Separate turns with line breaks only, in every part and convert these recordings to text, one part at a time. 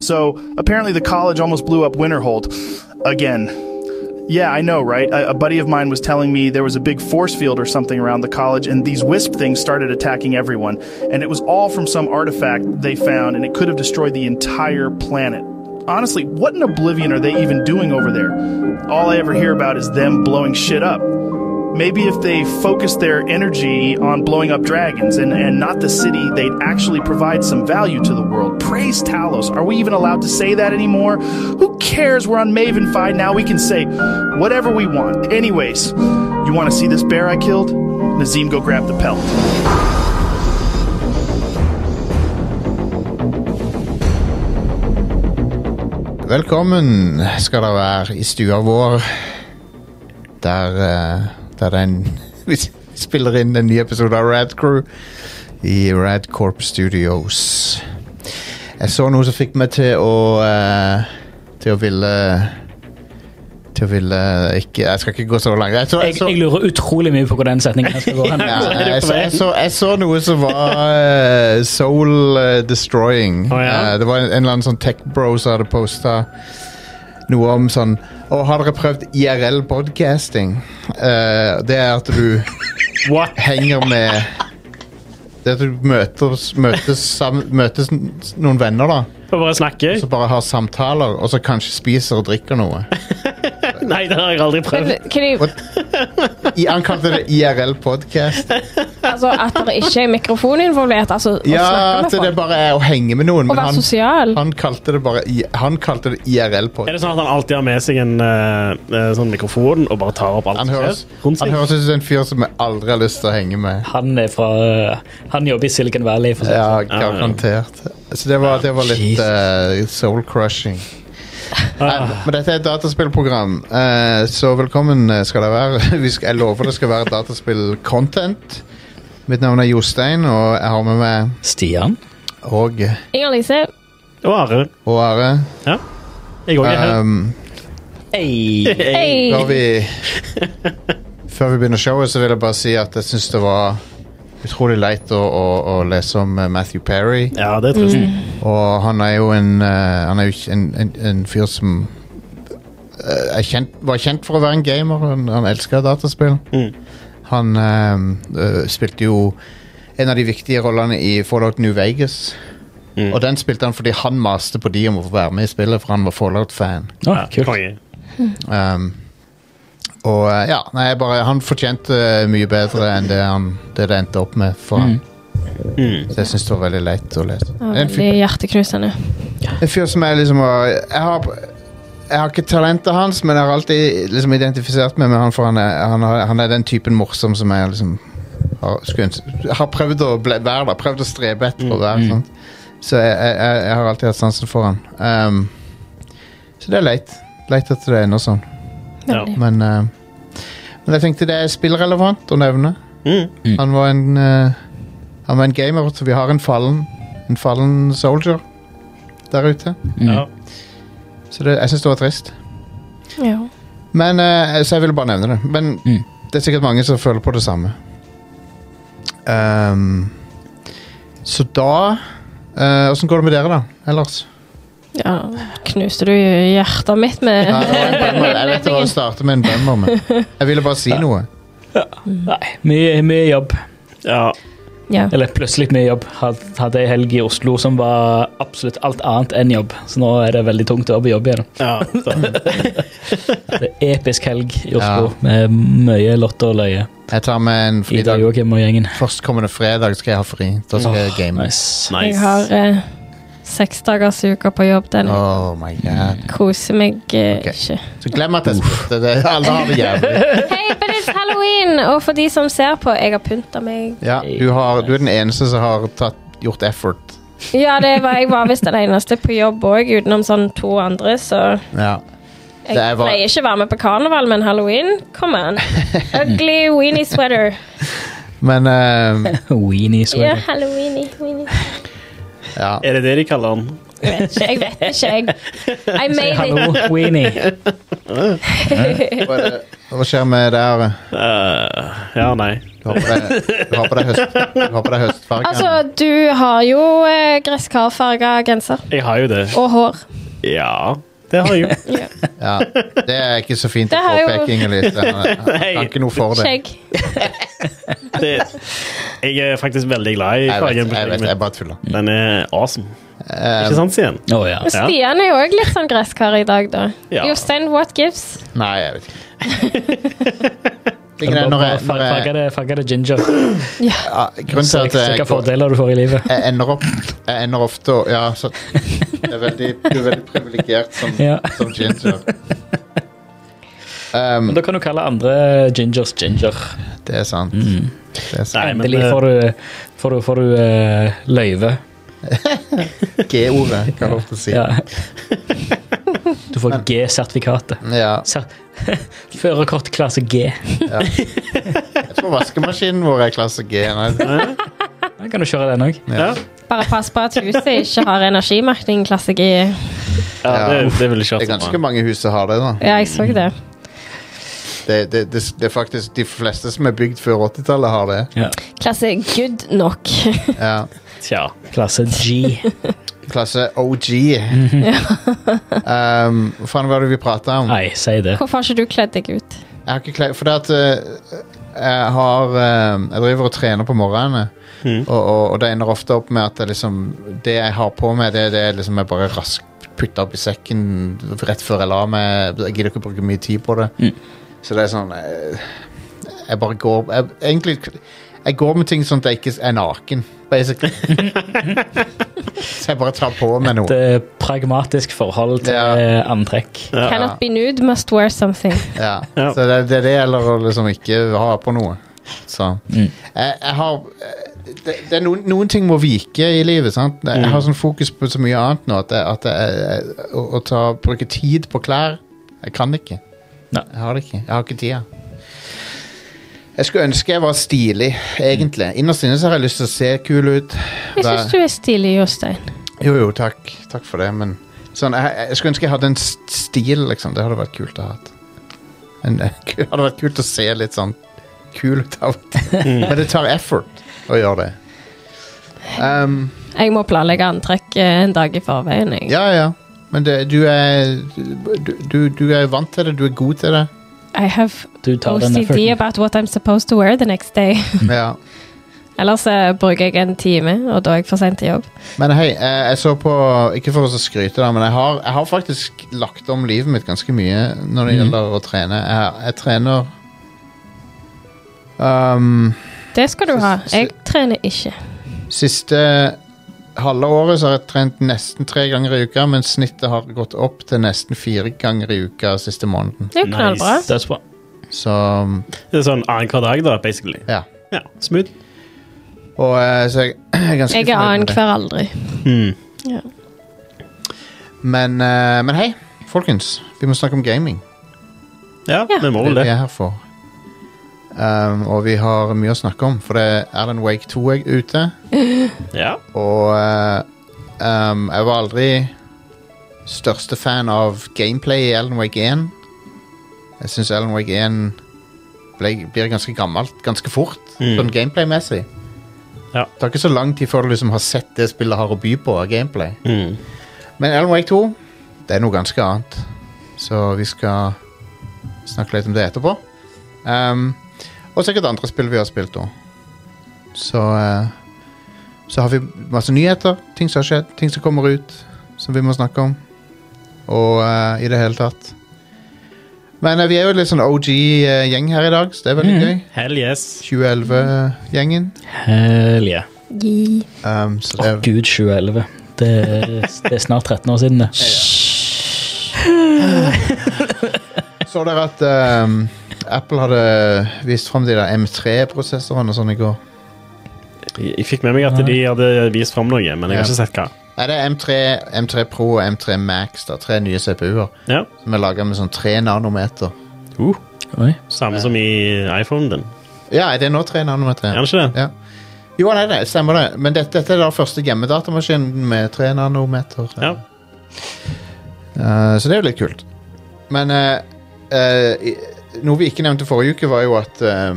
So apparently, the college almost blew up Winterhold again. Yeah, I know, right? A, a buddy of mine was telling me there was a big force field or something around the college, and these wisp things started attacking everyone. And it was all from some artifact they found, and it could have destroyed the entire planet. Honestly, what in oblivion are they even doing over there? All I ever hear about is them blowing shit up. Maybe if they focused their energy on blowing up dragons and, and not the city, they'd actually provide some value to the world. Praise Talos. Are we even allowed to say that anymore? Who cares? We're on Mavenfi now. We can say whatever we want. Anyways, you want to see this bear I killed? Nazim, go grab the pelt.
Velkommen skal dere være i stua vår, der, eh, der det er en, vi s- spiller inn en ny episode av Rad Crew i Rad Corp Studios. Jeg så noe som fikk meg til å eh, Til å ville Til å ville ikke Jeg skal ikke gå så langt. Jeg så,
Jeg,
jeg så,
jeg lurer utrolig mye på hvor den setningen her skal gå hen.
ja, jeg, så, jeg, så, jeg så noe som var eh, soul eh, destroying.
Å, ja?
Eh, det var en, en eller annen sånn tech bro som hadde posta noe om sånn Å, har dere prøvd IRL podcasting? Eh, det er at du
What?
henger med Det er at du møtes, møtes, sam, møtes n- noen venner, da.
Og bare snakke?
Som bare har samtaler, og så kanskje spiser og drikker noe.
Nei, det har jeg aldri prøvd.
Kan jeg,
What? I, han kalte det IRL podcast.
altså, at det ikke er mikrofon involvert, altså å
Ja, at
snakke
det
med folk.
bare er å henge med noen.
Å være
han,
sosial.
Han kalte det bare I- Han kalte det IRL på
Er det sånn at han alltid har med seg en eh, eh, sånn mikrofon og bare tar opp alt
Han
som
høres,
skjer rundt
han
seg?
høres ut som en fyr som jeg aldri har lyst til å henge med.
Han, er fra, eh, han jobber i Silicon Valley. For sånn.
Ja, garantert. Så det var, det var litt
Jesus.
eh, soul-crushing.
Ah.
Men, men dette er et dataspillprogram, eh, så velkommen eh, skal det være. Vi skal, jeg lover det skal være dataspill-content. Mitt navn er Jostein, og jeg har med meg
Stian?
Åg
Inger Lise,
Og Are.
og Are.
Jeg òg er her.
Um,
Hey.
Eh,
hei!
Før vi, før vi begynner showet, så vil jeg bare si at jeg syns det var utrolig leit å, å, å lese om eh, Matthew Perry.
Ja, det er trist.
Og han er jo en, eh, han er jo ikke en, en, en fyr som eh, er kjent, var kjent for å være en gamer. Han, han elska dataspill.
Mm.
Han eh, eh, spilte jo en av de viktige rollene i Fallout New Vegas.
Mm.
Og den spilte han fordi han maste på de om å få være med i spillet, for han var Fallout-fan.
Å,
Ja,
kult.
konge.
Um, og eh, ja, nei, jeg bare, han fortjente eh, mye bedre enn det, han, det det endte opp med for han.
Mm.
Så jeg syns det var veldig leit å lese.
Ja,
En
veldig
fyr,
hjerteknusende.
en fyr som jeg liksom har jeg, har jeg har ikke talentet hans, men jeg har alltid liksom identifisert meg med han, for han er, han, har- han er den typen morsom som jeg liksom har, skulle, ønske- har prøvd å ble, være, da, prøvd å strebe etter å være. sant? Så jeg, jeg, jeg, jeg har alltid hatt sansen for han. Um, så det er leit. Leit at det ender sånn.
Ja.
Veldig.
Men, eh, men jeg tenkte det er spillrelevant å nevne.
Mm.
Han var en eh, Han var en gamer, så vi har en fallen En fallen soldier der ute.
Mm.
Ja.
Så det, jeg syns det var trist.
Ja.
Men eh, Så jeg ville bare nevne det. Men
Mm.
det er sikkert mange som føler på det samme. Ehm, så da Åssen går det med dere, da? Ellers?
ja. Knuste du hjertet mitt med
Nei, det var en bummer. jeg vet det var å starte med en bummer, men jeg ville bare si noe.
Nei, mye, mye jobb.
ja.
Ja.
Eller plutselig mye jobb. Had- Hadde ei helg i Oslo som var absolutt alt annet enn jobb, så nå er det veldig tungt å være på jobb igjen.
ja. Så.
Det er episk helg i
Ja.
Oslo med mye lotte og løye.
Jeg tar med en
Ida
fridag.
Joakim og gjengen.
Førstkommende fredag skal jeg ha fri. Da skal jeg game.
Nice.
Jeg
Nice.
har eh, seksdagersuka på jobb den.
Oh my god.
Koser meg eh,
Ok.
ikke.
Så glem at jeg spurte. Det. Alle har det jævlig.
Hei, but it's Halloween! Og for de som ser på, jeg har pynta meg.
Ja, du, har, du er den eneste som har tatt, gjort effort.
Ja, det var, jeg var visst den eneste på jobb òg, utenom sånn to andre, så
Ja. Det er
Jeg
bare-
pleier ikke å være med på karneval, men halloween? Come on. Ugly weenie sweater.
Men eh,
Weenie, så
Ja,
er det.
halloweeny. weenie.
ja.
Er det det de kaller den?
Jeg vet ikke, jeg. Vet ikke, jeg. I made it.
Hallo, Weenie.
Hva, er det, hva skjer med det her?
Eh, ja, nei.
Du har på deg, du har på deg, høst, du har på deg høstfargen.
Altså, du har jo eh, gresskarfarga genser.
Jeg har jo det.
Og hår.
Ja, det har jeg jo.
Ja.
ja, det er ikke så fint å
Det har jo-
påpeke, Ingeliv. Jeg kan ikke noe for det.
Skjegg.
Det, jeg er faktisk veldig glad i
Jeg vet, jeg,
fargen. på
vet,
skjegget
jeg
mitt.
bare tuller.
Den er awesome.
Eh,
Ikke sant, Stian?
Å ja.
Og Stian er jo òg litt sånn gresskar i dag, da.
Ja.
Jostein, what gives?
nei, jeg vet ikke. Tingen er, når jeg, når
Farge
jeg,
det, farge det ginger.
ja, grunnen til
Så jeg
at
ser
jeg,
hvilke fordeler du får i livet.
jeg ender opp Jeg ender ofte å- Ja, så det er veldig, Du er veldig privilegert som,
Ja.
som ginger. Um,
Men da kan du kalle andre gingers ginger. eh,
det er sant. Det er sant.
Nei, men
Mm.
eh,
Endelig
det-
får du, får du, får du eh, løyve.
G-ordet, kan jeg lov til å si.
Ja. Du får G-sertifikatet.
Ja.
Ser- Førerkort klasse G.
Jeg tror vaskemaskinen vår er klasse G. Nei,
Da kan du kjøre den òg.
Ja,
Bare pass på at huset ikke har energimerking klasse G.
ja det,
Ja.
det vil jeg ikke
det er
ha så
ganske
bra.
mange hus som har det. da
Ja, jeg så det.
det, det, det, det er faktisk De fleste som er bygd før 80-tallet, har det.
Ja.
Klasse good nok.
Ja.
Tja.
Klasse G.
Klasse OG. um, hva faen var det vi prata om?
Nei, si det.
Hvorfor har ikke du kledd deg ut?
Jeg har ikke klær For det at eh, jeg har eh, Jeg driver og trener på morgenene. Og, og, og det ender ofte opp med at jeg liksom, det jeg har på meg, det er det jeg liksom jeg bare raskt putter opp i sekken rett før jeg la meg. Jeg gidder ikke å bruke mye tid på det. Så det er sånn Jeg, jeg bare går jeg, Egentlig jeg går med ting sånn at jeg ikke er naken, basically. Så jeg bare tar på meg noe.
Et eh, pragmatisk forhold til
Ja.
eh, antrekk.
Cannot be nude, must wear something.
Ja.
Ja.
Så det, det er det gjelder å liksom ikke ha på noe. Så jeg, jeg har det, det er noen, noen ting må vike i livet. sant? Jeg har sånn fokus på så mye annet nå at, jeg, at jeg, jeg, å, å ta, bruke tid på klær Jeg kan det ikke.
Nei.
Jeg har det ikke. Jeg har ikke tida. Jeg skulle ønske jeg var stilig, egentlig. Innerst inne så har jeg lyst til å se kul ut.
Jeg syns du er stilig, Jostein.
Jo, jo, takk. Takk for det, men sånn, jeg, jeg skulle ønske jeg hadde en s- stil, liksom. Det hadde vært kult å ha. hatt. En, eh, ku- hadde vært kult å se litt sånn kul ut av og til. Men det tar effort å gjøre det. Um,
Jeg må planlegge antrekk eh, en dag i forveien. Jeg,
ja, ja. Men det, du er du, du, du er vant til det. Du er god til det.
I have
Du tar den
OCD
efforten.
about what I'm supposed to wear the next day.
Ja.
Ellers eh, bruker jeg en time, og da er jeg for sent til jobb.
Men hei, jeg, jeg så på Ikke for å skryte, da, men jeg har, jeg har faktisk lagt om livet mitt ganske mye når det gjelder å trene. Jeg, jeg trener um,
Det skal du ha.
Så- så-
Jeg trener ikke.
Siste halve året så har jeg trent nesten tre ganger i uka, men snittet har gått opp til nesten fire ganger i uka siste måneden.
Det er jo
Nice.
knallbra.
Dødsbra.
Så
Det er sånn annenhver dag, da, basically.
ja.
Ja, smooth.
Og eh, så jeg, jeg er ganske
Jeg er
fornøyd med det.
annenhver aldri.
Hmm.
Mm.
Ja.
Men, eh, men hei, folkens. Vi må snakke om gaming.
Ja,
Ja.
vi må
Det er det
vel det.
vi er her for. Um, og vi har mye å snakke om, for det er Alan Wake 2 er ute.
Ja.
Og eh, um, jeg var aldri største fan av gameplay i Alan Wake 1. Jeg syns Alan Wake 1 ble, blir ganske gammelt ganske fort,
Mm.
sånn gameplay-messig.
Ja.
Det tar ikke så lang tid før du liksom har sett det spillet har å by på av gameplay.
Mm.
Men Alan Wake 2, det er noe ganske annet. Så vi skal snakke litt om det etterpå. Um, og sikkert andre spill vi har spilt òg. Så eh, Så har vi masse nyheter, ting som har skjedd, ting som kommer ut, som vi må snakke om. Og eh, i det hele tatt. Men eh, vi er jo litt sånn OG-gjeng her i dag, så det er veldig gøy.
Hell yes.
2011-gjengen.
Hell yeah.
Gi.
Um, så
Å
det er
gud, 2011. Det, det er snart 13 år siden. det.
Så dere at ehm, Apple hadde vist frem de der M3-prosessorene og sånn i går?
Jeg jeg fikk med meg at de hadde vist fram noe, men jeg har ikke sett hva.
Nei, det er M3, M3 Pro og M3 Max, da. Tre nye CPU-er
Ja.
som er laga med sånn tre nanometer.
Uh,
Oi.
samme som i iPhonen din.
Ja, er det nå tre
Er
nanometer?
det ikke det?
Ja. Jo, nei, det stemmer det. Men dette, dette er da første hjemmedatamaskin med tre nanometer.
Ja.
Eh, så det er jo litt kult. Men eh, eh, i- noe vi ikke nevnte forrige uke, var jo at eh,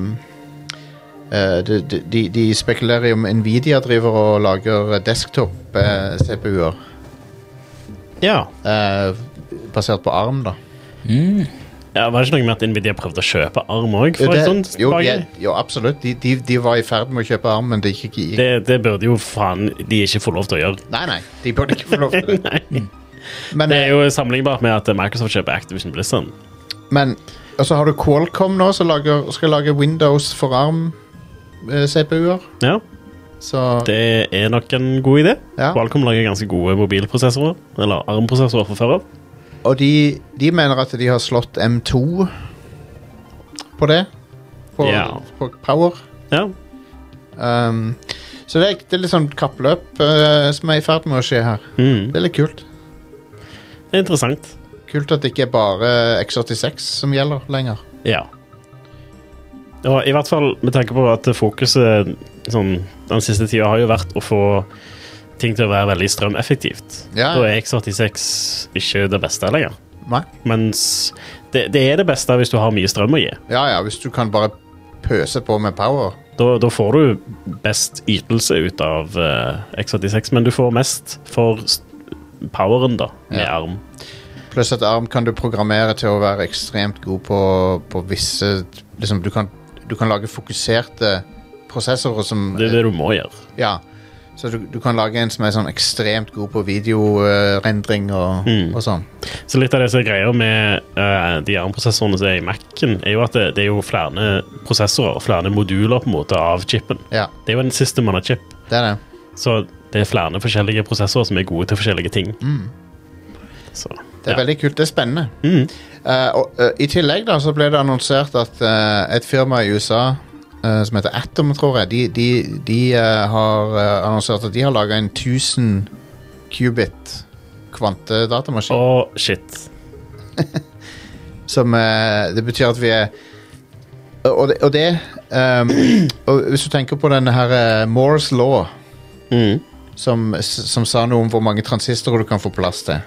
Eh, de, de- de, de spekulerer i om Nvidia driver og lager eh, desktop-CPU-er.
Ja.
eh, basert på ARM, da.
Mm.
ja. Var det ikke noe med at Nvidia prøvde å kjøpe arm òg?
Jo, det- jo,
Det,
ja, jo, absolutt. De, de, de var i ferd med å kjøpe ARM, men det gikk ikke i
det, det burde jo faen de ikke få lov til å gjøre.
Nei, nei. De burde ikke få lov til det. Mm.
Nei.
Men, eh,
Det er jo sammenlignbart med at Microsoft kjøper Activision Blizzard.
Men Og så har du Qualcomm nå, som lager, skal lage Windows for eh, ARM-CPU-er.
Ja,
Så
det er nok en god idé.
Ja.
Qualcomm lager ganske gode mobilprosessorer. Eller ARM-prosessorer fra før av.
Og de, de mener at de har slått M2 på det. På,
Ja.
på power.
Ja.
Um, så det er, det er litt sånn kappløp eh, som er i ferd med å skje her.
Mm.
Det er litt kult.
Det er interessant.
Kult at det ikke er bare X86 som gjelder lenger.
Ja. Og i hvert fall med tanke på at fokuset sånn, den siste tida har jo vært å få ting til å være veldig strømeffektivt.
Ja.
Da er X86 ikke det beste lenger.
Nei.
Mens det, det er det beste hvis du har mye strøm å gi.
Ja ja, hvis du kan bare pøse på med power.
Da, da får du best ytelse ut av eh, X86, men du får mest for s- poweren, da, med
Ja.
arm.
Pluss at ARM kan du programmere til å være ekstremt god på, på visse liksom, du, kan, du kan lage fokuserte prosessorer som
Det er det du må gjøre.
Ja. Så du, du kan lage en som er sånn ekstremt god på videorendring og,
Mm.
og sånn.
Så litt av det som er greia med eh, de ARM-prosessorene som er i Mac-en, er jo at det, det er jo flere prosessorer, flere moduler på en måte av chipen.
Ja,
Det er jo en system on a chip,
det er det.
så det er flere forskjellige prosessorer som er gode til forskjellige ting. Så,
Mm. Det er
ja.
veldig kult. Det er spennende.
Mm.
Eh, og, eh, I tillegg da så ble det annonsert at eh, et firma i USA eh, som heter Atom, tror jeg, de, de, de eh, har eh, annonsert at de har laga en 1000 qubit kvantedatamaskin.
Og shit.
Som eh, Det betyr at vi er Og det, og det ehm, og Hvis du tenker på denne her eh, Moore's law,
Mm.
som, s- som sa noe om hvor mange transistorer du kan få plass til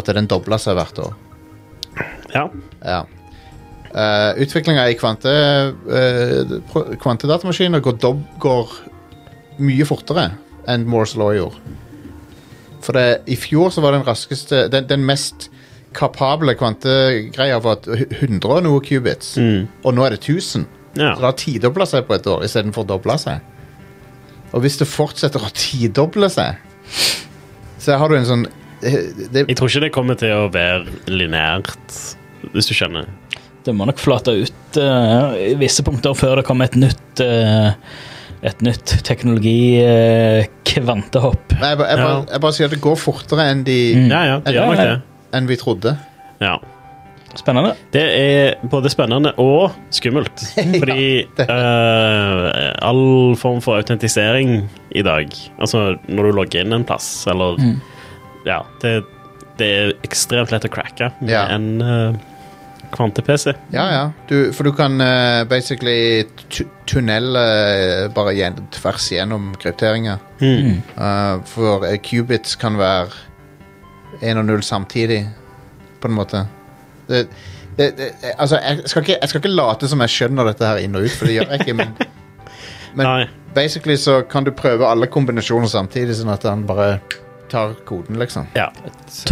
At den dobla seg hvert år.
Ja.
Ja. Uh, Utviklinga i kvante, eh, pro- kvantedatamaskiner går, dob går mye fortere enn Moores law gjorde. For det, i fjor så var den raskeste Den, den mest kapable kvantegreia var at 100 og noe qubits.
Mm.
Og nå er det 1000.
ja.
Så det har tidobla seg på et år istedenfor dobla seg. Og hvis det fortsetter å tidoble seg, så har du en sånn det,
Jeg tror ikke det kommer til å være lineært, hvis du skjønner.
Det må nok flate ut eh, i visse punkter før det kommer et nytt eh, et nytt teknologi-kvantehopp.
Nei, jeg, ba- jeg, bare,
Ja.
jeg bare sier at det går fortere enn, de,
Ja, ja, Mm. det gjør nok det.
enn vi trodde.
Ja.
Spennende.
Det er både spennende og skummelt. Fordi eh, all form for autentisering i dag, altså når du logger inn en plass, eller
Mm.
Ja, det, det er ekstremt lett å cracke med
Ja.
en eh, kvante-PC.
Ja, ja. Du, for du kan eh, basically tu tunnele eh, bare gjen, tvers gjennom krypteringer.
Mm.
Eh, for eh, qubits kan være én og null samtidig, på en måte. Det, det, det, altså, jeg skal, ikke, jeg skal ikke late som jeg skjønner dette her inn og ut, for det gjør jeg ikke. Men, men
Nei.
basically så kan du prøve alle kombinasjoner samtidig, sånn at han bare tar koden, liksom.
Ja.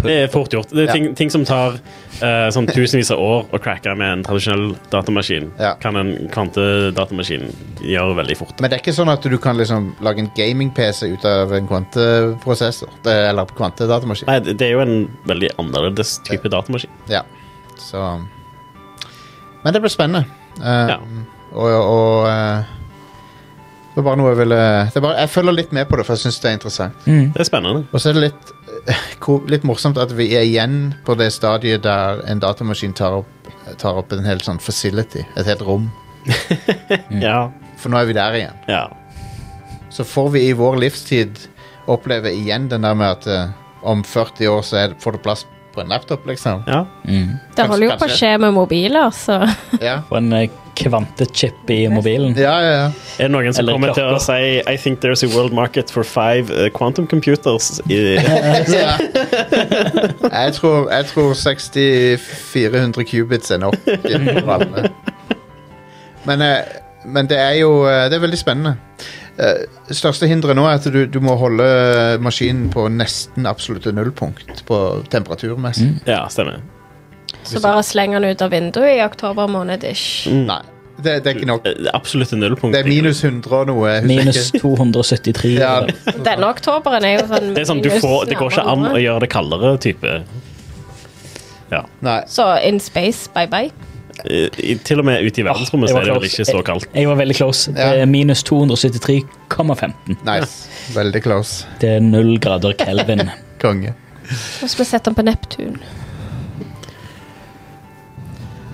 Det er fort gjort. Det er
Ja.
ting, ting som tar eh, sånn tusenvis av år å cracke med en tradisjonell datamaskin,
Ja.
kan en kvantedatamaskin gjøre veldig fort.
Men det er ikke sånn at du kan liksom lage en gaming-PC ut av en kvanteprosessor. Det- Eller kvantedatamaskin.
Nei, det det er jo en veldig annerledes type datamaskin.
Ja. Så Men det blir spennende. Eh,
Ja.
Og, og eh, Det var bare noe jeg ville det er bare, Jeg følger litt med på det, for jeg syns det er interessant.
Mm.
Det er spennende.
Og så er det litt, eh, ko- litt morsomt at vi er igjen på det stadiet der en datamaskin tar opp, tar opp en hel sånn facility. Et helt rom.
Ja.
For nå er vi der igjen.
ja.
så får vi i vår livstid oppleve igjen den der med at eh, om 40 år så er, får du plass på en laptop, liksom.
ja.
Mm.
Det
Kanskje-
holder jo på å
kanskje.
skje med mobiler, så
Ja,
Og en eh, kvantechip i mobilen.
ja, ja. ja.
Er det noen som
Eller
kommer til å
klokker.
si I think there's a world market for five uh, quantum computers? I,
ja. Jeg, tror, jeg tror 60-400 qubits er nok for alle. Men, eh, men det er jo eh, Det er veldig spennende. Eh, Største hinderet nå er at du, du må holde maskinen på nesten absolutte nullpunkt på temperaturmessig.
Ja, stemmer.
Så bare slenger han ut av vinduet i oktober måned ish.
Nei, det, det er ikke nok.
Eh, Absolutt en nullpunkt.
Det er minus 100 og noe. husker jeg
Minus
ikke.
273.
Ja,
eller-
Denne oktoberen er jo sånn
Det er sånn, du
minus
får, det går ikke an å gjøre det kaldere, type. Ja.
nei.
Så in space, bye bye.
Eh, i- Til og med ute i verdensrommet
Jeg
så
var
er det vel
close.
ikke så kaldt.
Jeg, jeg var veldig close. Det
Ja.
er minus 273,15.
Nice. Veldig close.
Det er null grader kelvin.
Konge.
Så skal vi sette den på Neptun.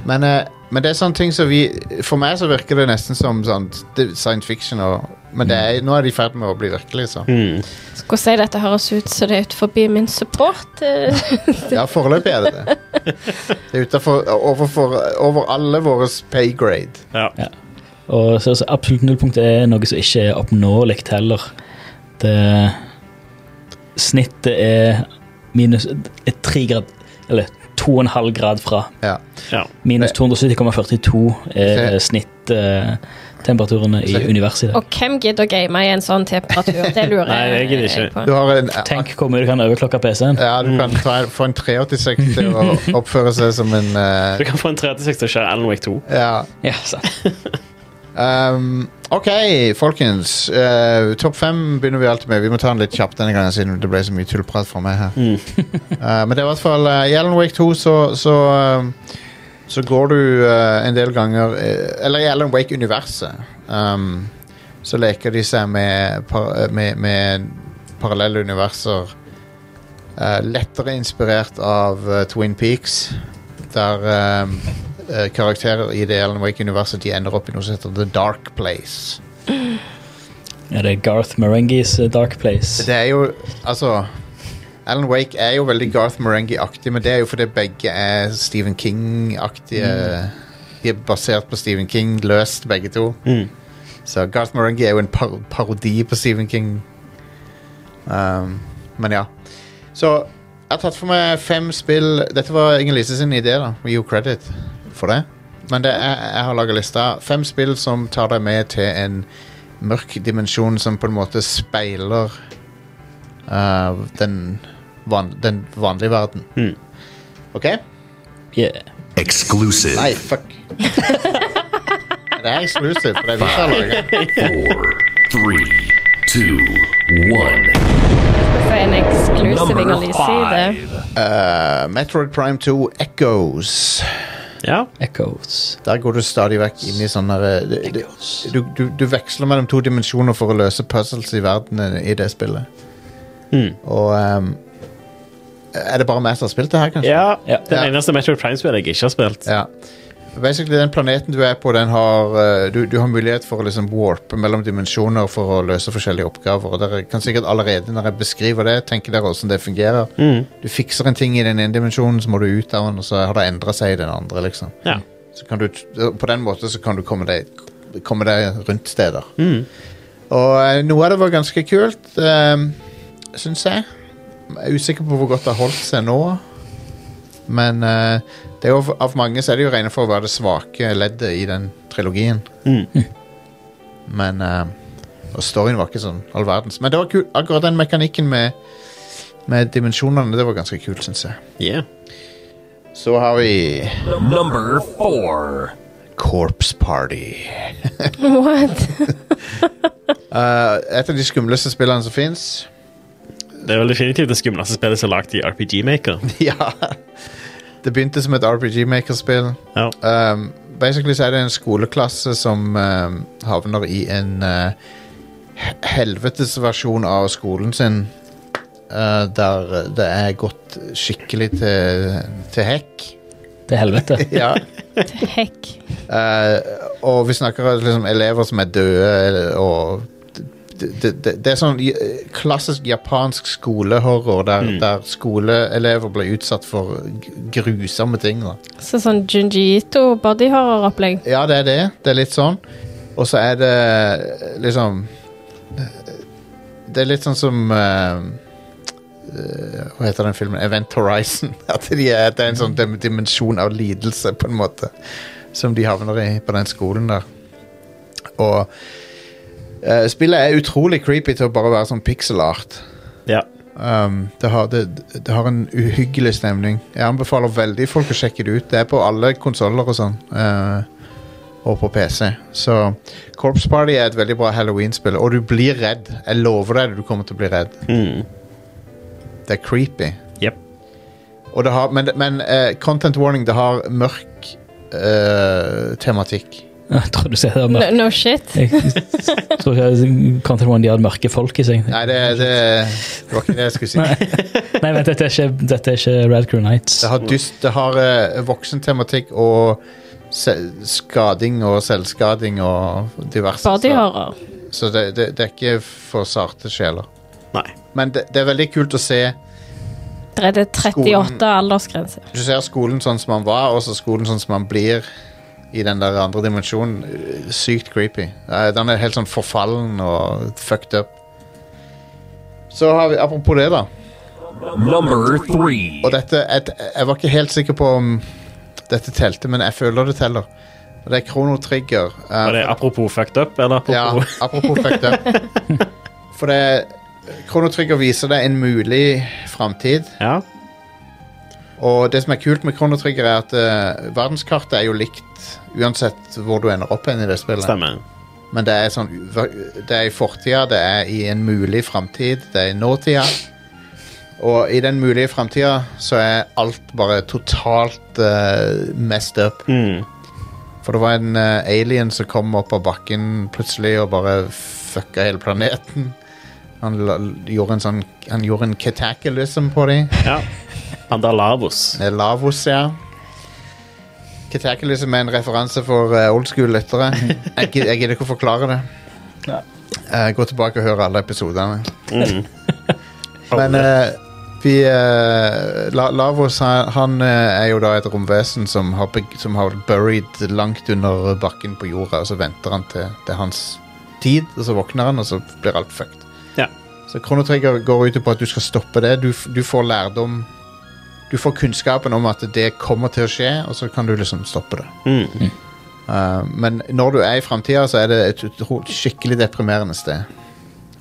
Men, eh, men det er sånne ting som vi For meg så virker det nesten som sånn, det, er science fiction, og, men det er, nå er de i ferd med å bli virkelig. Så.
Mm.
Skal si dette høres ut som det er utenfor min support. eh,
Ja, foreløpig er det det. Det er utenfor, overfor, over alle våre pay grade.
Ja.
Og så, så absolutt nullpunkt er noe som ikke er oppnåelig heller. Det Snittet er minus er tre grad Eller 2,5 grad fra.
Ja.
ja.
Minus
Det-
270,42 er
Se.
snittemperaturene i
Se.
universet. i dag.
Og hvem gidder å game i en sånn temperatur? Det lurer
Nei, jeg gidder
jeg
ikke.
på.
Du har en
Tenk hvor mye du kan overklokke PC-en.
Ja, du kan ta, en- få en 386 til å oppføre seg som en eh,
Du kan få en 36 til å kjøre Alan Wake 2.
Ja.
Ja, sant.
Um, OK, folkens. Eh, Topp fem begynner vi alltid med. Vi må ta den litt kjapt denne gangen, siden det ble så mye tullprat fra meg her.
Mm.
Eh, men det er i hvert fall eh, I Alan Wake 2 så så, um, så går du eh, en del ganger eh, Eller i Alan Wake-universet um, så leker de seg med, par, eh, med, med parallelle universer. eh, lettere inspirert av eh, Twin Peaks, der um, eh, karakterer i The Alan Wake University ender opp i noe som heter The Dark Place.
Ja, det er Garth Marengis eh, Dark Place.
Det er jo, altså Alan Wake er jo veldig Garth Marenghi-aktig, men det er jo fordi begge er Stephen King-aktige. De er basert på Stephen King, løst begge to.
Mm.
Så Garth Marenghi er jo en par parodi på Stephen King. Um, men ja. Så jeg har tatt for meg fem spill. Dette var Inger-Lise sin idé, da. We give credit for det. Men det er, jeg har laga lista. Fem spill som tar deg med til en mørk dimensjon som på en måte speiler uh, den, van, den vanlige verden.
Mm.
OK?
Yeah.
Exclusive.
Nei, fuck. det er exclusive, for det er vi som har laget.
Four, three, two, one.
For en eksklusiv
Number
Inger-Lise i det.
Uh, Metroid Prime 2 Echoes.
Ja.
Echoes.
Der går du stadig vekk inn i sånne eh, du- du-
Echoes.
du, du, du veksler mellom to dimensjoner for å løse puzzles i verden eh, i det spillet.
Mm.
Og ehm, Er det bare meg som har spilt det her, kanskje?
ja.
Ja.
Den
Ja.
eneste Metroid Prime-spillet jeg ikke har spilt.
Ja. Basically, den planeten du er på, den har eh, du, du har mulighet for å liksom warpe mellom dimensjoner for å løse forskjellige oppgaver. Og dere kan sikkert allerede når jeg beskriver det, tenke dere hvordan det fungerer.
Mm.
Du fikser en ting i den ene dimensjonen, så må du ut av den, og så har det endra seg i den andre. liksom.
Ja.
Så kan du, på den måten så kan du komme deg, komme deg rundt steder.
Mm.
Og eh, noe av det var ganske kult, um, syns jeg. Jeg er usikker på hvor godt det har holdt seg nå. Men eh, det er jo, av mange så er det jo regnet for å være det svake leddet i den trilogien. Men eh, Og storyen var ikke sånn all verdens. Men det var kul, akkurat den mekanikken med, med dimensjonene, det var ganske kult, syns jeg.
Yeah.
Så har vi
Number four.
Corpse Party.
What?
Eh, et av de skumleste spillene som fins.
Det er vel definitivt det skumleste spillet som er lagd i RPG Maker.
ja. Det begynte som et RPG Maker-spill.
Ja.
Um, basically så er det en skoleklasse som um, havner i en uh, he- helvetes versjon av skolen sin. Uh, der det er gått skikkelig til, til hekk.
Til helvete.
Ja.
Hekk.
Eh, og vi snakker om liksom elever som er døde, eller- og det, det, det- det er sånn j- klassisk japansk skolehorror der, der skoleelever blir utsatt for g- grusomme ting. Da.
Så sånn Junji Ito bodyhorror-opplegg.
Ja, det er det. Det er litt sånn. Og så er det liksom Det er litt sånn som eh, eh, Hva heter den filmen? Event Horizon. At de er, det er en sånn dim- dimensjon av lidelse, på en måte, som de havner i på den skolen der. Og eh, spillet er utrolig creepy til å bare være sånn pixelart.
Ja.
Um, det, har, det, det har en uhyggelig stemning. Jeg anbefaler veldig folk å sjekke det ut. Det er på alle konsoller og sånn. eh, og på PC. Så Corps Party er et veldig bra Halloween-spill. Og du blir redd. Jeg lover deg du kommer til å bli redd.
Mm.
Det er creepy.
Jep.
Og det har, men men eh, content warning, det har mørk eh, tematikk.
Jeg tror du ser det
No,
mørkt.
no shit.
Jeg tror ikke Content One de hadde mørke folk i seg.
Nei, det, det, det var ikke det jeg skulle si.
Nei, vent, dette er ikke, dette er ikke Rad Crew Nights.
Det har, dyst, det har eh, voksentematikk og se, skading og selvskading og diverse.
Bodyhorror.
Så, så det, det, det er ikke for sarte sjeler.
Nei.
Men det, det er veldig kult å se.
Der er det 38 aldersgrense.
Du ser skolen sånn som man var, og så skolen sånn som man blir i den der andre dimensjonen. Eh, Sykt creepy. Eh, Den er helt sånn forfallen og fucked up. Så har vi, apropos det, da.
Number three.
Og dette et, Jeg var ikke helt sikker på om dette telte, men jeg føler det teller. Og Det er Chrono Trigger. eh,
Var det apropos fucked up, eller
Ja,
apropos
apropos fucked up. For det Chrono Trigger viser deg en mulig framtid.
Ja.
Og det som er kult med Chrono Trigger, er at eh, verdenskartet er jo likt uansett hvor du ender opp hen i det spillet.
Stemmer.
Men det er sånn Det er i fortida, det er i en mulig framtid, det er i nåtida. Og i den mulige framtida så er alt bare totalt eh, messed up.
Mm.
For det var en eh, alien som kom opp av bakken plutselig og bare fucka hele planeten. Han la, gjorde en sånn Han gjorde en katakelism på dem.
Ja. Pandalavos.
Med Lavos, ja. Katakelism er en referanse for eh, old school-lyttere. Jeg, gid- jeg gidder ikke å forklare det.
Nei.
Eh, gå tilbake og hør alle episodene.
Mm.
Men eh, vi eh, La Lavos han, han eh, er jo da et romvesen som har, beg- som har buried langt under bakken på jorda, og så venter han til det er hans tid, og så våkner han, og så blir alt fucked.
Ja.
Så Kronotrigger går ut på at du skal stoppe det. Du, f- du får lærdom Du får kunnskapen om at det kommer til å skje, og så kan du liksom stoppe det.
Mm.
Eh, men når du er i framtida, så er det et utro- skikkelig deprimerende sted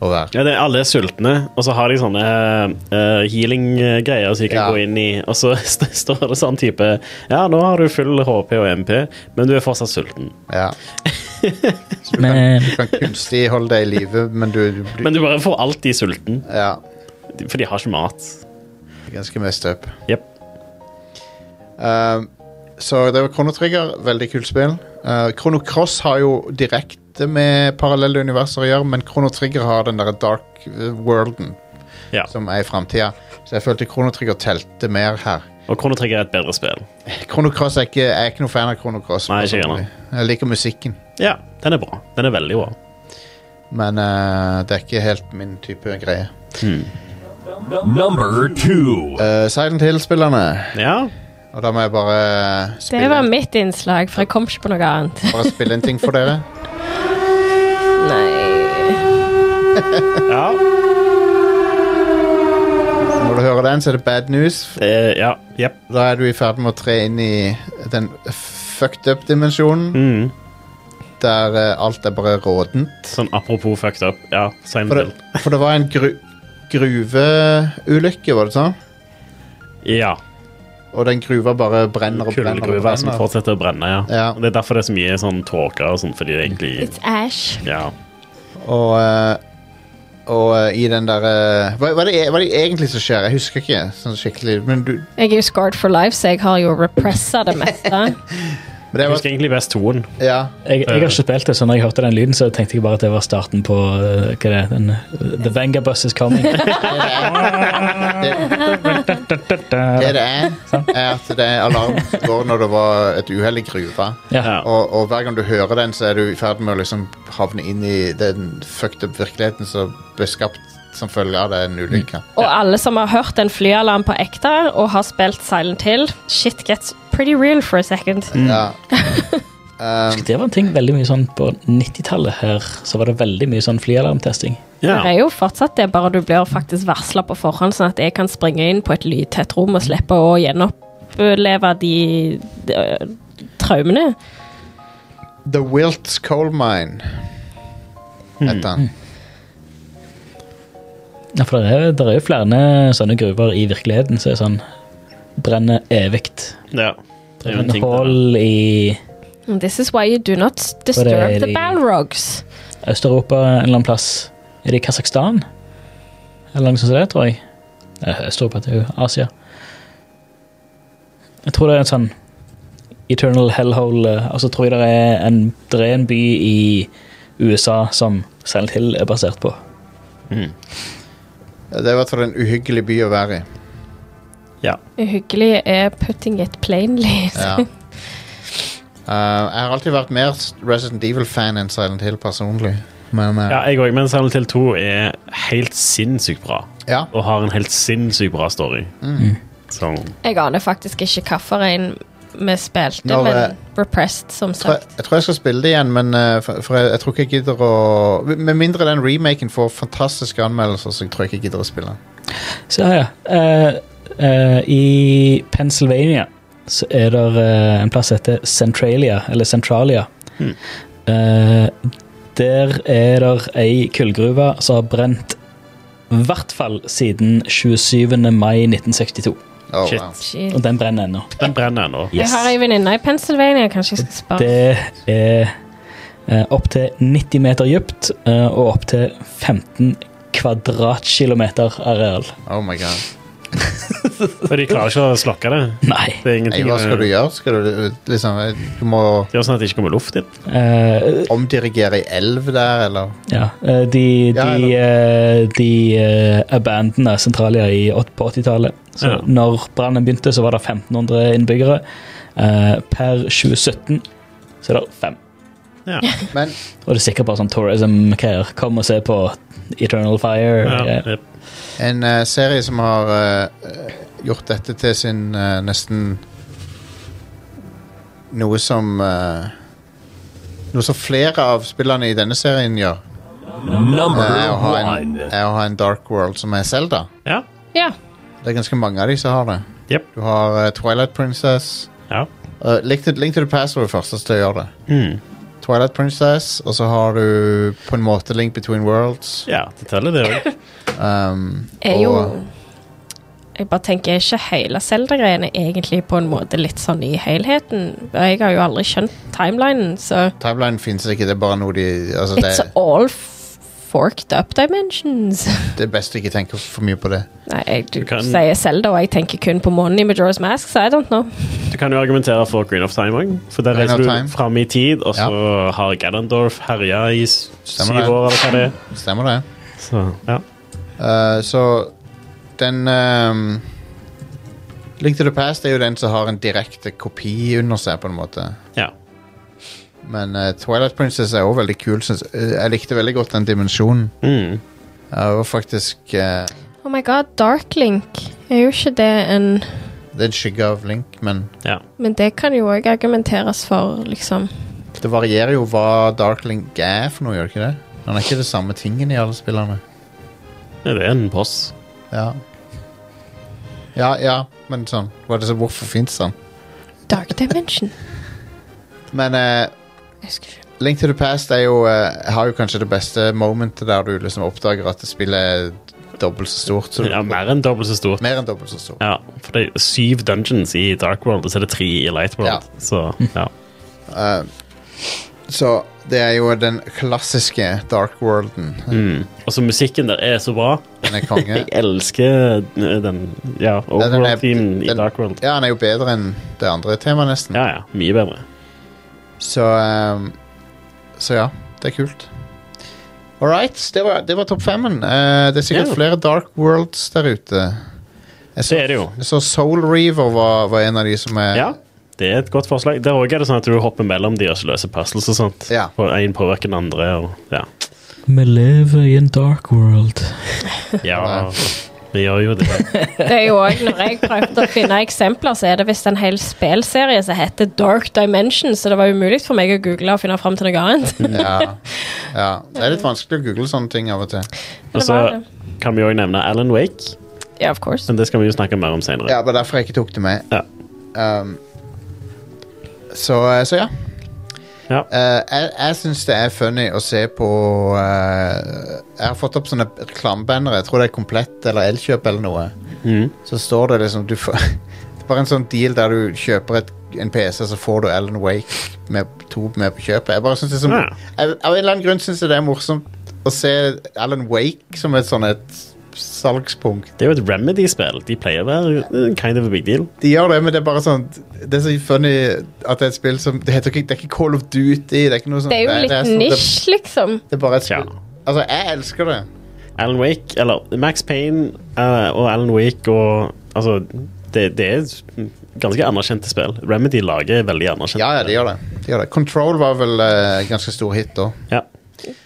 å være.
Ja, det er alle er sultne, og så har de sånne eh, healing-greier som de kan
Ja.
gå inn i, og så st står det sånn type Ja, nå har du full HP og MP, men du er fortsatt sulten.
Ja. Så du
Men- eh,
kan, du kan kunstig holde deg i live, men du, du, du
Men du bare får alltid sulten,
Ja.
for de har ikke mat.
Ganske messed up.
Jep.
Um, så det var Chrono Trigger. Veldig kult spill. Uh, Chrono Cross har jo direkte med parallelle universer å gjøre, men Chrono Trigger har den derre dark uh, worlden
Ja.
som er i framtida. Så jeg følte Chrono Trigger telte mer her.
Og Chrono Trigger er et bedre spill.
Chrono Cross er ikke, jeg er ikke noen fan av Chrono Cross.
Nei, ikke jeg
personlig. jeg liker musikken,
Ja, den er bra. Den er veldig bra.
men uh, det er ikke helt min type greie.
Number two.
Uh, Silent Hill-spillerne.
Ja.
Og da må jeg bare
Det var
spille,
mitt innslag, for jeg kom ikke på noe annet.
bare spille en ting for dere.
Nei.
Ja.
Når du hører den, så er det bad news.
Eh, ja. Jep.
Da er du i ferd med å tre inn i den fucked up-dimensjonen,
Mm.
der eh, alt er bare rådent.
Sånn apropos fucked up. Ja, Silent
For
Hill.
det, for det var en gru gruveulykke, var det sånn?
Ja.
Og den gruva bare brenner og brenner. og
Kullgruver som
brenner.
fortsetter å brenne, ja.
Ja.
Og Det er derfor det er så mye sånn tåke og sånn, fordi det egentlig
It's Ash.
Ja.
Og, eh, og eh, i den derre hva, hva, er det e- hva er det egentlig som skjer? Jeg husker ikke sånn skikkelig. Men, du,
Jeg er jo scored for life, så jeg har jo repressa det meste.
men det
Jeg
var
husker egentlig best toen.
Ja.
Jeg, jeg har ikke spilt det, så når jeg hørte den lyden, så tenkte jeg bare at det var starten på eh, hva det er, den, The Vengabus is coming.
Det, det det er, er at det er alarm som går når det var et uhell i gruva.
Ja.
Og, og hver gang du hører den, så er du i ferd med å liksom havne inn i den fucked up virkeligheten som ble skapt som følge av den ulykka.
Og alle som har hørt en flyalarm på ekte og har spilt Silent Hill, shit gets pretty real for a second.
Ja.
Husker Det var en ting veldig mye sånn på 90-tallet her, så var det veldig mye sånn flyalarmtesting.
Det
Ja.
er jo fortsatt det, bare du blir faktisk varsla på forhånd, sånn at jeg kan springe inn på et lydtett rom og slippe eh, å gjenoppleve de, de, traumene.
The Wilts Coal Mine. Heter han.
Ja, for det er, der er jo flere sånne gruver i virkeligheten som så er sånn Brenner evig.
Ja. Det er jo en
Brenner
ting til det.
hull i
This is why you do not disturb
Bare
the
i-
balrogs.
Øst-Europa en eller annen plass. Er det i Kasakhstan? Eller noe sånt som det, tror jeg. Eh, Øst-Europa det er jo Asia. Jeg tror det er en sånn Eternal Hellhole eh, Og så tror jeg det er en, det er en by i USA som Silent Hill er basert på.
Det er i hvert fall en uhyggelig by å være i.
Uhyggelig er putting it plainly.
Ja. Eh, jeg har alltid vært mer Resident Evil-fan enn Silent Hill personlig. Men eh,
Ja, jeg òg, men Silent Hill 2 er helt sinnssykt bra.
ja.
Og har en helt sinnssykt bra story.
Mm.
Som
Jeg aner faktisk ikke hvilken en vi spilte,
Når,
men
eh,
repressed, som
Jeg, tror-
sagt.
jeg tror jeg skal spille det igjen, men eh, for, for jeg, jeg tror ikke jeg gidder å Med mindre den remaken får fantastiske anmeldelser, så jeg tror jeg ikke jeg gidder å spille den.
Så ja, ja. Eh, eh, I Pennsylvania så er det eh, en plass som heter Centralia, eller Centralia.
Hmm.
Eh, der er det ei kullgruve som har brent i hvert fall siden 27. mai 1962.
Oh,
Shit.
wow.
Shit.
Og den brenner ennå.
Den brenner ennå.
Jeg har ei venninne i Pennsylvania, kanskje jeg skal spørre.
Det er eh, opptil 90 meter dypt eh, og opptil 15 kvadratkilometer areal.
oh my god.
Og de klarer ikke å slokke det.
Nei.
Det er
Nei,
ingenting
hva skal du gjøre? Skal du eh, liksom eh, Du må
Gjør sånn at det ikke kommer luft inn.
Eh,
omdirigere ei elv der, eller
Ja, eh, de,
Ja,
de, eh, de eh, abandona Centralia i, åt- på 80-tallet. Så
Ja.
Når brannen begynte, så var det 1500 innbyggere. Eh, per 2017 så er det fem.
Ja.
Men
Og det er sikkert bare sånn tourism-greier. Kom og se på Eternal Fire.
Ja,
eh,
det-
en eh, serie som har eh, eh, gjort dette til sin eh, nesten Noe som eh, Noe som flere av spillerne i denne serien gjør,
Number
er å ha en,
one.
er å ha en dark world som er Zelda.
ja.
Ja.
Det er ganske mange av de som har det.
Jep.
Du har eh, Twilight Princess.
ja.
Uh, Link, to, Link to the Past var det første som gjør det.
Mm.
Twilight Princess, og så har du på en måte Link Between Worlds.
ja, det teller, det òg.
Um,
Er jo
og-
Jeg bare tenker, er ikke hele Zelda-greiene egentlig på en måte litt sånn i helheten? Jeg har jo aldri skjønt timelinen, så
Timeline fins ikke, det er bare noe de altså, det,
It's all f- forked up dimensions.
det er best å ikke tenke for mye på det.
Nei, jeg du,
kan-
sier Zelda, og jeg tenker kun på månen i Majora's Mask, så I don't know.
Du kan jo argumentere for Green of Time òg. For der
Green
reiser
of
du
Time.
fram i tid, og så har Ganondorf herja i s- syv
Stemmer det.
år, eller hva det er.
Stemmer det?
Så, ja.
Uh, så den um, Link to the Past er jo den som har en direkte kopi under seg, på en måte.
ja.
Men uh, Twilight Princess er òg veldig kul. Synes, uh, jeg likte veldig godt den dimensjonen.
Mm.
Uh, og faktisk uh,
Oh my god, Dark Link. Er jo ikke det en
Det er en skygge av Link, men
ja.
Men det kan jo òg argumenteres for, liksom.
det varierer jo hva Dark Link er for noe, gjør det ikke det? Han er ikke det samme tingen i alle spillene.
Ja, Det er en boss.
Ja, ja, ja men sånn hva er det, så Hvorfor fins han?
Dark Dimension.
Men eh,
Jeg husker ikke.
Link to the Past er jo, eh, har jo kanskje det beste momentet der du liksom oppdager at det spillet er dobbelt så stort. Så du,
Ja, mer enn dobbelt så stort.
Mer enn dobbelt så stort.
Ja, for det er syv dungeons i Dark World, og så er det tre i Light World.
Ja.
Så ja.
Eh, så det er jo den klassiske dark worlden.
Mm. Og så musikken der er så bra.
Den er konge.
Jeg elsker eh, den ja, overworld-teamen i
den-
Dark World.
Ja, han er jo bedre enn det andre temaet, nesten.
Ja, ja. Mye bedre.
Så ehm, Så ja, det er kult. All right, det var, det var topp femmen. Eh, det er sikkert
Ja.
flere Dark Worlds der ute. Jeg så,
Det er det jo.
jeg så Soul Reaver var, var en av de som er
Ja, det er et godt forslag. Der også er det sånn at du hopper mellom de og så løser puzzles og sånt.
Ja.
På en påvirker den andre. Og, ja.
Vi lever i en dark world.
ja, vi gjør jo det.
Det er jo òg, når jeg prøvde å finne eksempler, så er det visst en hel spelserie som heter Dark Dimension, så det var umulig for meg å google og finne fram til noe annet.
ja, ja. Det er litt vanskelig å google sånne ting av og til.
Og
Det var
så
det.
kan vi òg nevne Alan Wake,
Ja, of course.
men det skal vi jo snakke mer om senere.
Ja, det var derfor jeg ikke tok det med.
Ja.
Ehm, så, eh, så ja.
Ja.
Eh, jeg jeg syns det er funny å se på eh, Jeg har fått opp sånne reklamebannere. Jeg tror det er Komplett eller Elkjøp eller noe.
Mm.
Så står det liksom du får, Det er bare en sånn deal der du kjøper et, en PC, så får du Alan Wake med, to med på kjøpet. Jeg bare synes det er som,
Ja.
jeg, Av en eller annen grunn syns jeg det er morsomt å se Alan Wake som et sånn et salgspunkt.
Det er jo et Remedy-spill. De pleier å være eh, kind of a big deal.
De gjør det, men det er bare sånn Det er så funny at det er et spill som Det, heter ikke, det er ikke Call of Duty. Det er ikke noe sånt
Det er jo
Nei,
litt
sånn- det-
nisj, liksom.
Det er bare et spill.
Tja.
Altså, jeg elsker det.
Alan Wake, eller Max Payne eh, og Alan Wake og Altså, det, det er ganske anerkjente spill. Remedy-laget er veldig anerkjent.
Ja, ja, de gjør det. De gjør det. Control var vel eh, ganske stor hit da.
Ja.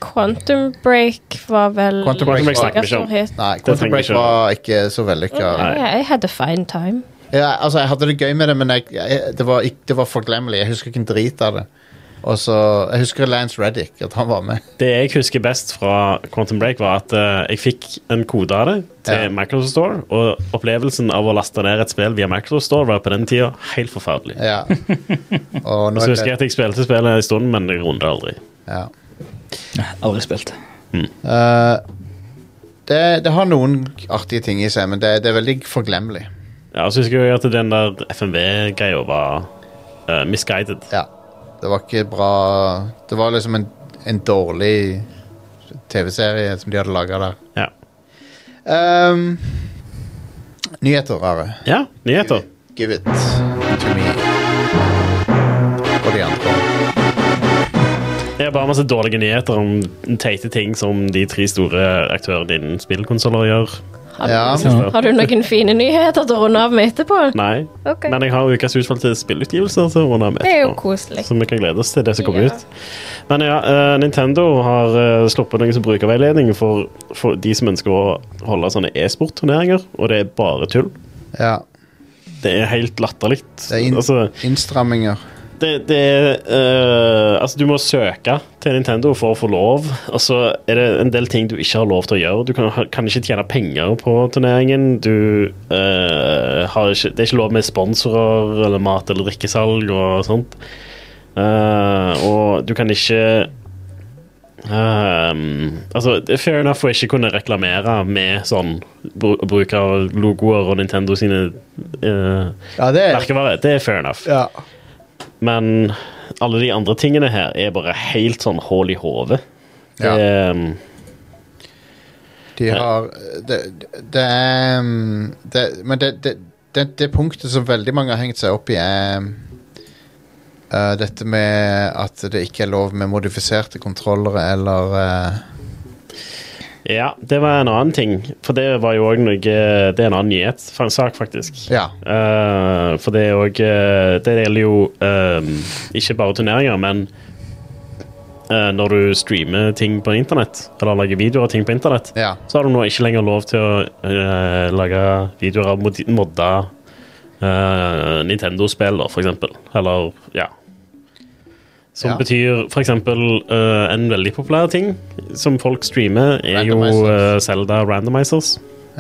Quantum Break var vel
Quantum Break
Megastor
snakker vi ikke om.
hit.
Nei,
Det
Quantum
trenger
Break
ikke å-
var ikke så vellykka.
Ja, jeg hadde fine time.
Ja, altså, jeg hadde det gøy med det, men jeg, jeg, det, var, ikk- det var forglemmelig. Jeg husker ikke en drit av det. Og så, Jeg husker Lance Reddick, at han var med.
Det jeg husker best fra Quantum Break, var at eh, jeg fikk en kode av det til
Ja.
Microsoft Store, og opplevelsen av å laste ned et spill via Microsoft Store var på den tida helt forferdelig.
Ja. Og nå
Så
er
husker jeg
det,
at jeg spilte spillet en stund, men jeg runder aldri.
ja.
Aldri spilt.
Eh, det, det har noen artige ting i seg, men det, det er veldig forglemmelig.
Ja, så husker jeg at den der FMV-greia var eh, misguided.
Ja. Det var ikke bra Det var liksom en, en dårlig TV-serie som de hadde laga der.
Ja.
Ehm, nyheter, Are.
ja, nyheter.
Give it to me. Og de andre.
Det er bare masse dårlige nyheter om teite ting som de tre store aktørene innen spillkonsoller gjør.
Har,
Ja.
du- har du noen fine nyheter til å runde av med etterpå?
Nei.
Ok.
Men jeg har ukas utvalgte spillutgivelser til å runde av med
Det er jo
etterpå.
koselig.
Så vi kan glede oss til det som kommer
Ja.
ut. Men ja, eh, Nintendo har eh, sluppet noen som brukerveiledning for, for de som ønsker å holde sånne e-sportturneringer, og det er bare tull.
Ja.
Det er helt latterlig.
Det er inn,
Altså,
innstramminger.
det, det er eh, Altså, du må søke til Nintendo for å få lov, og så er det en del ting du ikke har lov til å gjøre. Du kan, kan ikke tjene penger på turneringen. Du eh, har ikke Det er ikke lov med sponsorer eller mat- eller drikkesalg og sånt. Eh, og du kan ikke Ehm, altså, det er fair enough å ikke kunne reklamere med sånn bru- bruk av logoer og Nintendo sine eh,
Ja, det er
merkevarer. Det er fair enough.
ja.
Men alle de andre tingene her er bare helt sånn hull i hodet. Det,
Ja.
um,
De har Det, det er um, det, Men det, det, det, det punktet som veldig mange har hengt seg opp i, er um, uh, dette med at det ikke er lov med modifiserte kontrollere eller uh,
ja, det var en annen ting. For det var jo òg noe Det er en annen nyhetssak, faktisk.
Ja.
Eh, for det er òg Det gjelder jo um, ikke bare turneringer, men eh, når du streamer ting på internett, eller lager videoer av ting på internett,
Ja.
så har du nå ikke lenger lov til å eh, lage videoer av mod modda eh, Nintendo-spill, da, for eksempel. Eller, ja. Som
Ja.
betyr for eksempel eh, en veldig populær ting som folk streamer, er jo
Randomizers.
eh, Zelda Randomizers.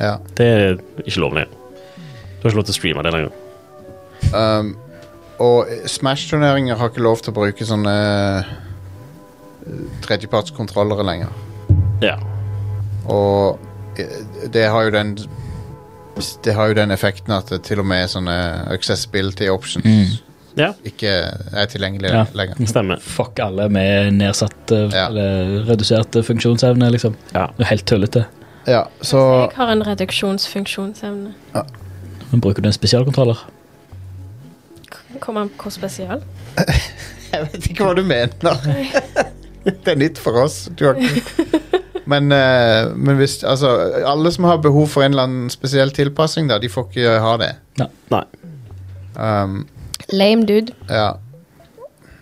ja.
Det er ikke lov lenger. Du har ikke lov til å streame det lenger.
Um, og eh, Smash-turneringer har ikke lov til å bruke sånne eh, tredjepartskontrollere lenger.
Ja.
Og eh, det har jo den Det har jo den effekten at det til og med sånne accessibility options
ja.
ikke er tilgjengelig
Ja.
lenger.
Stemmer.
Fuck alle med nedsatt eh,
Ja.
eller redusert eh, funksjonsevne, liksom.
Ja.
Det er helt tullete.
Ja, så
Jeg har en reduksjonsfunksjonsevne.
Men bruker du en spesialkontroller?
Kommer an på hvor spesial.
Jeg vet ikke hva du mener. det er nytt for oss. Du har ikke men, eh, men hvis Altså, alle som har behov for en eller annen spesiell tilpassing, da, de får ikke ha det.
Nei.
Um,
Lame dude.
Ja.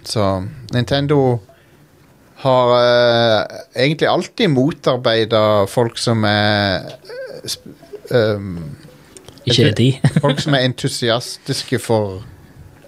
Så Nintendo har eh, egentlig alltid motarbeida folk som er eh, sp- ehm,
Ikke de.
Folk som er entusiastiske for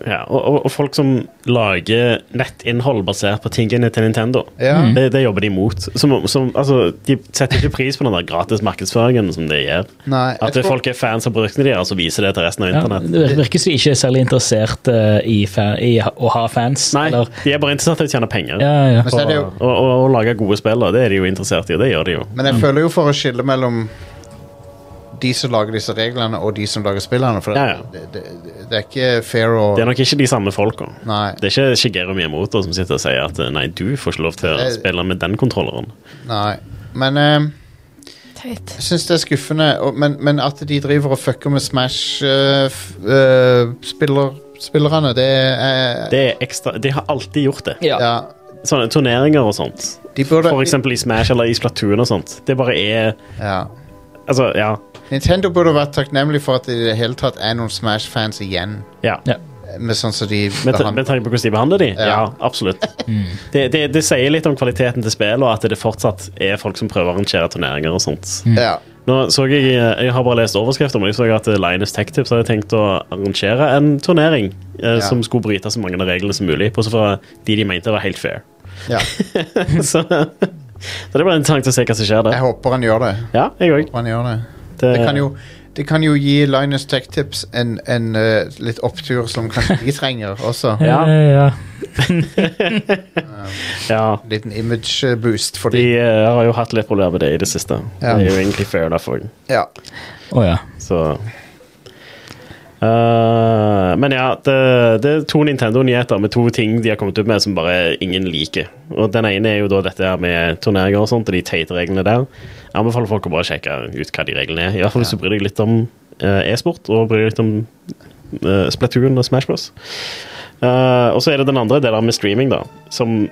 Ja, og, og, og folk som lager nettinnhold basert på tingene til Nintendo,
Ja. Mm.
det, det jobber de imot. Som, som, altså, de setter ikke pris på den der gratis markedsføringen som det gir.
Nei, jeg
At det,
tror-
folk er fans av produktene deres og viser det til resten av
Ja,
internett.
det vir- virker som de ikke er særlig interessert eh, i, fa- i ha- å ha fans.
Nei,
Eller,
de er bare interessert i å tjene penger.
ja, ja.
Men så er det jo
Og, og, og lage gode spill, da. det er de jo interessert i, og det gjør de jo.
Men jeg føler jo for å skille mellom de som lager disse reglene, og de som lager spillene. For
Ja, ja.
Det, det, det, det er ikke fair å
Det er nok ikke de samme folka.
Nei.
Det er ikke Shigeru Miyamoto som sitter og sier at eh, nei, du får ikke lov til å
Det-
spille med den kontrolleren.
nei. Men eh,
Teit.
jeg syns det er skuffende. Og, men, men at de driver og fucker med eh, Smash-spillerne, det er
Det er ekstra, de har alltid gjort det.
Ja.
Ja.
Sånne turneringer og sånt.
De burde
For eksempel i Smash eller i Splatoon og sånt. Det bare er
ja.
Altså, ja.
Nintendo burde vært takknemlig for at det i det hele tatt er noen Smash-fans igjen.
ja.
Ja.
Med sånn som de
Med, ta-
behandler-
med tanke på hvordan de behandler de? Ja,
Ja. Mm.
absolutt. Det, det, det sier litt om kvaliteten til spillet, og at det fortsatt er folk som prøver å arrangere turneringer og sånt.
ja.
Nå så jeg, eh, jeg har bare lest overskrifter, men jeg så at eh, Linus Tech Tips hadde tenkt å arrangere en turnering
Ja.
eh, som skulle bryte så mange av reglene som mulig, bortsett fra de de mente var helt fair.
ja.
så, så det blir interessant å se hva som skjer
Jeg
der.
håper han gjør det.
Ja, jeg òg.
Håper han gjør det. Det kan jo, det kan jo gi Linus Tech Tips en, en eh, litt opptur som kanskje de trenger også.
Ja.
Eh, ja.
Ja.
Liten image eh, boost for
De
de.
eh, har jo hatt litt problemer med det i det siste.
Ja.
Det er jo egentlig fair derfor.
Ja.
Å ja.
Så Eh, Men ja, det, det er to Nintendo-nyheter med to ting de har kommet opp med som bare ingen liker. Og Den ene er jo da dette her med turneringer og sånt, og de teite reglene der. Jeg anbefaler folk å bare sjekke ut hva de reglene er. I hvert fall hvis du bryr deg litt om eh, e-sport, og bryr deg litt om eh, Splatoon og Smash Bros. Eh, og så er det den andre, det der med streaming, da. Som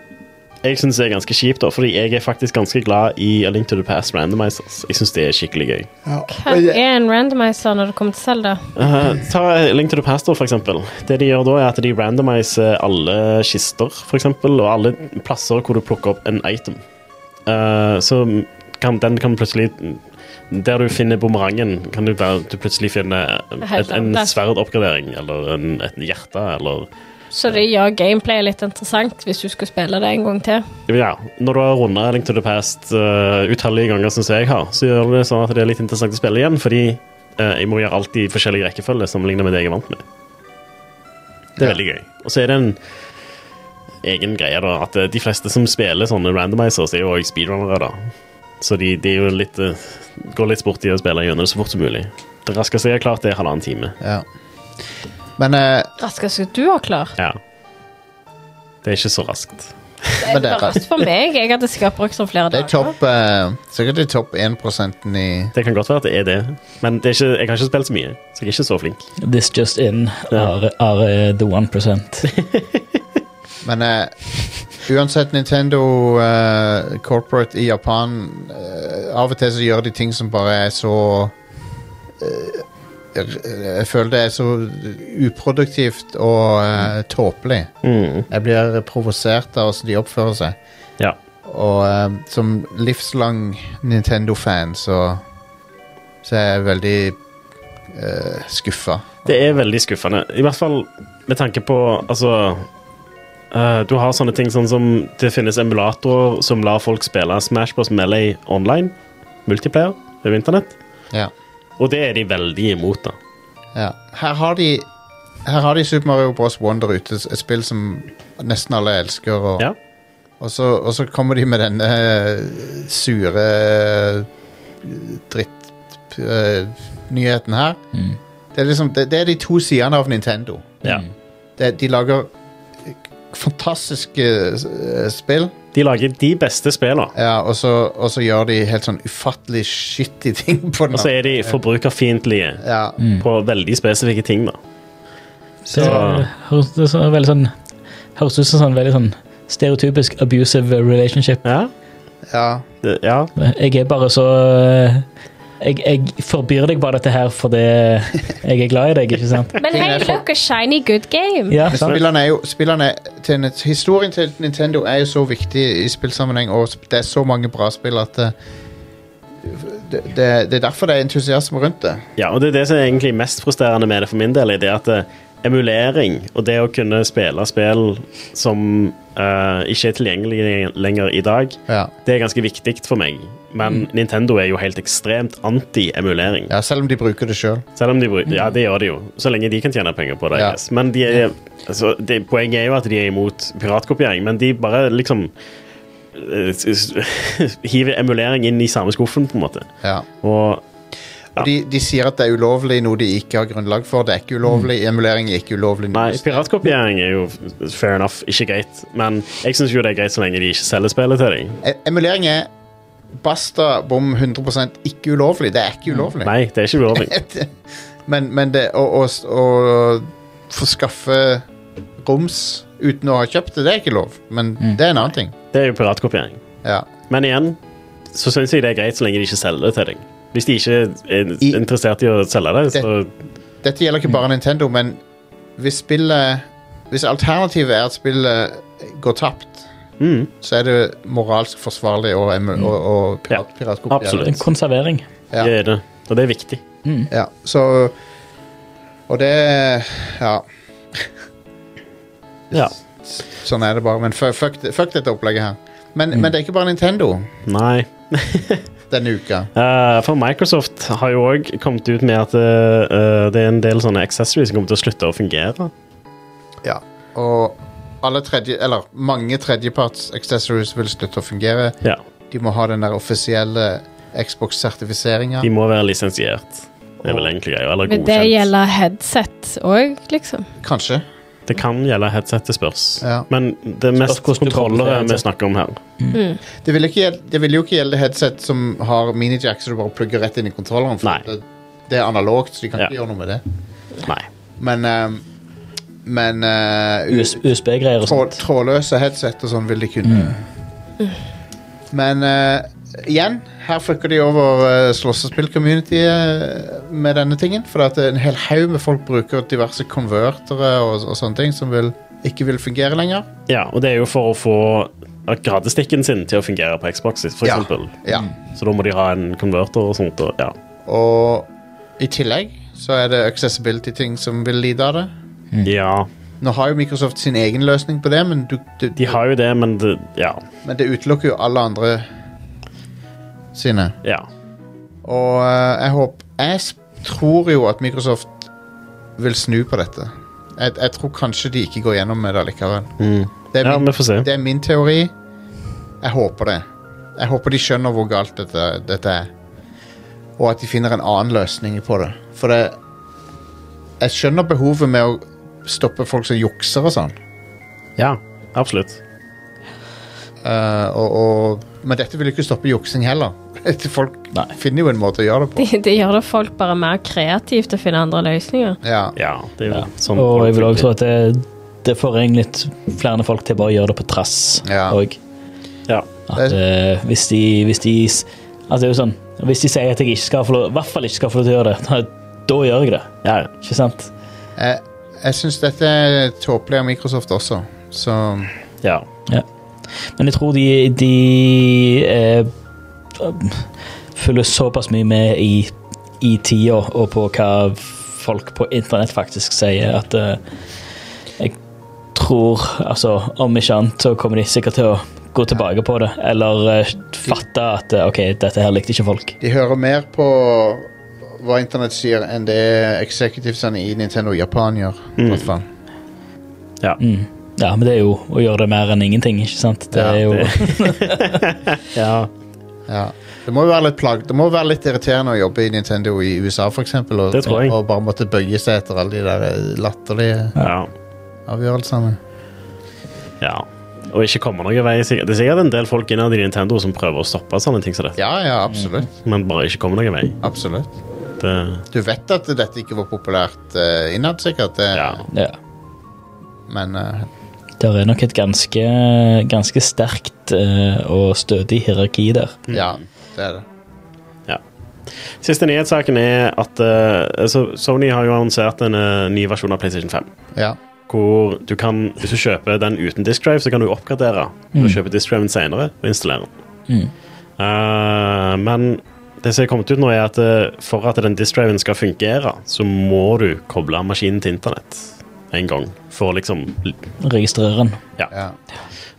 jeg syns er ganske kjipt, da, fordi jeg er faktisk ganske glad i A Link to the Past Randomizers. Jeg syns det er skikkelig gøy.
Hva er en randomizer når det kommer til Zelda?
Eh, ta Link to the Past, da, for eksempel. Det de gjør da, er at de randomiser alle kister, for eksempel, og alle plasser hvor du plukker opp en item. Eh, så kan, den kan plutselig Der du finner bumerangen, kan du, være- du plutselig finne et, en sverdoppgradering eller en, et hjerte eller
Så det gjør gameplayet litt interessant hvis du skulle spille det en gang til.
Ja, når du har runda Link to the Past eh, utallige ganger, som jeg har, så gjør det sånn at det er litt interessant å spille igjen, fordi eh, jeg må gjøre alt i forskjellig rekkefølge sammenlignet med det jeg er vant med. Det er veldig gøy. Og så er det en egen greie, da, at eh, de fleste som spiller sånne randomizers, er jo også speedrunnere, da. Så de, de er jo litt, eh, går litt sport i å spille gjennom det så fort som mulig. Det raskeste jeg har klart, er halvannen time.
ja. Men, eh,
Raskest du har klart.
Ja. Det er ikke så raskt.
Det
men
er
det er,
raskt for meg. Jeg hadde sikkert brukt sånn flere
det er
dager.
topp eh, Sikkert det er topp 1 i
Det kan godt være at det er det, men det er ikke, jeg har ikke spilt så mye, så jeg er ikke så flink.
This just in. Are, are eh, the one percent.
Men eh, uansett, Nintendo eh, Corporate i Japan eh, Av og til så gjør de ting som bare er så eh, r- Jeg føler det er så uproduktivt og eh, tåpelig. Jeg blir provosert av hvordan de oppfører seg.
Ja.
Og eh, som livslang Nintendo-fan så så er jeg veldig uh, skuffa.
Det er veldig skuffende. I hvert fall med tanke på Altså eh, Du har sånne ting sånn som Det finnes emulatorer som lar folk spille Smash Bros. Melee online. Multiplayer over internett.
Ja.
Og det er de veldig imot, da.
Ja. Her har de her har de Super Mario Bros. Wonder ute, et spill som nesten alle elsker. Og,
Ja.
og, så, og så kommer de med denne eh, sure eh, dritt eh, nyheten her.
Mm.
Det, er liksom, det, det er de to sidene av Nintendo.
Ja.
Det, de lager fantastiske eh, spill,
De lager de beste spillene.
ja, og, så, og så gjør de helt sånn ufattelig shitty ting på den.
Og så er de forbrukerfiendtlige
ja.
Mm.
på veldig spesifikke ting, da.
Det høres det er så veldig sånn Høres ut som sånn veldig sånn stereotypisk abusive relationship.
Ja.
ja.
Det- ja.
Jeg er bare så eh, jeg, jeg forbyr deg bare dette her fordi jeg er glad i deg, ikke sant?
Men hei, look, a shiny good game.
Ja,
Men
sant?
spillerne er jo spillerne til, Nint- Historien til Nintendo er jo så viktig i spillsammenheng, og sp- det er så mange bra spill at eh, det, det, det er derfor det er entusiasme rundt det.
Ja, og det er det som er egentlig mest frustrerende med det for min del, er det at eh, emulering og det å kunne spille spill som eh, ikke er tilgjengelig lenger i dag,
Ja. Mm.
det er ganske viktig for meg. Men Nintendo er jo helt ekstremt anti-emulering.
ja, selv om de bruker det sjøl.
Selv om de bruker, ja, det gjør de jo, så lenge de kan tjene penger på det.
Ja.
I guess. Men de er, altså, det, Poenget er jo at de er imot piratkopiering, men de bare liksom eh, s- s- hiver emulering inn i samme skuffen, på en måte.
Ja.
Og
Og de, de sier at det er ulovlig, noe de ikke har grunnlag for. Det er ikke ulovlig. Emulering er ikke ulovlig. noe
Mm. Nei,
sted.
piratkopiering er jo fair enough, ikke greit. Men jeg syns jo det er greit så lenge de ikke selger spillet til deg.
E- Emulering er basta bom 100 ikke ulovlig. Det er ikke ulovlig.
Mm. Nei, det er ikke ulovlig.
Men, men det å, å, å få skaffe roms uten å ha kjøpt det, det er ikke lov. Men
Mm.
det er en annen ting.
Det er jo piratkopiering.
Ja.
Men igjen så syns jeg det er greit så lenge de ikke selger det til deg. Hvis de ikke er
I-
interessert i å selge det, så
Dette gjelder ikke
Mm.
bare Nintendo, men hvis spillet Hvis alternativet er at spillet går tapt,
mm,
så er det moralsk forsvarlig å, emu- å, å pirat,
Ja,
piratkopiere.
absolutt.
Det er konservering.
Ja.
det er det. Og det er viktig.
Ja, så Og det Ja.
Ja.
Sånn er det bare. Men fu- fuck, det- fuck dette opplegget her. Men,
Mm.
men det er ikke bare Nintendo
Nei.
denne uka.
Eh, for Microsoft har jo òg kommet ut med at eh, det er en del sånne accessories som kommer til å slutte å fungere.
Ja. Og alle tredje, eller mange tredjeparts accessories vil slutte å fungere.
Ja,
De må ha den der offisielle Xbox-sertifiseringa.
De må være lisensiert. Det er vel egentlig greia. Eller
Men det
godkjent.
gjelder headset òg, liksom.
Kanskje.
Det kan gjelde headset, det spørs.
Ja.
Men det er mest
hvordan du
kontrollere
håndterer
vi snakker om her.
Det vil, ikke gjelde, det vil jo ikke gjelde headset som har minijack, så du bare plugger rett inn i kontrolleren. For
Nei.
det, det er analogt, så de kan
Ja.
ikke gjøre noe med det.
Nei.
Men ehm, Men eh, u-
US USB-greier og
trå,
sånt.
trådløse headset og sånn vil de kunne.
Mm.
Men eh, igjen, her fucker de over uh, slåssespill-communityet eh, med denne tingen. For at en hel haug med folk bruker diverse konvertere og, og sånne ting som vil, ikke vil fungere lenger.
Ja, og det er jo for å få gradestikken sin til å fungere på Xbox, for
Ja.
eksempel.
Ja.
Så da må de ha en konverter og sånt. Og, ja.
Og i tillegg så er det accessibility-ting som vil lide av det.
Mm.
ja,
Nå har jo Microsoft sin egen løsning på det, men, du, du,
de har jo det, men det, ja.
men det utelukker jo alle andre sine.
ja.
Og eh, jeg håper Jeg s- tror jo at Microsoft vil snu på dette. Jeg, jeg tror kanskje de ikke går gjennom med det likevel. Det, er
Ja,
min,
vi får se.
det er min teori. Jeg håper det. Jeg håper de skjønner hvor galt dette, dette er. Og at de finner en annen løsning på det. For det Jeg skjønner behovet med å stoppe folk som jukser og sånn.
Ja, absolutt.
Eh, og, og, men dette vil jo ikke stoppe juksing heller. Folk
Nei.
finner jo en måte å gjøre det på.
Det det gjør det folk bare mer kreative til å finne andre løsninger.
Ja.
Ja, det er jo
Ja.
sånn.
Og jeg vil også tro at det, det får egentlig litt flere folk til bare å gjøre det på trass.
Ja.
Og
Ja.
at eh, hvis de, hvis de s- Altså det er jo sånn Hvis de sier at jeg ikke skal få lov, i hvert fall ikke skal få lov til å gjøre det, da, da gjør jeg det.
Ja, ja.
Ikke sant?
Jeg, jeg syns dette er tåpelig av Microsoft også, så
ja.
Men jeg tror de, de eh, følger såpass mye med i, i tida og på hva folk på internett faktisk sier, at eh, jeg tror Altså, om ikke annet så kommer de sikkert til å gå tilbake på det, eller eh, fatte at eh, OK, dette her likte ikke folk.
De hører mer på hva internett sier, enn det executivesene i Nintendo Japan gjør.
Mm.
i hvert fall.
ja.
Mm. Ja, men det er jo å gjøre det mer enn ingenting, ikke sant? Det
Ja,
er jo
ja.
Ja. Det må jo være litt plag Det må være litt irriterende å jobbe i Nintendo i USA, for eksempel, og,
Det tror jeg.
og bare måtte bøye seg etter alle de der eh, latterlige
ja.
avgjørelsene.
Ja. Og ikke komme noen vei. sikkert. Det er sikkert en del folk innad i Nintendo som prøver å stoppe sånne ting som dette,
Ja, ja, absolutt.
men bare ikke kommer noen vei.
Absolutt.
Det,
Du vet at dette ikke var populært eh, innad, sikkert, det,
ja.
ja.
men eh,
Det er nok et ganske, ganske sterkt eh, og stødig hierarki der.
Mm.
ja, det er det.
Siste nyhetssaken er at eh, altså, Sony har jo annonsert en eh, ny versjon av PlayStation 5.
Ja.
Hvor du kan, Hvis du kjøper den uten disk drive, så kan du oppgradere. Du kjøper disk driven senere og installere den. Eh, men det som er kommet ut nå, er at eh, for at den disk driven skal fungere, så må du koble maskinen til internett. en gang. For å liksom
Registrerer den.
Ja.
Ja.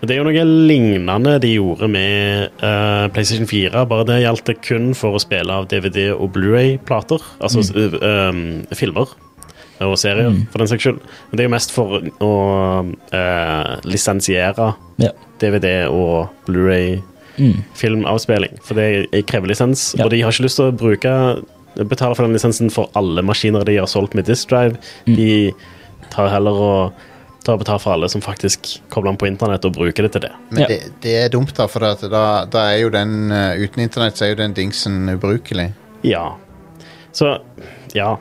Og Det er jo noe lignende de gjorde med eh, PlayStation 4, bare det gjaldt det kun for å spille av DVD- og Blu-ray-plater. Altså eh, eh, filmer og serier, for den saks skyld. Men det er jo mest for å eh, lisensiere
Ja. Mm.
DVD- og Blu-ray-filmavspilling. For det krever lisens,
Ja.
og de har ikke lyst til å bruke betale for den lisensen for alle maskiner de har solgt med disk drive. De tar heller og tar betalt for alle som faktisk kobler den på internett og bruker det til det.
Men
Ja.
det, det er dumt, da, for at da, da er jo den eh, Uten internett så er jo den dingsen ubrukelig.
Ja. Så ja.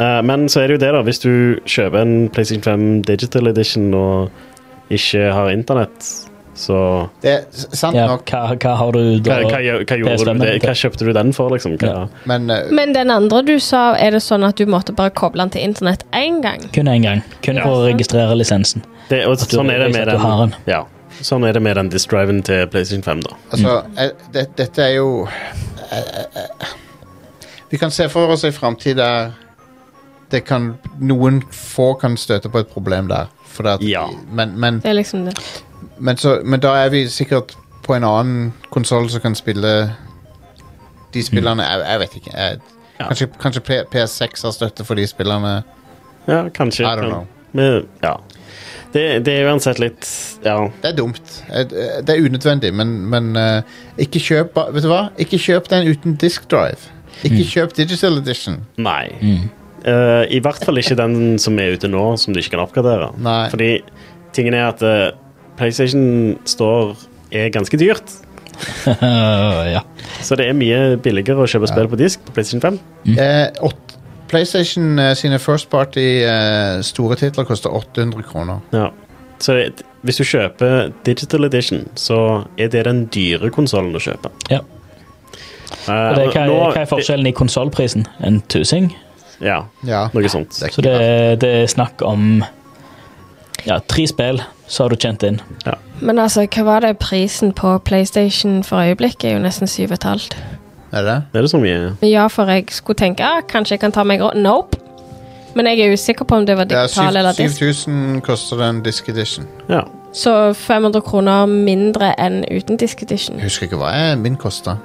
Eh, men så er det jo det, da. Hvis du kjøper en PlayStation 5 Digital Edition og ikke har internett, så
Det er s- sant
ja
nok,
hva, hva har du
hva,
da?
hva, gjør- hva gjorde
PS5
du med det?
hva-
Hva kjøpte du den for, liksom? Hva,
Ja.
men eh,
Men den andre du sa, er det sånn at du måtte bare koble den til internett én gang?
Kun én gang. Kun for å registrere lisensen.
det, og
At du-
sånn er det
at
med
du har
den.
den.
Ja. Sånn er det med den disk-driven til PlayStation 5, da.
altså eh, det, Dette er jo eh, eh, eh. Vi kan se for oss ei framtid der det kan, noen få kan støte på et problem der. For at,
Ja.
men, men,
Det er liksom det.
men, så, men da er vi sikkert på en annen konsoll som kan spille de spillerne jeg, jeg vet ikke. Jeg,
Ja.
Kanskje, kanskje P- PS6 har støtte for de spillerne.
Ja, kanskje.
I don't
men-
know.
Men, ja. Det, det er uansett litt Ja.
Det er dumt. Eh, Det er unødvendig, men, men eh, ikke kjøp ba- Vet du hva? Ikke kjøp den uten disk drive. Ikke
Mm.
kjøp digital edition.
Nei.
Mm.
Eh, I hvert fall ikke den som er ute nå, som du ikke kan oppgradere.
Nei.
Fordi tingen er at eh, PlayStation Store er ganske dyrt.
ja.
Så det er mye billigere å kjøpe spill på disk på PlayStation 5.
Eh, åt, PlayStation eh, sine first party eh, store titler koster 800 kroner.
Ja. Så det- hvis du kjøper Digital Edition, så er det den dyre konsollen å kjøpe.
Ja.
Eh,
Og det, hva,
nå-
hva er forskjellen i konsollprisen? En tusing?
Ja,
Ja.
noe sånt.
Det er
Så
ikke
det,
bra.
det er snakk om ja, tre spill, så har du tjent inn.
Men altså, hva var det prisen på PlayStation for øyeblikket? Er jo nesten 7,5.
Er det?
Det er det så mye
Men Ja, for jeg skulle tenke ah, kanskje jeg kan ta meg råd. Nope. Men jeg er usikker på om det var
det er
digital eller
syv-
disk.
7000 koster den disk edition.
Ja.
Så 500 kroner mindre enn uten disk edition.
Jeg husker ikke hva jeg, min kosta.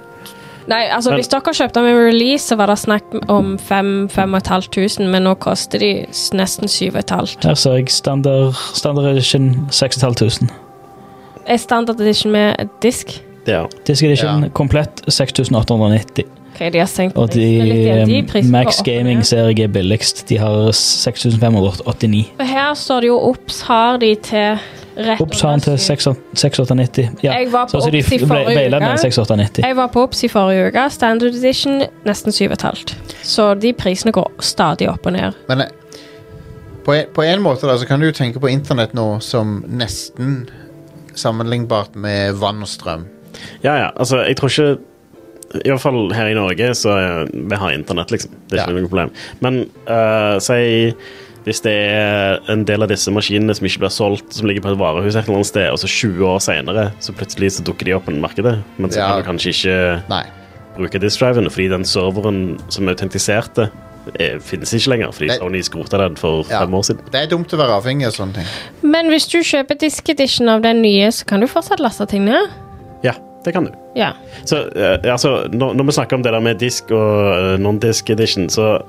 Nei, altså
Men-
Hvis dere kjøpte med release, så var det snakk om 5500, men nå koster de s- nesten 7500.
Her ser jeg standard, standard edition 6500.
Er standard edition med disk?
Det er
Disk edition
Ja.
komplett 6890.
Ok, de har senkt
Og
prisen litt igjen.
de, eh,
De prisene
Max
går opp og
Gaming
ned.
ser jeg er billigst. De har 6589.
For Her står det jo OBS har de til rett
Ops har han til 6890. Ja,
Jeg var på
så- så de
Ops i
ble-
forrige
veiledet
uke.
med 6890.
Jeg var på OBS i forrige uke. Standard edition nesten 7,5. Så de prisene går stadig opp og ned.
Men eh, på, en- på en måte da, så kan du jo tenke på internett nå som nesten sammenlignbart med vann og strøm.
Ja, ja. Altså, jeg tror ikke I hvert fall her i Norge, så eh, vi har internett, liksom. Det er
Ja.
ikke noe problem. Men eh, si hvis det er en del av disse maskinene som ikke blir solgt, som ligger på et varehus et eller annet sted, og så 20 år senere, så plutselig så dukker de opp på markedet. Men så
Ja.
kan du kanskje ikke
Nei.
bruke disk-driven, fordi den serveren som autentiserte, eh, finnes ikke lenger. Fordi
Nei.
Sony skrota den for
Ja.
fem år siden.
Det er dumt å være avhengig av sånne ting.
Men hvis du kjøper disk edition av den nye, så kan du fortsatt laste ting ned.
Ja, det kan du.
Ja.
Så eh, altså, når, når vi snakker om det der med disk og eh, non-disk edition, så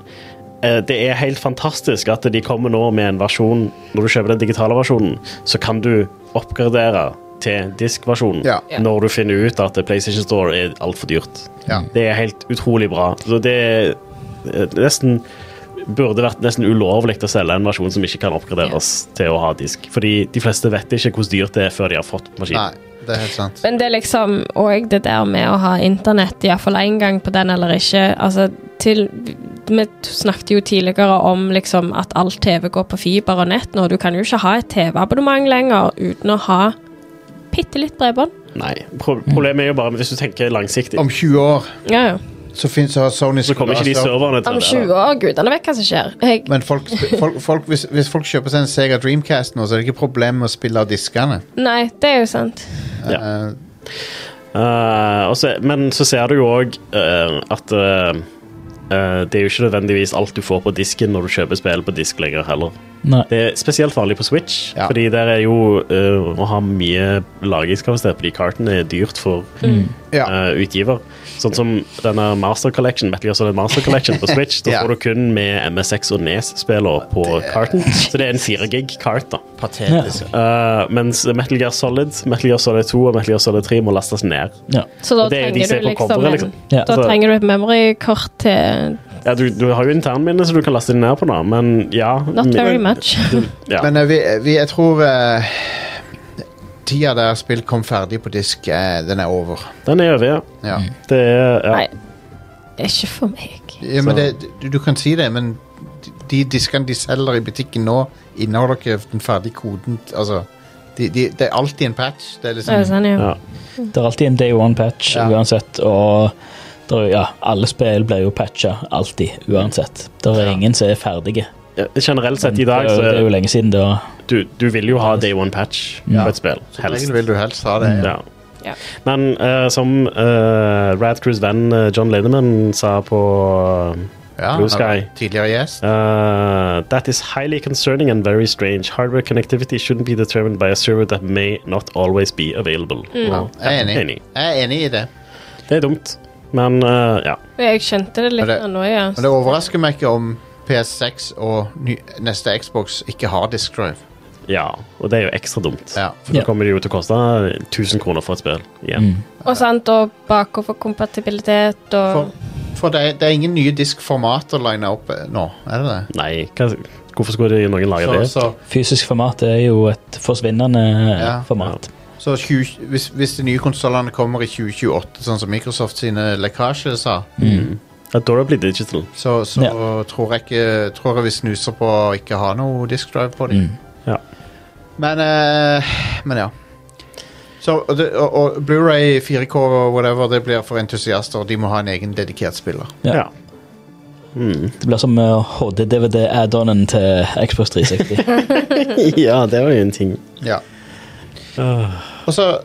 eh, det er helt fantastisk at de kommer nå med en versjon Når du kjøper den digitale versjonen, så kan du oppgradere til diskversjonen
Ja.
Ja.
når du finner ut at PlayStation Store er altfor dyrt.
Ja.
Det er helt utrolig bra. Så det er eh, nesten burde vært nesten ulovlig å selge en versjon som ikke kan oppgraderes til å ha disk. Fordi de fleste vet ikke hvor dyrt det er før de har fått maskinen.
Nei, det er helt sant.
Men det er liksom òg det der med å ha internett, iallfall én gang på den eller ikke. Altså, til, vi snakket jo tidligere om liksom at all TV går på fiber og nett nå. Du kan jo ikke ha et TV-abonnement lenger uten å ha bitte litt bredbånd.
Nei. Pro problemet er jo bare hvis du tenker langsiktig.
Om 20 år
Ja, Sånn ja.
så, finnes, så har Sony
Så kommer ikke de
skuldre-
serverne til
Om
det.
20
da.
år, gudene vet hva som skjer. Jeg,
Men folk, sp- folk, folk, hvis, hvis folk kjøper seg en Sega Dreamcast nå, så er det ikke problem med å spille av diskene.
nei, det er jo sant.
Ja.
Eh,
Eh, og så- men så ser du jo òg at eh, eh, det er jo ikke nødvendigvis alt du får på disken når du kjøper spill på disk lenger heller.
Nei.
Det er spesielt farlig på Switch,
Ja.
fordi der er jo eh, å ha mye lagringskapasitet på de kartene er dyrt for
Mm.
Ja.
eh, utgiver. Sånn som denne Master Collection, Metal Gear Solid Master Collection på Switch, da
Ja.
får du kun med MSX og NES-spiller på karten. Så det er en 4 gig kart, da.
Patetisk.
Eh, mens Metal Gear Solid, Metal Gear Solid 2 og Metal Gear Solid 3 må lastes ned.
Ja.
Så da
Og det er jo de
trenger
som er
du
på
liksom,
coveret,
en,
liksom.
Ja.
Da
Altså-
trenger du et memory-kort til
Ja, du, du har jo internminne, så du kan laste det ned på, da, men ja
Not
mi-
very much.
Du, ja.
Men eh, vi, vi, jeg tror eh, tida der spill kom ferdig på disk, eh, den er over.
Den er over, ja.
Ja.
Mm.
Det er ja.
Nei. Ikke for meg.
Ja, men det, du, du kan si det, men de diskene de selger i butikken nå, inneholder ikke den ferdige koden. Altså, de, de, det er alltid en patch. Det er
Det er
liksom,
sånn, ja.
Ja.
Det er alltid en day one-patch
Ja.
uansett, og det er jo- ja, alle spill blir jo patcha alltid, uansett. Det er ingen som er ferdige.
Ja, Eh, Generelt sett i dag
det, er
så
jo, det er jo lenge siden, da.
du, du vil jo ha day one patch
Ja.
på et spill.
som
Helst.
regel vil du helst ha det.
Ja.
Ja.
Men eh, som uh, Rad Crews venn eh, John Linneman sa på
Ja, han
Blue
var
Sky.
Tidligere gjest.
eh, That is highly concerning and very strange. Hardware connectivity shouldn't be determined by a server that may not always be available.
Mm.
Og-
Jeg er enig.
enig.
Jeg er enig i det.
Det er dumt, men eh, ja.
Jeg skjønte det
Men
litt
det-
nå, ja.
Men det overrasker meg ikke om PS6 og ny, neste Xbox ikke har disk drive.
ja. Og det er jo ekstra dumt.
Ja.
For nå
Ja. Mm.
kommer det jo til å koste 1000 kroner for et spill igjen.
Og sant, og bakoverkompatibilitet
For,
og
for det, er- det er ingen nye diskformater lina opp eh, nå, er det det?
Nei, hva, hvorfor skulle de- noen lage
Så,
det?
så
Fysisk format er jo et forsvinnende
Ja.
format.
Så 20, hvis, hvis de nye konsollene kommer i 2028, sånn som Microsoft sine lekkasjer sa,
Mm.
Mm. Adorably digital.
så, så
Ja.
tror, jeg ikke, tror jeg vi snuser på å ikke ha noe disk drive på
Mm.
dem.
Ja.
Men, eh, men ja. Så, og det- og, og Blu-ray 4K og whatever, det blir for entusiaster. De må ha en egen dedikert spiller.
Ja.
Ja. Mm.
Det blir som eh, HD-DVD-add-onen til Xbox 360.
ja, det var jo en ting.
Ja. Og så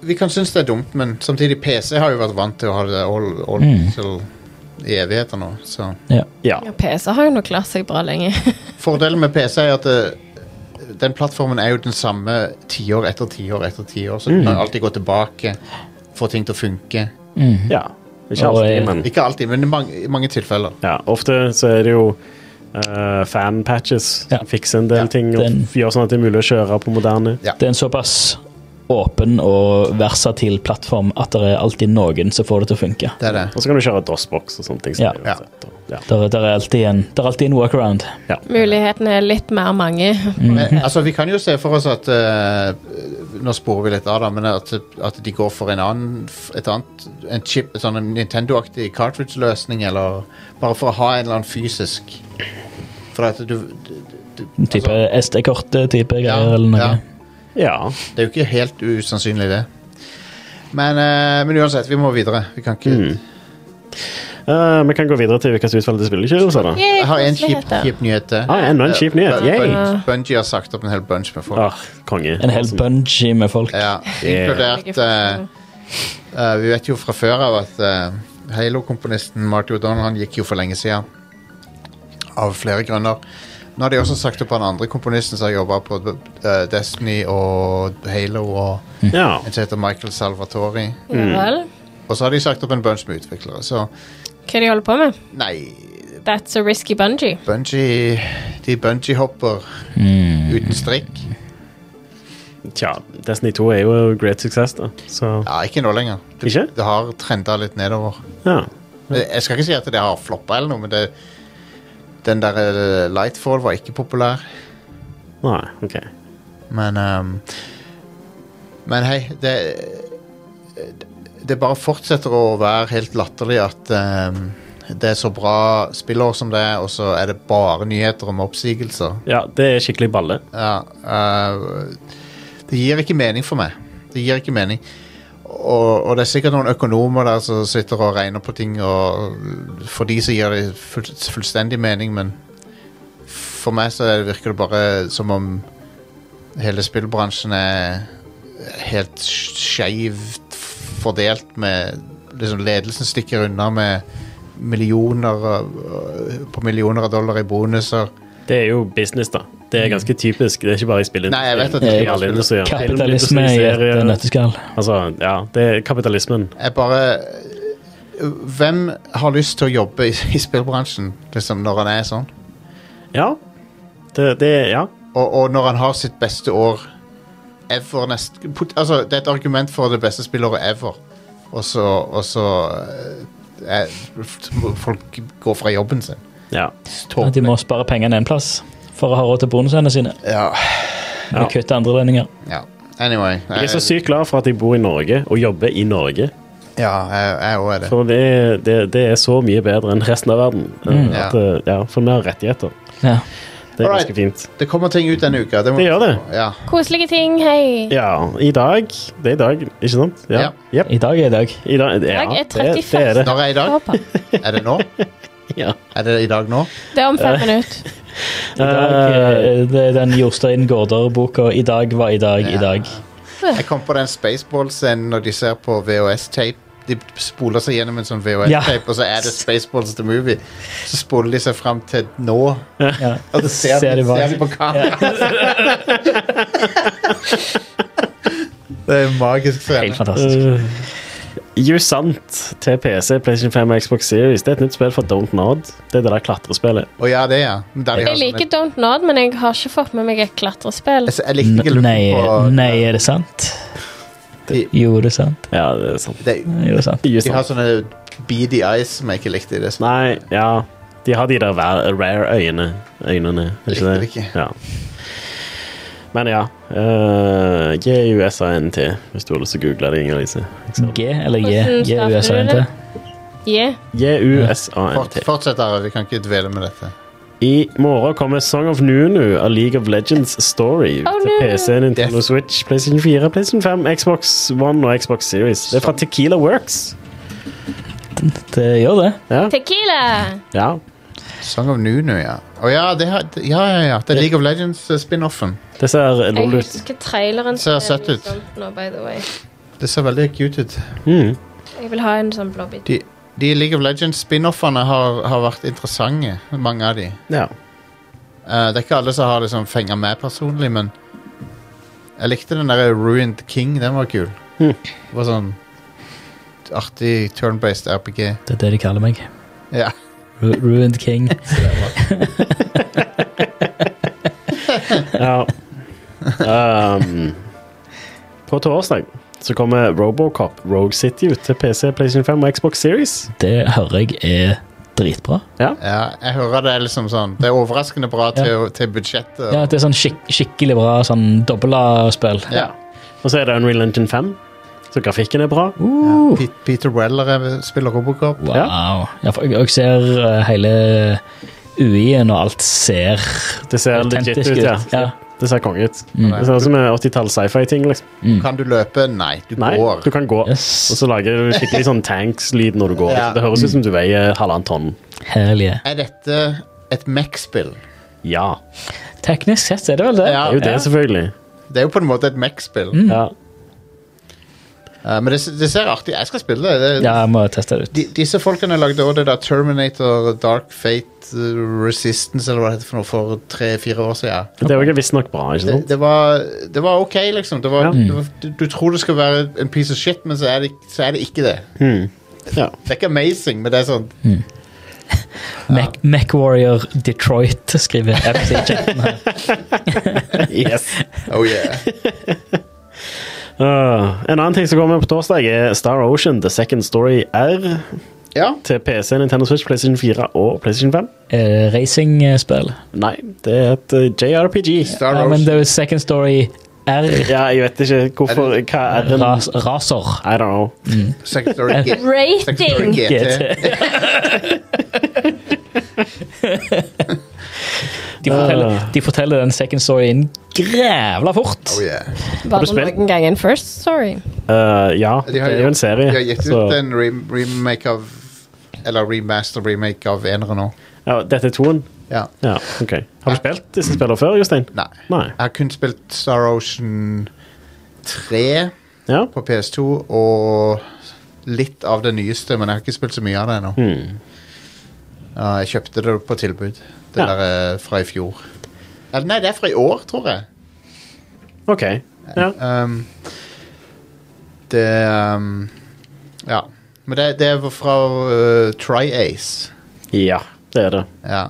Vi kan synes det er dumt, men samtidig PC har jo vært vant til å ha det all, all
Mm.
til i evigheter nå, så
ja.
Ja.
ja, PC har jo nå klart seg bra lenge.
Fordelen med PC er at eh, den plattformen er jo den samme tiår etter tiår etter tiår, så du kan alltid gå tilbake, få ting til å funke.
ja. Ikke
Og,
alltid,
eh,
men
Ikke alltid, men i mange, i mange tilfeller.
ja, ofte så er det jo eh, fanpatches.
Ja.
Fikse en del
Ja,
ting og
den-
f- gjøre sånn at det er mulig å kjøre på moderne.
Ja.
Det er en såpass åpen og versatil plattform at det er alltid noen som får det til å funke.
Det er det.
Og så kan du kjøre DOS-box og sånne ting. som
Ja.
er
Ja.
uansett, og- Ja.
Der, der, er alltid en, der er alltid en workaround.
Mulighetene er litt mer mange.
Men, altså, vi kan jo se for oss at eh, Nå sporer vi litt av, da, men at, at de går for en annen et annet, en chip, en sånn en Nintendo-aktig cartridge-løsning, eller bare for å ha en eller annen fysisk. For at du, du, du
Type
altså,
SD-kort-type
ja,
greier eller noe.
ja.
ja.
Det er jo ikke helt usannsynlig, det. Men, eh, men uansett, vi må videre. Vi kan ikke
Mm. Eh, vi kan gå videre til hvilket utvalg det spiller ikke. Rosa, da.
Yay,
Jeg har en kjip,
koseligheter.
kjip nyhet til.
Ah, enda en kjip nyhet. Yay!
Bun- Bungie har sagt opp en hel bunch med folk.
Ah, konge.
En hel bungee med folk.
Ja,
Yeah.
Inkludert eh, eh, Vi vet jo fra før av at eh, Halo-komponisten Marty O'Donnell Han gikk jo for lenge siden. Av flere grunner. Nå har de også sagt opp han andre komponisten som har jobba på eh, Destiny og Halo, og
Ja.
en som heter Michael Salvatori.
Ja
Mm.
vel.
Og så har de sagt opp en bunch med utviklere, så
Hva de holder på med?
nei
That's a risky bungee.
Bungee De bungee-hopper uten strikk.
Tja, Destiny 2 er jo great success, da. Så
Ja, ikke nå lenger. Det,
Ikke?
det har trenda litt nedover.
ja.
Men Jeg skal ikke si at det har floppa eller noe, men det, den der eh, Lightfall var ikke populær.
Nei, OK.
Men ehm, Men hei, det Det bare fortsetter å være helt latterlig at ehm, det er så bra spillår som det er, og så er det bare nyheter om oppsigelser.
Ja, det er skikkelig balle.
Ja, eh, det gir ikke mening for meg. Det gir ikke mening. Og, og det er sikkert noen økonomer der som sitter og regner på ting, og for de så gir det full, fullstendig mening, men for meg så er det- virker det bare som om hele spillbransjen er helt skeivt fordelt med liksom Ledelsen stikker unna med millioner av- på millioner av dollar i bonuser.
Det er jo business, da. Det
Mm.
er ganske typisk. Det er ikke bare i spillet.
Nei, jeg vet at
det
det
er
er
i alle industrier.
Kapitalisme i et
Filmindustrier,
eh, nøtteskall.
Altså, ja, det er kapitalismen.
Jeg bare Hvem har lyst til å jobbe i, i spillbransjen liksom, når han er sånn?
Ja. Det, det ja.
Og, og når han har sitt beste år ever nest, pot- altså, Det er et argument for det beste spillåret ever, og så, og så eh, er, Folk går fra jobben sin.
ja.
At de må spare pengene en plass for å ha råd til bonusene sine.
Ja.
Ja.
Og kutte andre lønninger.
ja. Anyway.
Jeg er så
jeg-
sykt glad for at jeg bor i Norge og jobber i Norge.
Ja, jeg jeg òg er det.
For det, det, det er så mye bedre enn resten av verden.
Mm.
Eh, At, eh, ja, for vi har rettigheter.
Ja.
Det er
Alright.
ganske fint.
Det kommer ting ut denne uka. Det, må,
Det gjør det.
Ja.
Koselige ting, hei.
Ja, i dag Det er i dag, ikke sant?
Ja.
Jep.
I dag er i dag.
I dag, ja,
Dag er
det, det er det.
Når er i dag?
Håper.
Er det nå?
Ja.
Er det i dag nå?
Det er om
Eh,
fem minutter.
I dag eh, det er den Jostein Gaarder-boka 'I dag var i dag i dag'.
Jeg kom på den Spaceballs-scenen når de ser på VHS-tape. De spoler seg gjennom en sånn VHS-tape,
Ja.
og så er det Spaceballs the movie. Så spoler de seg fram til nå,
Ja.
og så ser,
Ser
de,
de bare-
ser de på kamera. det er en magisk
Helt
scene.
fantastisk.
Jusant Eh, til PC, PlayStation 5 og Xbox Series. Det er et nytt spill fra Don't Nod. Det er det der klatrespillet.
Å ja, det, ja. Men Der de har
Jeg
sånn
liker
et-
Don't Nod, men jeg har ikke fått med meg et klatrespill.
Jeg s- jeg likte ikke looken
Nei,
på
nei, er det sant?
De-
Jo, det er sant.
Ja, det er sant.
de,
Jo, det er sant.
de har
Jusant.
sånne beady eyes som jeg ikke likte i det. spillet.
Nei, ja De har de der ra- rare-øyene. Øynene, er ikke det?
Riktig ikke.
Ja. Men ja. Uh, GUSANT, hvis du har lyst til å google det, Inger-Lise.
G eller J?
Hvordan
J
staver du
USA NT.
det? Yeah.
GUSANT.
Fort, fortsett, Are. Vi kan ikke dvele med dette.
I morgen kommer Song of Nunu av League of Legends Story
Oh,
til
no.
PC, Nintendo
Yes.
Switch, PlayStation 4, PlayStation 5, Xbox One og Xbox Series. Det er
Sånn.
fra Tequila Works.
Det gjør det.
Ja.
Tequila!
ja.
Song of Nunu, ja. Å ja, det har, ja, ja, ja. Det er League of eh, Legends-spin-offen.
Det ser
Jeg
lol ut.
husker traileren.
Ser
til
søtt ut.
Don't Nod, by the way.
Det ser veldig cute ut.
Mm.
Jeg vil ha en sånn blå bit.
De, de League of Legends-spin-offene har, har vært interessante, mange av de.
Ja.
Eh, det er ikke alle som har liksom fenga meg personlig, men jeg likte den der Ruined King. Den var kul.
Mhm.
Det var sånn artig turn-based RPG.
Det er det de kaller meg.
Ja.
Ru Ruined King.
ja. Um, på torsdag så kommer Robocop Rogue City ut til PC, PlayStation 5 og Xbox Series.
Det hører jeg er dritbra.
ja, jeg hører det er liksom sånn Det er overraskende bra til, til budsjettet.
Ja, Det er sånn skik skikkelig bra sånn dobbel-A-spill.
Ja.
Og så er det Unreal Engine 5, så grafikken er bra.
Uh,
Pe- Peter Weller er- spiller Robocop.
wow. Ja, for jeg, jeg ser eh, hele UI-en, og alt ser
Det ser legit
autentisk
ut,
ut.
ja.
Ja.
Det ser konge ut.
Mm.
Det ser ut som en 80-talls sci-fi-ting. liksom.
Kan du løpe? Hm. Nei, du
Nei,
går.
du kan gå. Og
Yes.
så lager du skikkelig sånn tanks-lyd når du går.
Ja.
Så Det høres ut som du veier halvannen tonn.
Hell yeah.
Er dette et Mech-spill?
Ja.
Teknisk sett er det vel det.
Det er jo det, selvfølgelig.
Det er jo på en måte et Mech-spill.
Mm.
Ja.
Eh, men det, det ser artig Jeg skal spille det. det
Ja, jeg må teste det ut.
de, disse folkene lagde også det der Terminator, Dark Fate, eh, Resistance eller hva det heter for noe for tre-fire år siden.
Det er jo visstnok bra, ikke
Det,
sant?
det, var, det var ok, liksom. Det var,
Ja.
det var, du, du tror det skal være en piece of shit, men så er det, så er det ikke det.
Ja.
Det er ikke amazing, men det er sånn
Mac, Warrior Detroit skriver FC Chatten her.
Yes.
Oh yeah.
Uh, en annen ting som kommer på torsdag, er Star Ocean The Second Story R
Ja.
til PC, Nintendo Switch, PlayStation 4 og PlayStation 5.
Eh, Racingspill.
Nei, det er et uh, JRPG.
Star
Ja,
Ocean.
men det er jo Second Story R.
Ja, jeg vet ikke hvorfor Hva er en
Ras, raser.
I don't know.
Second Story G- Second Story
Rating!
GT.
De
Ah.
forteller, de forteller den second storyen grævla fort.
Oh yeah.
du
Bare
spilt?
noen gang en first story.
Uh, ja,
De
det
har
er jo en serie.
De har gitt
så-
ut en rem remake av Eller remaster remake av enere nå.
ja, dette er toen.
Ja.
Ja, ok. Har du spilt disse spillene før, Jostein?
Nei.
Nei.
Jeg har kun spilt Star Ocean 3
Ja.
på PS2 og litt av det nyeste, men jeg har ikke spilt så mye av det ennå.
Hmm.
Uh, jeg kjøpte det på tilbud. Det
Ja.
der er fra i fjor. Eller, nei, det er fra i år, tror jeg.
OK. Ja.
Um, det um, Ja. Men det, det er fra uh, TriAce.
ja, det er det.
Ja.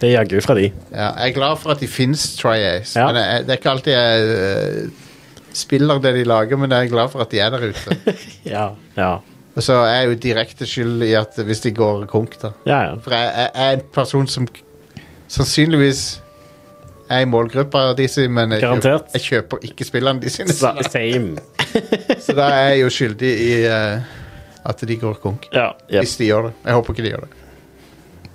Det er jaggu fra de.
ja. Jeg er glad for at de fins, TriAce.
Ja.
Men jeg, det er ikke alltid jeg uh, spiller det de lager, men jeg er glad for at de er der ute.
Ja. Ja,
Og så er jeg jo direkte skyld i at hvis de går konk, da.
ja. ja.
For jeg, jeg, jeg er en person som k- sannsynligvis er i målgruppa av de sine, men jeg kjøper,
Garantert.
jeg kjøper ikke spillene de sine.
Sa- Same.
Så da er jeg jo skyldig i eh, at de går konk.
Ja, yep.
Hvis de gjør det. Jeg håper ikke de gjør det.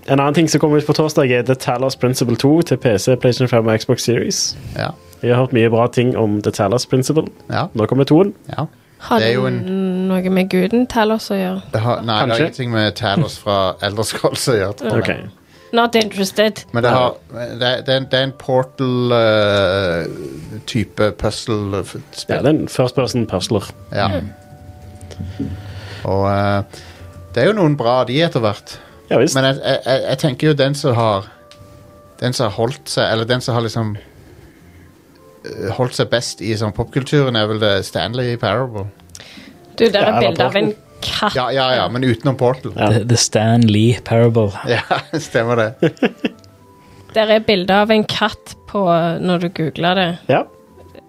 En annen ting som kommer ut på torsdag, er The Talos Principle 2 til PC, PlayStation 5 og Xbox Series.
Ja.
Jeg har hørt mye bra ting om The Talos Principle.
ja,
Nå kommer toen.
ja.
Har
Det
det
er jo en-
noe med guden Talos å gjøre?
Det har, nei, det har
Kanskje.
ingenting med Talos fra Elders Scrolls å gjøre. tror jeg.
Ok.
Not interested.
Men det, har, det, er- det, er, en- det er en portal-type
Ja,
puzzle-spill.
det er en first person puzzler.
Ja. Og eh, det er jo noen bra av de etter hvert.
Ja visst.
Men eh, jeg, jeg, jeg, jeg tenker jo den som har Den som har holdt seg Eller den som har liksom eh, Holdt seg best i sånn popkulturen Er vel det Stanley Parable
Du, der
Ja,
er
eller
bilde av en
Portal.
katt.
Ja, ja, ja, men utenom Portal
Ja.
The, the Stan Lee Parable.
Ja, stemmer det
Der er bilde av en katt på når du googler det.
Ja,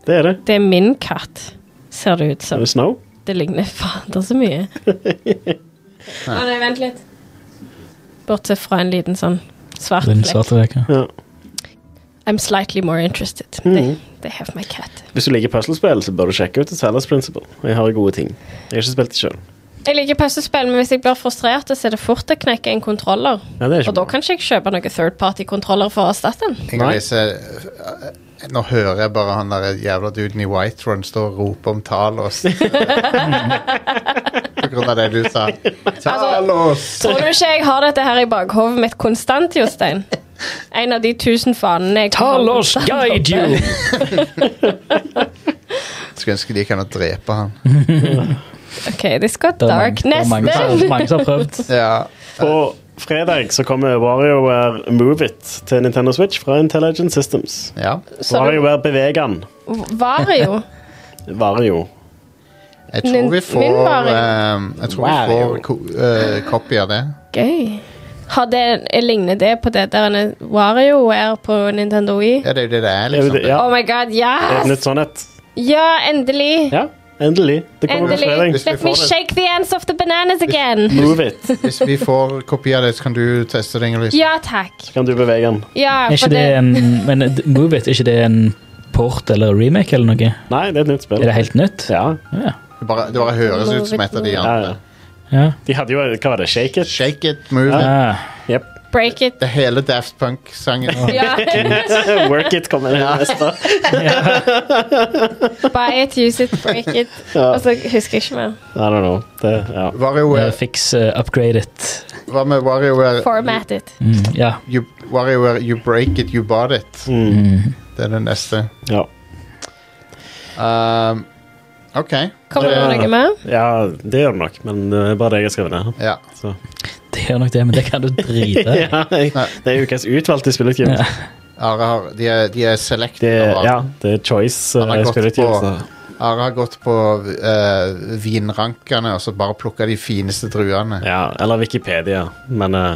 det er det.
Det er min katt, ser det ut som.
Er det Snow?
Det ligner fader så mye. Å nei, vent litt. Bortsett fra en liten sånn svart
Den
flekk.
svarte veka.
Ja.
I'm slightly more interested. They, they have my cat.
Hvis du liker puslespill, så bør du sjekke ut The Talos Principle. Jeg har gode ting. Jeg har ikke spilt det sjøl.
Jeg liker puslespill, men hvis jeg blir frustrert, så er det fort å knekke en kontroller.
Ja, det er
Og
ikke
da kan ikke jeg kjøpe noen third party-kontroller for å erstatte den.
Nei.
Inge-Lise eh, Nå hører jeg bare han der jævla duden i Whiterun Stå og rope om Talos På grunn av det du sa
Altså-
Talos
Tror du ikke jeg har dette her i bakhovet mitt konstant, Jostein? En av de tusen fanene jeg
Talos guide you!
Skulle ønske de kan drepe han
Ok, this got
Det er mange-
dark.
det er mange som-
Neste!
Mange som har prøvd.
Ja,
På fredag så kommer WarioWare Move It til Nintendo Switch fra Intelligent Systems.
ja
Så det
WarioWare Bevegan.
var jo
Vario.
Jeg tror vi
Min-
får
min var-
ehm, Jeg tror vi får ko eh, kopi av det.
gøy. Har det, ligner det på det der en WarioWare på Nintendo Wii?
Ja, det er jo det det er,
Det er jo
liksom.
det- Ja,
Oh my god,
et
yes!
nytt sånn et.
Ja, endelig!
Ja, endelig. Det kommer på fredag.
Endelig!
Hvis vi
Let
får
me
det.
shake the ends of the bananas again!
Move It.
Hvis vi får kopi av det, så kan du teste det, Inger-Lise.
Ja takk.
Kan du bevege den?
Ja,
Er
for
ikke det
det
en, men eh, d- Move It, er ikke det en port eller remake eller noe?
Nei, det er et nytt spill.
Er det helt nytt?
Ja.
Ja.
Det bare, det bare høres ut som et av de
ja,
andre.
ja.
ja.
De hadde jo Hva var det? Shake It?
Shake it, move it.
Ah,
Yep.
Break it.
Det er hele Daft Punk-sangen.
Ja.
Work It kommer inn neste.
Buy it, use it, break it. Og så husker jeg ikke mer.
I don't know. Det, ja.
eh,
WarioWare-
Fix eh, upgrade it.
Hva med WarioWare
Format it.
Mm, ja.
you, WarioWare, you break it, you bought it?
Mm.
Det er den neste.
ja.
Ehm, OK.
Kommer det noe mer?
Ja, det gjør det nok, men det er bare det jeg har skrevet ned.
Ja.
Så.
Det gjør nok det, men det kan du drite i.
Ja, jeg, det er ukas utvalgte spillutgivelse.
Ja.
Are har De er, de er select.
Det,
og-
ja, det er choice
Han har
uh,
gått
spillutgivelse.
Are har gått på eh, vinrankene og så bare plukka de fineste druene.
Ja, eller Wikipedia, men eh,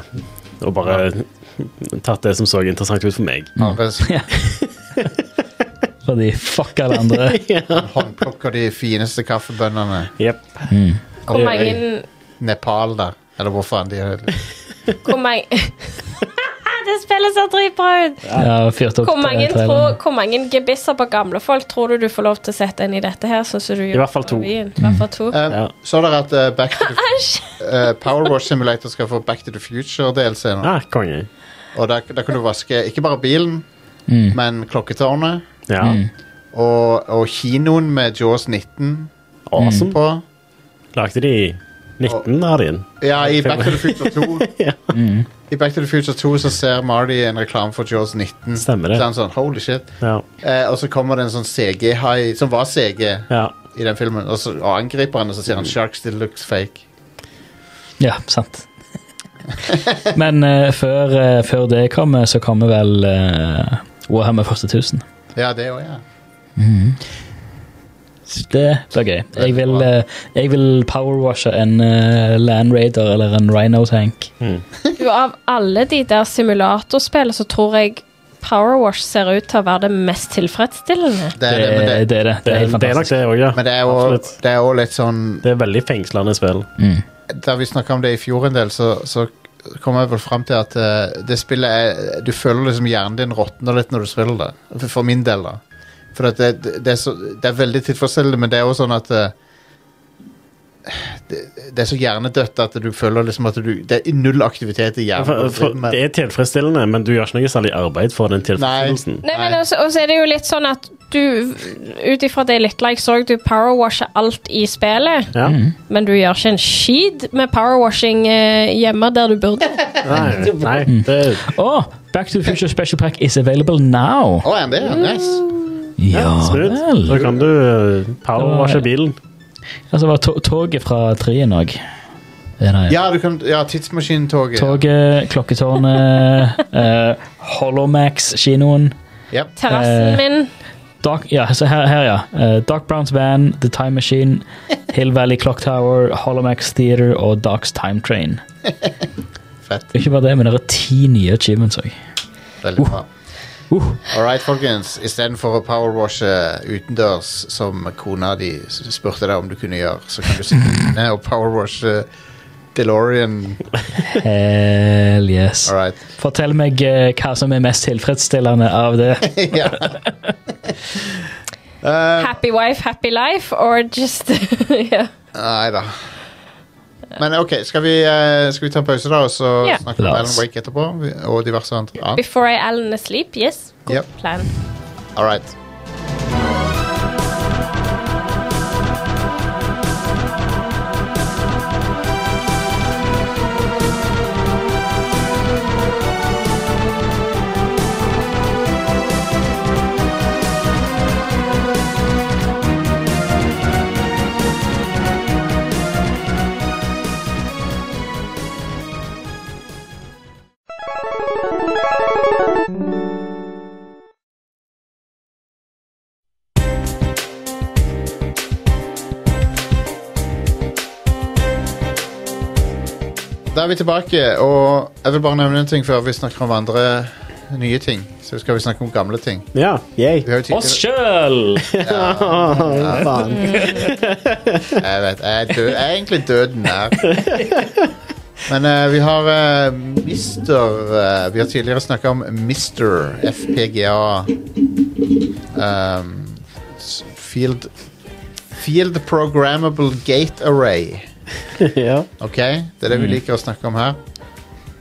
Og bare tatt det som så interessant ut for meg.
Are s-
Fordi fuck alle andre.
håndplukker de fineste kaffebønnene.
Jep.
Mm.
Hvor mange
Nepal der, eller hvor faen de er.
Hvor mange Det spillet ser dritbra ut!
Ja, fyrt opp
Hvor mange,
eh,
tror,
traileren.
hvor mange gebisser på gamle folk tror du du får lov til å sette inn i dette her? Sånn som du gjorde
hvert fall
på
to.
Wien? I hvert fall to.
Eh,
Ja.
Så dere at eh, Back to the,
Æsj!
eh, Power Wash Simulator skal få Back to the Future-DLC nå.
Ah, konge.
Og der, der kan du vaske ikke bare bilen,
Mm.
men klokketårnet
Ja.
Mm.
og, og kinoen med Jaws 19
Awesome.
på.
Lagde de 19 av de?
Ja, i
Mm.
Back to the Future 2. I Back to the Future 2 så ser Marty en reklame for Jaws 19.
Stemmer det.
Så han sånn, holy shit.
Ja.
Eh, og så kommer det en sånn CG-hai, som var CG
ja.
i den filmen, og så og angriper han, og så sier han 'Sharks still looks fake'.
Ja, sant. Men eh, før, eh, før det kommer, så kommer vel uh, Warhammer 4000.
Ja, det òg, ja.
Det blir gøy. Jeg vil, eh, jeg vil powerwashe en eh, Land Raider eller en Rhino Tank.
Du, av alle de der simulatorspillene så tror jeg Powerwash ser ut til å være det mest tilfredsstillende.
Det er det, men det,
det, er det. Det er helt
det er nok
fantastisk.
det òg, ja.
men det er jo-
Absolutt.
det er òg litt sånn
Det er veldig fengslende spill.
Mm.
Da vi snakka om det i fjor en del, så, så kom jeg vel fram til at eh, det spillet er Du føler liksom hjernen din råtner litt når du spiller det. For, for min del, da. For at det, det, er så, det er veldig tilfredsstillende, men det er jo sånn at eh, det, det er så hjernedødt at du føler liksom at du Det er null aktivitet i hjernen.
For, for, det er tilfredsstillende, men du gjør ikke noe særlig arbeid for den tilfredsstillelsen.
Nei, men
Nei.
også, også er det jo litt sånn at du Ut ifra det lille jeg så, du powerwasher alt i spillet,
Ja.
Mm.
men du gjør ikke en skid med powerwashing eh, hjemme der du burde.
Nei,
Mm.
nei, det
Å, Back to the Future Special Pack is available now.
Å, er det det? Nice.
Ja
Smooth. Da
vel.
kan du eh, powerwashe bilen.
Altså, var to toget fra Trien òg.
Ja, du kan, ja tidsmaskintoget.
Toget, klokketårnet, uh, Holomax-kinoen
Ja.
Terrassen
Eh.
min
Dark, ja, så her, her ja. Eh, Dark Browns Van, The Time Machine, Hill Valley Clock Tower, Holomax Theater og Darks Time Train.
Fett.
Ikke bare det, men det er ti nye achievements òg.
Veldig bra.
Uh.
All right, folkens. Istedenfor å powerwashe uh, utendørs, som kona di s- spurte deg om du kunne gjøre, så kan du sitte inne og powerwashe uh, DeLorean.
Hell yes.
All right.
Fortell meg eh, hva som er mest tilfredsstillende av det.
ja.
Happy wife, happy life, or just yeah.
Nei da. Men OK, skal vi, eh, skal vi ta en pause, da, og så
Ja.
snakke om
La
Alan
oss.
Wake etterpå? Og diverse andre. Ja.
Before I Alan asleep, yes. Good
Yep.
plan.
All right. Da er vi tilbake, og jeg vil bare nevne en ting før vi snakker om andre nye ting. Så skal vi snakke om gamle ting.
Ja, yay.
Vi har jo tidligere-
Oss sjøl!
Jeg vet, jeg er, død, jeg er egentlig døden her. Men eh, vi har eh, Mister eh, Vi har tidligere snakka om Mister FPGA. ehm, s- field Field Programmable Gate Array.
Ja.
Ok, det er det vi liker å snakke om her.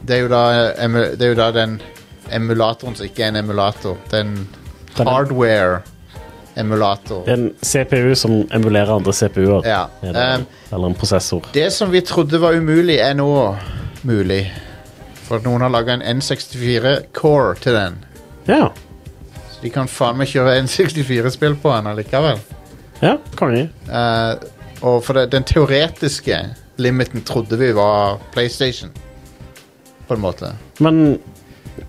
Det er jo da, emu, det er jo da den emulatoren som ikke er en emulator. Den
Den-
hardware-emulator.
Det er en CPU som emulerer andre CPU-er.
Ja.
Eller,
Um,
eller en prosessor.
Det som vi trodde var umulig, er nå mulig. For at noen har laga en N64 Core til den.
Ja.
Så de kan faen meg kjøre N64-spill på den allikevel.
ja Konge.
Eh, og for det, den teoretiske limiten trodde vi var PlayStation. På en måte.
Men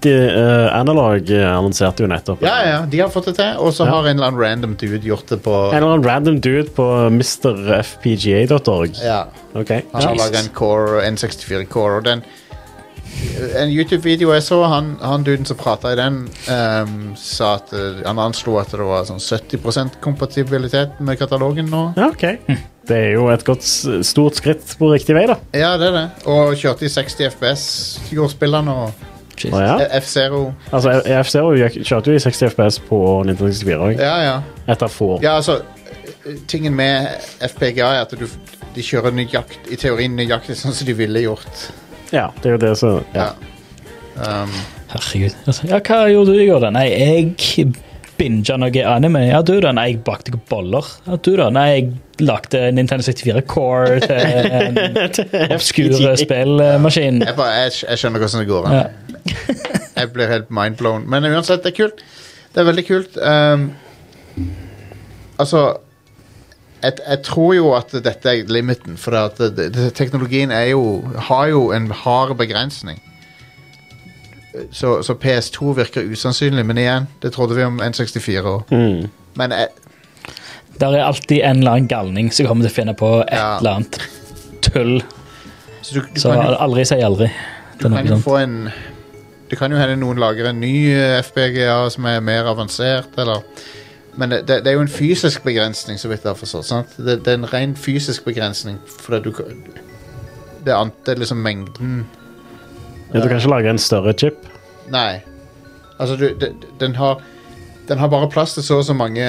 de, eh, Analog eh, annonserte jo nettopp
Ja, ja, de har fått det til. Og så
Ja.
har en eller annen random dude gjort det på
En eller annen random dude på mrfpga.org.
Ja.
Ok.
Han har laga en Core, N64 Core, og den En YouTube-video jeg så, han, han duden som prata i den, ehm, sa at eh, han anslo at det var sånn 70 kompatibilitet med katalogen nå.
Ja, ok. Det er jo et godt, s- stort skritt på riktig vei, da.
Ja, det er det. Og kjørte i 60 FPS, gjorde spillene, og
Å, ja.
F-Zero.
Altså, EFC kjørte jo i 60 FPS på Nintendo 64 òg.
Ja, ja.
Etter få.
Ja, altså, eh, tingen med FPGA er at du, de kjører nøyakt, i teorien nøyaktig sånn som de ville gjort.
Ja, det er jo det som ja.
Ja. Um,
Herregud. Altså, ja, hva gjorde du i går, da? Nei, jeg binga noe anime. Ja, du, da? Nei, jeg bakte ikke boller. Ja, du, da? Nei, jeg lagde Nintendo 64 Core til en obskure spillmaskin.
Jeg, bare, jeg, jeg skjønner hvordan det går an. jeg blir helt mindblown. Men uansett, det er kult. Det er veldig kult. Ehm, Um, altså jeg, jeg tror jo at dette er limiten, for det at det, det, teknologien er jo, har jo en hard begrensning. Så, så PS2 virker usannsynlig, men igjen, det trodde vi om N64 òg.
Mm.
Men jeg,
Der er alltid en eller annen galning som kommer til å finne på et
Ja.
eller annet tull.
så du, du
Så
kan jo,
aldri si aldri.
du
Det er noe
kan jo
sånt.
få en Det kan jo hende noen lager en ny eh, FPGA som er mer avansert, eller Men det, det, det er jo en fysisk begrensning, så vidt jeg har forstått. Sant? Det, det er en ren fysisk begrensning, fordi du kan Det er ant- det er liksom mengden
Ja, du kan ikke lage en større chip.
Nei. Altså, du, de- de- den har Den har bare plass til så og så mange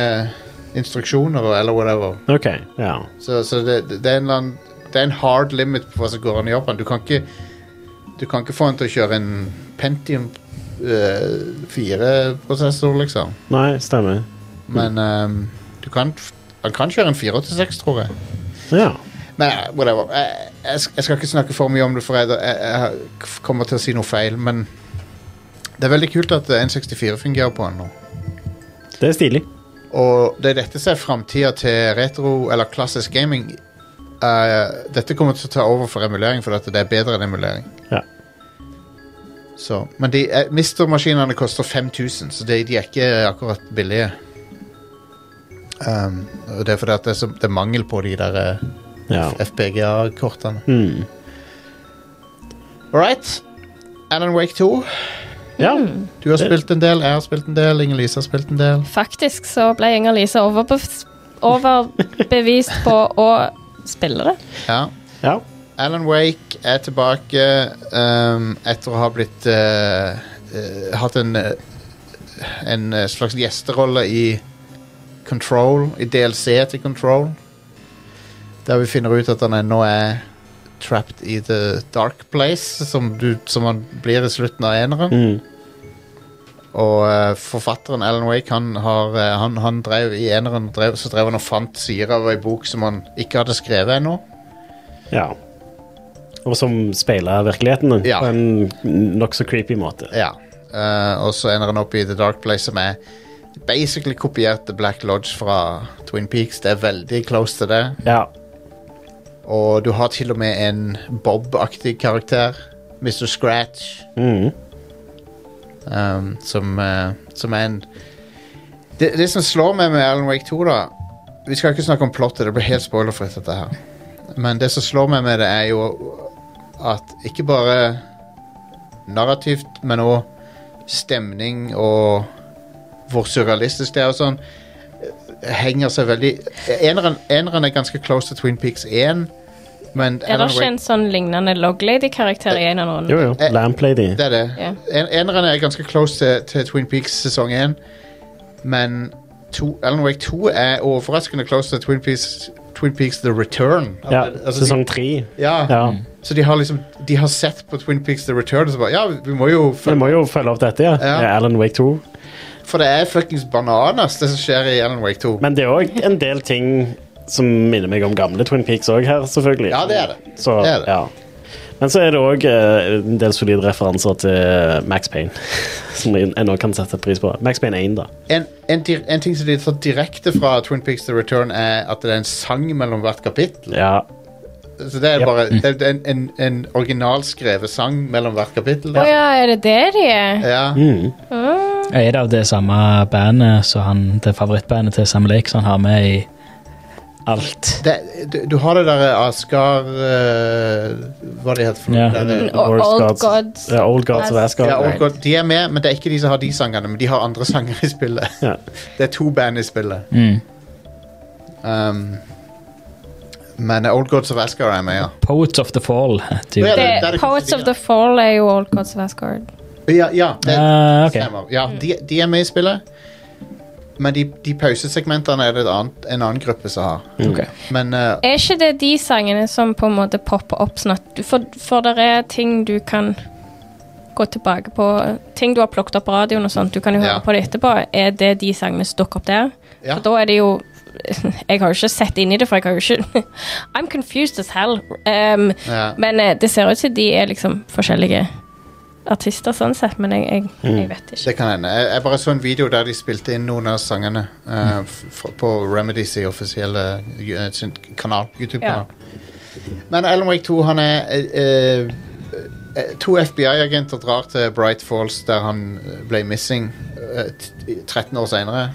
instruksjoner og- eller whatever.
OK, ja.
Så, så det, det, er en eller annen, det er en hard limit på hva som går an i Japan. Du kan ikke Du kan ikke få den til å kjøre en Pentium 4-prosessor, liksom.
Nei, stemmer.
Men ehm, du kan f- Han kan kjøre en 486, tror jeg.
Ja.
Men eh, whatever. Jeg, jeg, sk- jeg skal ikke snakke for mye om det, for jeg, jeg, jeg k- kommer til å si noe feil, men det er veldig kult at eh, N64 fungerer på den nå.
Det er stilig.
Og det er dette som er framtida til retro eller klassisk gaming. Eh, dette kommer til å ta over for emulering, for at det er bedre enn emulering.
Ja.
Så, men de, eh, Mister-maskinene koster 5000, så de, de er ikke akkurat billige. Um, og det er fordi at det er, så, det er mangel på de der eh,
Ja.
FPGA-kortene.
Mm.
All right. Alan Wake 2.
ja.
Du har spilt en del, jeg har spilt en del, Inger-Lise har spilt en del.
Faktisk så ble Inger-Lise overbevist, overbevist på å spille det.
Ja.
ja.
Alan Wake er tilbake ehm, etter å ha blitt eh, eh, Hatt en eh, en eh, slags gjesterolle i Control, i DLC til Control. Der vi finner ut at han ennå er trapped i the dark place, som, du, som han blir i slutten av eneren.
Mm.
Og eh, forfatteren Alan Wake, han, har, eh, han, han drev i eneren drev, Så drev han og fant sider av ei bok som han ikke hadde skrevet ennå.
ja. Og som speiler virkeligheten
Ja.
på en nokså creepy måte.
Ja. eh, og så ender han opp i The Dark Place, som er basically kopiert The Black Lodge fra Twin Peaks. Det er veldig close til det.
Ja.
Og du har til og med en Bob-aktig karakter. Mr. Scratch.
Mm.
Um, som, eh, som er en det, det som slår meg med Alan Wake 2, da Vi skal ikke snakke om plottet, det blir helt spoilerfritt, dette her. Men det som slår meg med det, er jo at ikke bare narrativt, men òg stemning og hvor surrealistisk det er og sånn, eh, henger seg veldig Eneren, eneren er ganske close til Twin Peaks 1, men
Er det
Alan
ikke
Wake
en sånn lignende Loglady-karakter i en eller annen?
Jo, jo.
Eh,
Lamplady.
det er det.
Ja.
En, eneren er ganske close til, til Twin Peaks sesong 1, men to, Alan Wake 2 er overraskende close til Twin Peaks, Twin Peaks The Return.
Ja,
Altså,
sesong
de,
tre.
ja,
Ja.
Så de har liksom De har sett på Twin Peaks The Return og så bare Ja, vi må jo
Vi
følge
må jo følge opp dette, ja.
Ja.
ja. Alan Wake 2.
For det er fuckings bananas, det som skjer i Alan Wake 2.
Men det er òg en del ting som minner meg om gamle Twin Peaks òg her, selvfølgelig.
Ja, det er det.
Så,
Det er det.
Ja. Men så er det òg en del solide referanser til Max Payne, som jeg ennå kan sette pris på. Max Payne 1, da.
En, en, dir- en ting som de tar direkte fra Twin Peaks The Return, er at det er en sang mellom hvert kapittel.
Ja.
Så det er
Ja.
bare det er en, en, en originalskrevet sang mellom hvert kapittel.
Å
der.
ja, er det det de er?
Ja.
Mm.
Er det av det samme bandet, så han, det favorittbandet til Sam Lake, som han har med i alt?
det, du, du har det der Asgard Hva det heter for noe?
Ja.
Det-
O-
Or
Old
Gods-
Gods.
Ja, Old Gods of Asgard.
ja, og, godt, de er med, men det er ikke de som har de sangene. Men de har andre sanger i spillet.
Ja.
Det er to band i spillet.
Mm.
Um, men eh, Old Gods of Asgard er med, ja.
Poets of the Fall. Typ.
Ja, det- det er
Det,
det
Poets
kanskje
of
de
the Fall er jo Old Gods of Asgard.
Ja, ja, det,
Ah, ok.
stemmer. ja de, de er med i spillet. Men de, de pausesegmentene er det et annet, en annen gruppe som har.
Mm. Ok.
Men eh,
Er ikke det de sangene som på en måte popper opp sånn at du- For, for det er ting du kan gå tilbake på Ting du har plukket opp på radioen og sånt, du kan jo høre
Ja.
på det etterpå. Er det de sangene som dukker opp der?
Ja.
For da er det jo Jeg har jo ikke sett inn i det, for jeg har jo ikke I'm confused as hell. Um,
ja.
Men eh, det ser ut som de er liksom forskjellige artister sånn sett, men jeg, jeg, jeg vet ikke.
Det kan hende. Jeg, jeg bare så en video der de spilte inn noen av sangene eh, f- f- på Remedies i offisielle eh, sin kanal, YouTube-kanal. Men Alan Wake 2, han er eh, eh, eh, To FBI-agenter drar til Bright Falls, der han eh, ble missing eh, t- 13 år seinere.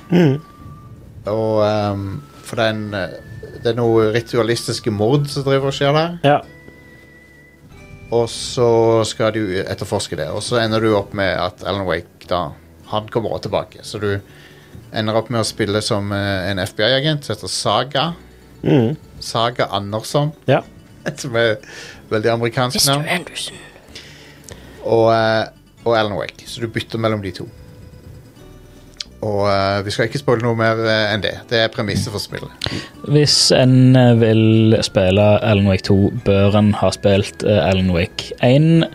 Og ehm, For det er, en, eh, det er noe ritualistiske mord som driver og skjer der.
Ja.
Og så skal du etterforske det, og så ender du opp med at Alan Wake da, han kommer også tilbake. Så du ender opp med å spille som eh, en FBI-agent som heter Saga.
Mm.
Saga Andersson,
ja.
som er veldig amerikansk navn.
Anderson.
Og, eh, og Alan Wake, så du bytter mellom de to. Og eh, vi skal ikke spoile noe mer eh, enn det. Det er premisset for spillet.
Hvis en eh, vil spille Alan Wake 2, bør en ha spilt eh, Alan Wake 1?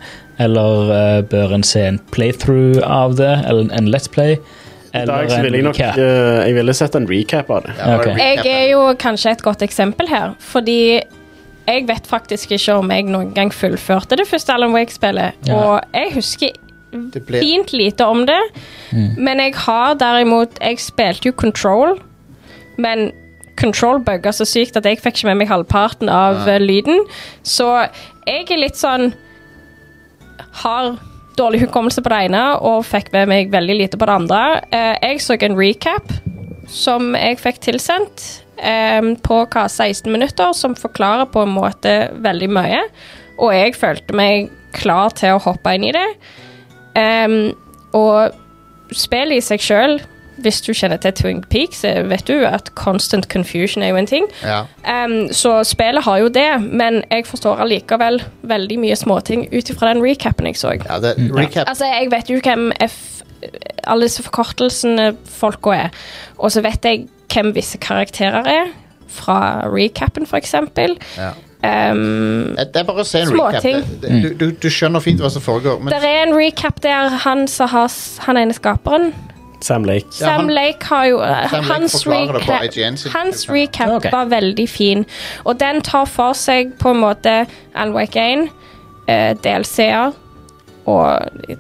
Eller eh, bør en se en playthrough av det, eller en- en Let's Play?
I dag
Eller
så
en
ville jeg nok
recap?
eh, Jeg ville sett en recap av det.
Ja,
Ok.
bare
Jeg
recappen.
er jo kanskje et godt eksempel her, fordi jeg vet faktisk ikke om jeg noen gang fullførte det første Alan Wake-spillet,
Ja.
og jeg husker
Det ble-
fint lite om det, men jeg har derimot Jeg spilte jo Control, men Control bugga så sykt at jeg fikk ikke med meg halvparten av eh, lyden, så jeg er litt sånn har dårlig hukommelse på det ene og fikk med meg veldig lite på det andre. Eh, jeg så en recap som jeg fikk tilsendt eh, på hva 16 minutter, som forklarer på en måte veldig mye. Og jeg følte meg klar til å hoppe inn i det. Em, Ehm, og spillet i seg sjøl, hvis du kjenner til Twin Peaks, så vet du at constant confusion er jo en ting.
Ja.
Em, så spillet har jo det, men jeg forstår allikevel veldig mye småting ut ifra den recapen jeg så.
Ja, det, recap.
Altså, jeg vet jo hvem F alle disse forkortelsene folka er, og så vet jeg hvem visse karakterer er, fra recapen, for eksempel.
Ja.
Um,
Det er bare å se en
Små
recap.
ting.
Det- det- Du, du, du skjønner fint hva som foregår. Men
der er en recap der han som har s- Han ene skaperen.
Sam Lake.
Ja, han-
Sam Lake har jo
Sam Lake
Hans,
forklarer det på
recap,
IGN sin-
hans recap
Ok.
var veldig fin, og den tar for seg på en måte Alan Wake 1, eh, DLC-er og eh,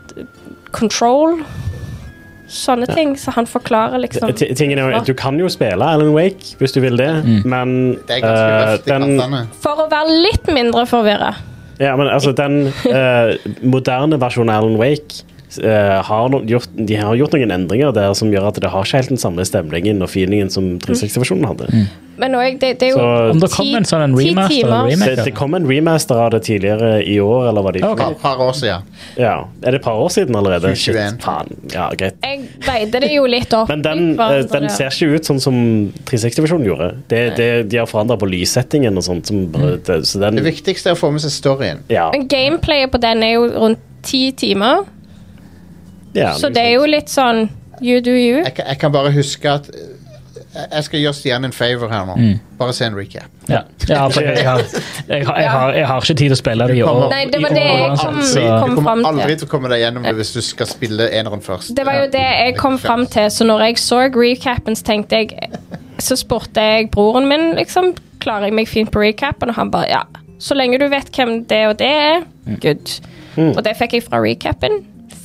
Control. Sånne ting. Så han forklarer liksom
T- Tingen er jo, Du kan jo spille Alan Wake hvis du vil det, men
Mm. det er ganske
eh,
røft i
den,
kantene.
For å være litt mindre forvirra.
ja, men, altså, den eh, moderne versjonen av Alan Wake eh, har no gjort, de har gjort noen endringer der som gjør at det har ikke helt den samme stemningen og feelingen som 360-versjonen hadde.
Men òg det, det er jo
Så-
Om det kom en sånn en
Ti- ti
remaster eller
timer.
Det, det
remake?
kom en remaster av det tidligere i år, eller hva de
Et par, par år siden.
Ja. Er det et par år siden allerede? Shit,
2021.
faen. Ja, greit.
Jeg veide det jo litt opp.
Men den,
mot hverandre.
eh, den ser ikke ut sånn som 360-versjonen gjorde. Det, det, de har forandra på lyssettingen og sånt. Som bare, det, så den,
Det viktigste er å få med seg storyen.
ja,
Mm. Men gameplayet på den er jo rundt ti timer,
ja,
så det er jo litt sånn you do you.
Jeg, kan- jeg kan bare huske at eh, jeg- Jeg skal gjøre Stian en favor her nå. Bare se en recap.
Ja. ja, for jeg har, jeg, har, jeg, har, jeg har ikke tid til å spille det i år.
Nei, det var
i
det
år
jeg
uansett,
kom-
Altså,
så-
kom
Du
fram
kommer
til.
aldri til å komme deg gjennom det hvis du skal spille eneren først.
Det var jo det jeg kom fram til, så når jeg så recapen, så tenkte jeg Så spurte jeg broren min, liksom, klarer jeg meg fint på recapen? Og han bare ja. Så lenge du vet hvem det og det er, good.
Mm.
Og det fikk jeg fra recapen.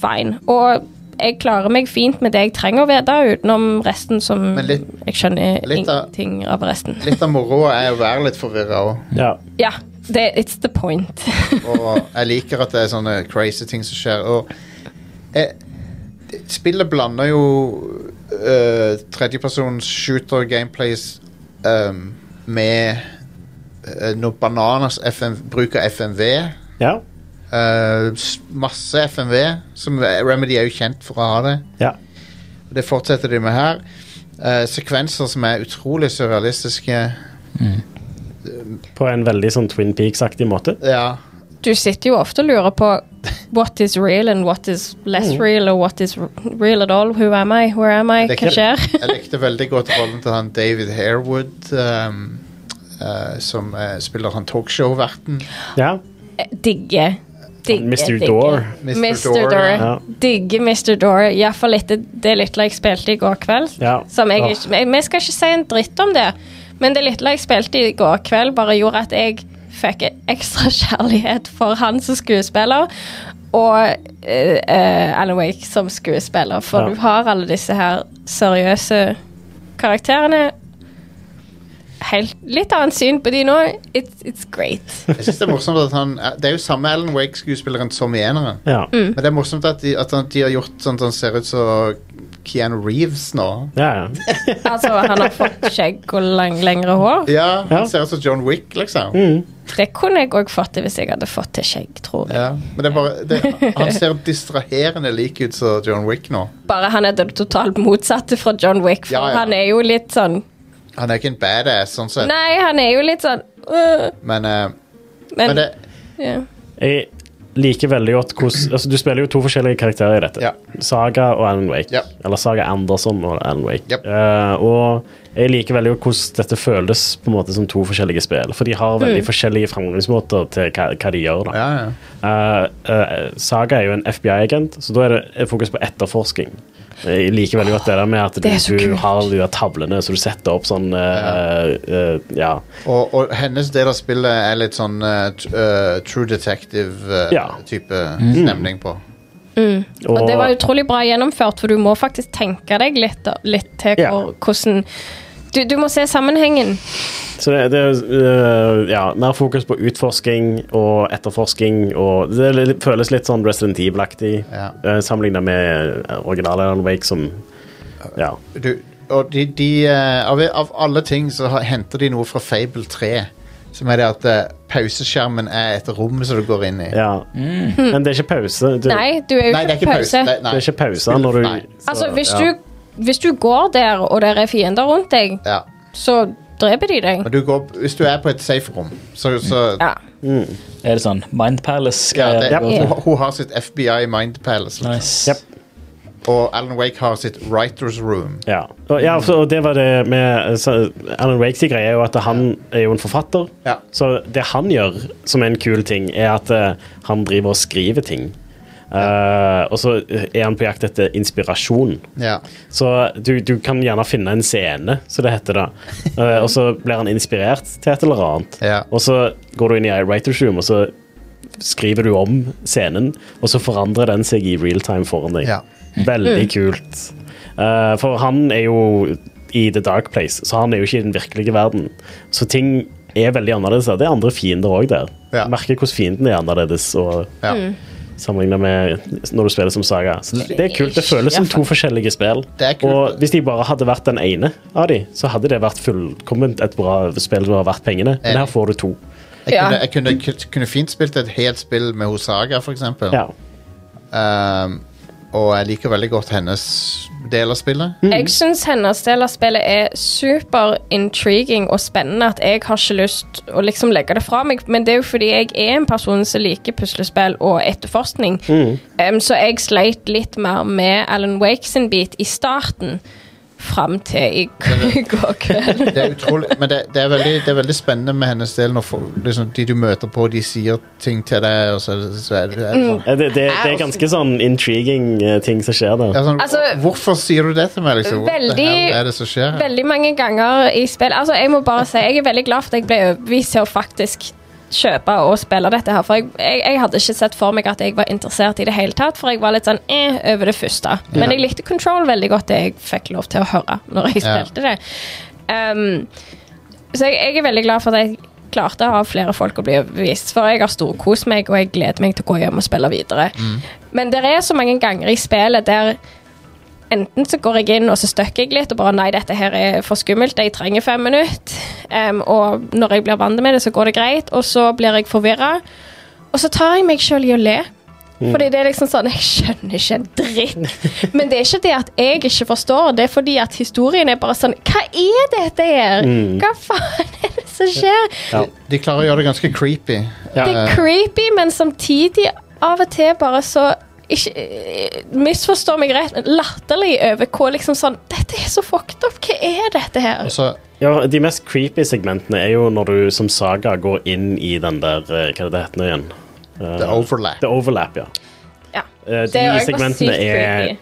Fine. Og jeg klarer meg fint med det jeg trenger å vite, utenom resten som
Men litt-
Jeg skjønner
litt av-
ingenting av resten.
Litt av moroa er å være litt forvirra òg.
ja.
Ja. Det, it's the point.
Og jeg liker at det er sånne crazy ting som skjer. Og eh, spillet blander jo eh, tredjepersons shooter gameplays ehm, med eh, noe bananas FM, bruk av FMV.
ja.
Eh, s- masse FMV. Som Remedy er jo kjent for å ha det.
ja.
Og Det fortsetter de med her. Eh, sekvenser som er utrolig surrealistiske.
På en veldig sånn Twin Peaks-aktig måte.
Ja.
Du sitter jo ofte og lurer på what is real and what is
Mm.
less real, og what is r- real at all. Who am I? Where am I?
Det er
Hva
ikke-
skjer?
Jeg likte veldig godt rollen til han David Harewood, ehm, eh, som eh, spiller han talkshow-verten.
Ja.
Digge. Digge,
Mr.
digge.
Door.
Mr.
Mr.
Door,
Door.
ja.
Digge Mr. Door. Iallfall etter det lille jeg spilte i går kveld.
Ja.
Som jeg
Åh.
ikke men Vi skal ikke si en dritt om det, men det lille jeg spilte i går kveld, bare gjorde at jeg fikk ekstra kjærlighet for han som skuespiller. og eh, eh, Alan Wake som skuespiller, for
Ja.
du har alle disse her seriøse karakterene. Helt, litt annet syn på de nå. It's, it's great.
Jeg synes Det er morsomt at han eh, Det er jo samme Alan Wake-skuespilleren som i eneren.
Ja.
Men
Mm.
det er morsomt at de, at han- de har gjort sånn at han ser ut som Keanu Reeves nå.
Ja, ja.
Altså, han har fått skjegg og lang, lengre hår.
Ja, han
Ja.
ser ut som John Wick, liksom.
Mm. Det kunne jeg òg fått til hvis jeg hadde fått til skjegg, tror jeg.
Ja, men det er bare det, Han ser distraherende lik ut som John Wick nå.
Bare han er det totalt motsatte fra John Wick, for
Ja, ja.
han er jo litt sånn
Han er ikke en badass, sånn sett,
Nei, han er jo litt sånn øh,
men, eh,
Men,
men det,
ja.
Jeg liker veldig godt hvordan altså, Du spiller jo to forskjellige karakterer i dette.
Ja.
Saga og Alan Wake.
Ja.
Eller Saga Anderson og Alan Wake.
Yep.
Eh, og jeg liker veldig godt hvordan dette føles på en måte som to forskjellige spill. For de har
Mm.
veldig forskjellige framgangsmåter til hva, hva de gjør. da.
ja, ja.
Eh, eh, Saga er jo en FBI-agent, så da er det fokus på etterforsking. Jeg liker veldig godt det der med at du,
det er så
du
kult.
har de der tavlene, så du setter opp sånn eh, eh, Ja.
Og, og hennes del av spillet er litt sånn eh, t- eh, True Detective-type
Ja.
stemning på.
Og,
Og det var utrolig bra gjennomført, for du må faktisk tenke deg litt, litt til
Ja.
hvor, hvordan du, du må se sammenhengen.
Så det, det er øh, ja, mer fokus på utforsking og etterforsking. Og det er litt- føles litt sånn Resident Evil-aktig
Ja.
eh, sammenlignet med eh, originale Alan Wake, som Ja.
Du, og de, de eh, av, av alle ting så har, henter de noe fra Fable 3. Som er det at eh, pauseskjermen er et rom som du går inn i.
ja. Men det er ikke pause. Du,
Mm. Nei, du er jo
Nei, det er ikke
ikke på
pause.
pause.
Det, nei.
Det er ikke pause når du
Nei.
så-
Altså, hvis,
ja.
du, hvis du går der, og det er fiender rundt deg,
Ja.
så dreper de deg.
Men du går, hvis du er på et safe rom, så, så
Mm. Ja.
Er det sånn Mind
Ja,
Palace-greier?
det,
det går til?
hun, hun har sitt FBI Mind Palace, liksom.
Nice.
Yep.
og Alan Wake har sitt Writers Room.
Ja, og, ja så, og det var det med så, Alan Wakes greie er jo at han er jo en forfatter.
Ja.
Så det han gjør, som er en kul ting, er at eh, han driver og skriver ting. Eh, og så er han på jakt etter inspirasjon.
Ja.
Så du, du kan gjerne finne en scene, som det heter da. Eh, og så blir han inspirert til et eller annet.
Ja.
Og så går du inn i ei writer's room, og så skriver du om scenen, og så forandrer den seg i real time foran deg.
Ja.
Veldig kult. Eh, for han er jo i The Dark Place, så han er jo ikke i den virkelige verden. Så ting er veldig annerledes der. Det er andre fiender òg der.
Ja.
Merker hvordan fienden er annerledes. Og
Ja.
sammenlignet med når du spiller som Saga. Så det, det er kult. Det føles som to forskjellige spill.
Det er kult.
Og hvis de bare hadde vært den ene av de, så hadde det vært fullkomment et bra spill som var verdt pengene. Men her får du to.
Jeg,
Ja.
kunne, jeg kunne, ku- kunne fint spilt et helt spill med Hosaga, for eksempel.
Ja.
Um, og jeg liker veldig godt hennes del av
Mm.
spillet.
Jeg syns hennes del av spillet er super intriguing og spennende. At jeg har ikke lyst å liksom legge det fra meg, men det er jo fordi jeg er en person som liker puslespill og etterforskning. Em, så jeg sleit litt mer med Alan Wake sin bit i starten, fram til i i går kveld.
Det er utrolig, men det, det, er veldig, det er veldig spennende med hennes del når folk, liksom, de du møter på, de sier ting til deg, og så, så er det, det
Mm.
er sånn,
Eh, Det, det, det er ganske sånn intriguing eh, ting som skjer
det
der.
er sånn
Altså,
Hvorfor sier du det til meg, liksom? Hva
veldig-
the hell er det som skjer? her?
Veldig mange ganger i spill Altså, jeg må bare si jeg er veldig glad for at jeg ble overbevist til å faktisk kjøpe og spille dette her. For jeg, jeg, jeg hadde ikke sett for meg at jeg var interessert i det hele tatt, for jeg var litt sånn eh over det første. Men jeg likte Control veldig godt, det jeg fikk lov til å høre når jeg
Ja.
spilte det. Ehm, så jeg, jeg er veldig glad for at jeg klarte å ha flere folk å bli overbevist, for jeg har storkost meg, og jeg gleder meg til å gå hjem og spille videre. Men det er så mange ganger i spillet der enten så går jeg inn og så støkker jeg litt og bare nei, dette her er for skummelt, jeg trenger fem minutter. Em, og når jeg blir vant med det, så går det greit, og så blir jeg forvirra. Og så tar jeg meg sjøl i å le.
Mm.
Fordi det er liksom sånn, Jeg skjønner ikke en dritt. Men det er ikke det at jeg ikke forstår, det er fordi at historien er bare sånn Hva er dette her?
Mm.
Hva faen er det som skjer?
De klarer å gjøre det ganske creepy. Ehm,
Det er creepy, men samtidig av og til bare så ikke, eh, Misforstå meg rett, men latterlig over hvor liksom sånn Dette er så fucked up! Hva er dette her?
Og så,
Ja, de mest creepy segmentene er jo når du som Saga går inn i den der eh, Hva er det heter nå igjen?
the overlap.
The overlap, ja.
Ja.
Eh,
Det er
De
jo også sykt
segmentene er
creepy.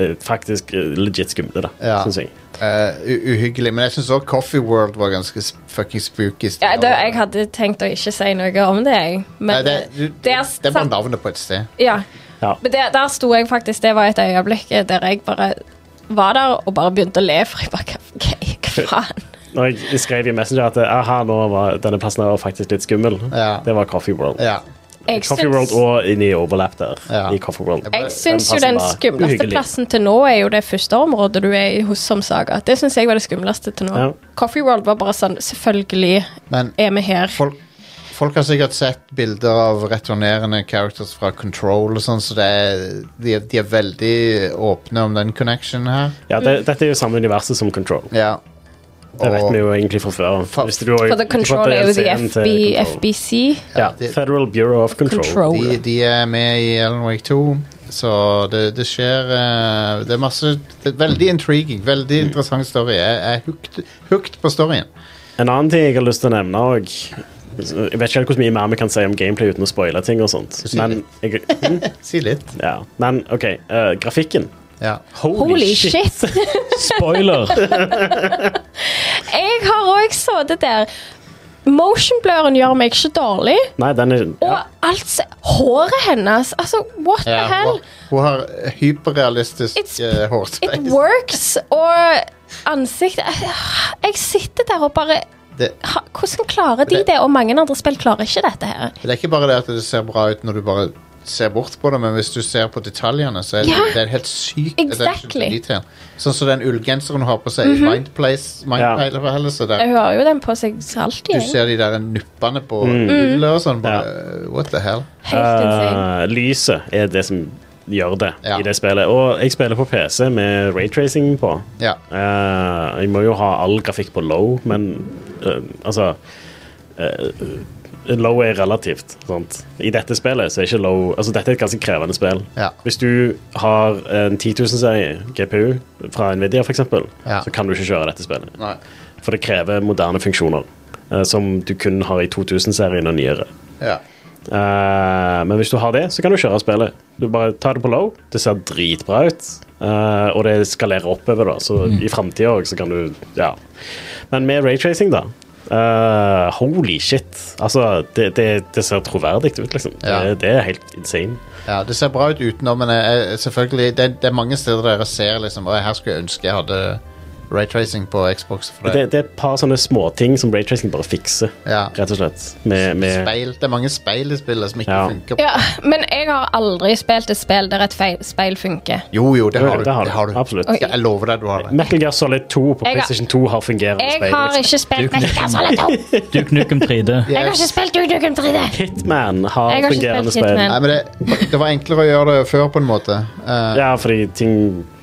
eh, faktisk eh, legit skumle, da,
Ja.
synes jeg.
Eh, u- uhyggelig. Men jeg syns også Coffee World var ganske sp- fucking spooky. sted.
Ja, det, jeg hadde tenkt å ikke si noe om det, jeg.
Nei,
Men
det, du,
der
det var
satt-
navnet på et sted.
Ja.
Ja.
Men der, der sto jeg faktisk, det var et øyeblikk der jeg bare var der og bare begynte å le, for jeg bare "Hva- Hva faen?
Når jeg skrev i Messenger at aha, nå var denne plassen her var faktisk litt skummel,
Ja.
det var Coffee World.
Ja.
Jeg
Coffee
syns-
World og inne i overlap der.
Ja.
I Coffee World.
Jeg syns jo
plassen
den
var
skumleste
uhyggelig.
plassen til nå er jo det første området du er i hos som Saga. Det syns jeg var det skumleste til nå.
Ja.
Coffee World var bare sånn Selvfølgelig
Men
er vi her.
folk, folk har sikkert sett bilder av returnerende characters fra Control og sånn, så det er, de, er- de er veldig åpne om den connectionen her.
Ja, det, dette er jo samme universet som Control.
Ja.
Det vet
Og-
vi jo egentlig fra før.
Fa-
Hvis du har-
For The Control er jo
DLC-en til
The FB,
Control.
FBC.
Ja,
det-
Federal Bureau of Control.
Control.
De, de er med i Ellen Wake 2, så det, det skjer eh, Det er masse det er Veldig intriguing. Veldig
Mm.
interessant story. Jeg jeg er hooked, hooked på storyen.
En annen ting jeg har lyst til å nevne og Jeg vet ikke helt hvor mye mer vi kan si om gameplay uten å spoile ting og sånt.
Du sier
Men, jeg, hm,
Si litt.
ja. Men OK, eh, grafikken.
Ja.
Holy,
Holy shit!
Spoiler!
Jeg har òg sittet der. Motion blurren gjør meg ikke dårlig.
Nei, den er
Og
ja.
alt se- Håret hennes! Altså, what
Ja,
the hell?
hun, hun har hyperrealistisk
It's-
uh,
It
hårsveis.
works. Og ansiktet Ah, Jeg sitter der og bare
Det,
ha, Hvordan klarer de
Det-
det? Og mange andre spill klarer ikke dette her.
det er ikke bare det at det ser bra ut når du bare ser bort på det, men hvis du ser på detaljene, så er det,
Ja.
det er helt sykt. attention to
Exactly. Mhm.
detail. Sånn som den ullgenseren hun har på seg i Mind Place. Mind
Ja.
Palace, eller helse der.
Hun har jo den på seg alltid.
Du
jeg.
ser de der nuppene på
Mhm.
ullet og sånn. Bare, What the hell?
Helt insane.
Eh, Lyset er det som gjør det
Ja.
i det spillet. Og jeg spiller på PC med raytracing på.
Ja.
Eh, jeg må jo ha all grafikk på low, men eh, altså eh, Low er relativt. Sant? I dette spillet så er ikke low Altså Dette er et ganske krevende spill.
Ja.
Hvis du har en 10 000-serie GPU fra Nvidia, f.eks., eksempel
Ja.
så kan du ikke kjøre dette spillet.
Nei.
For det krever moderne funksjoner eh, som du kun har i 2000-serien og nyere.
Ja.
Eh, men hvis du har det, så kan du kjøre spillet. Du bare tar det på low, det ser dritbra ut, eh, og det skalerer oppover, da. Så
Mm.
i framtida òg, så kan du Ja. Men med raytracing, da eh, Holy shit. Altså, det, det, det ser troverdig ut, liksom.
Ja.
Det, det er helt insane.
Ja, det ser bra ut utenom, men jeg, jeg, selvfølgelig, det, det er mange steder dere ser liksom, «Å, her skulle jeg ønske jeg hadde raytracing på Xbox. For det.
Det, det er et par sånne småting som raytracing bare fikser,
Ja.
rett og slett. Med, med
speil, det er mange speil i spillet som ikke
Ja.
funker.
Ja, men jeg har aldri spilt et spill der et feil, speil funker.
Jo, jo, det har du.
Det har du,
du.
absolutt.
Jeg, jeg lover deg du har det.
Metal Gear Solid 2 på
Jeg har-
PlayStation 2 har fungerende
Jeg
speil.
har
liksom.
ikke spilt Metal Gear Solid 2.
Duke Nukem 3D.
Jeg har ikke spilt Udukum 3D.
Hitman har,
Jeg har ikke
fungerende
spilt
speil.
Hitman.
Nei, men det, det var enklere å gjøre det før, på en måte. Eh,
Ja, fordi ting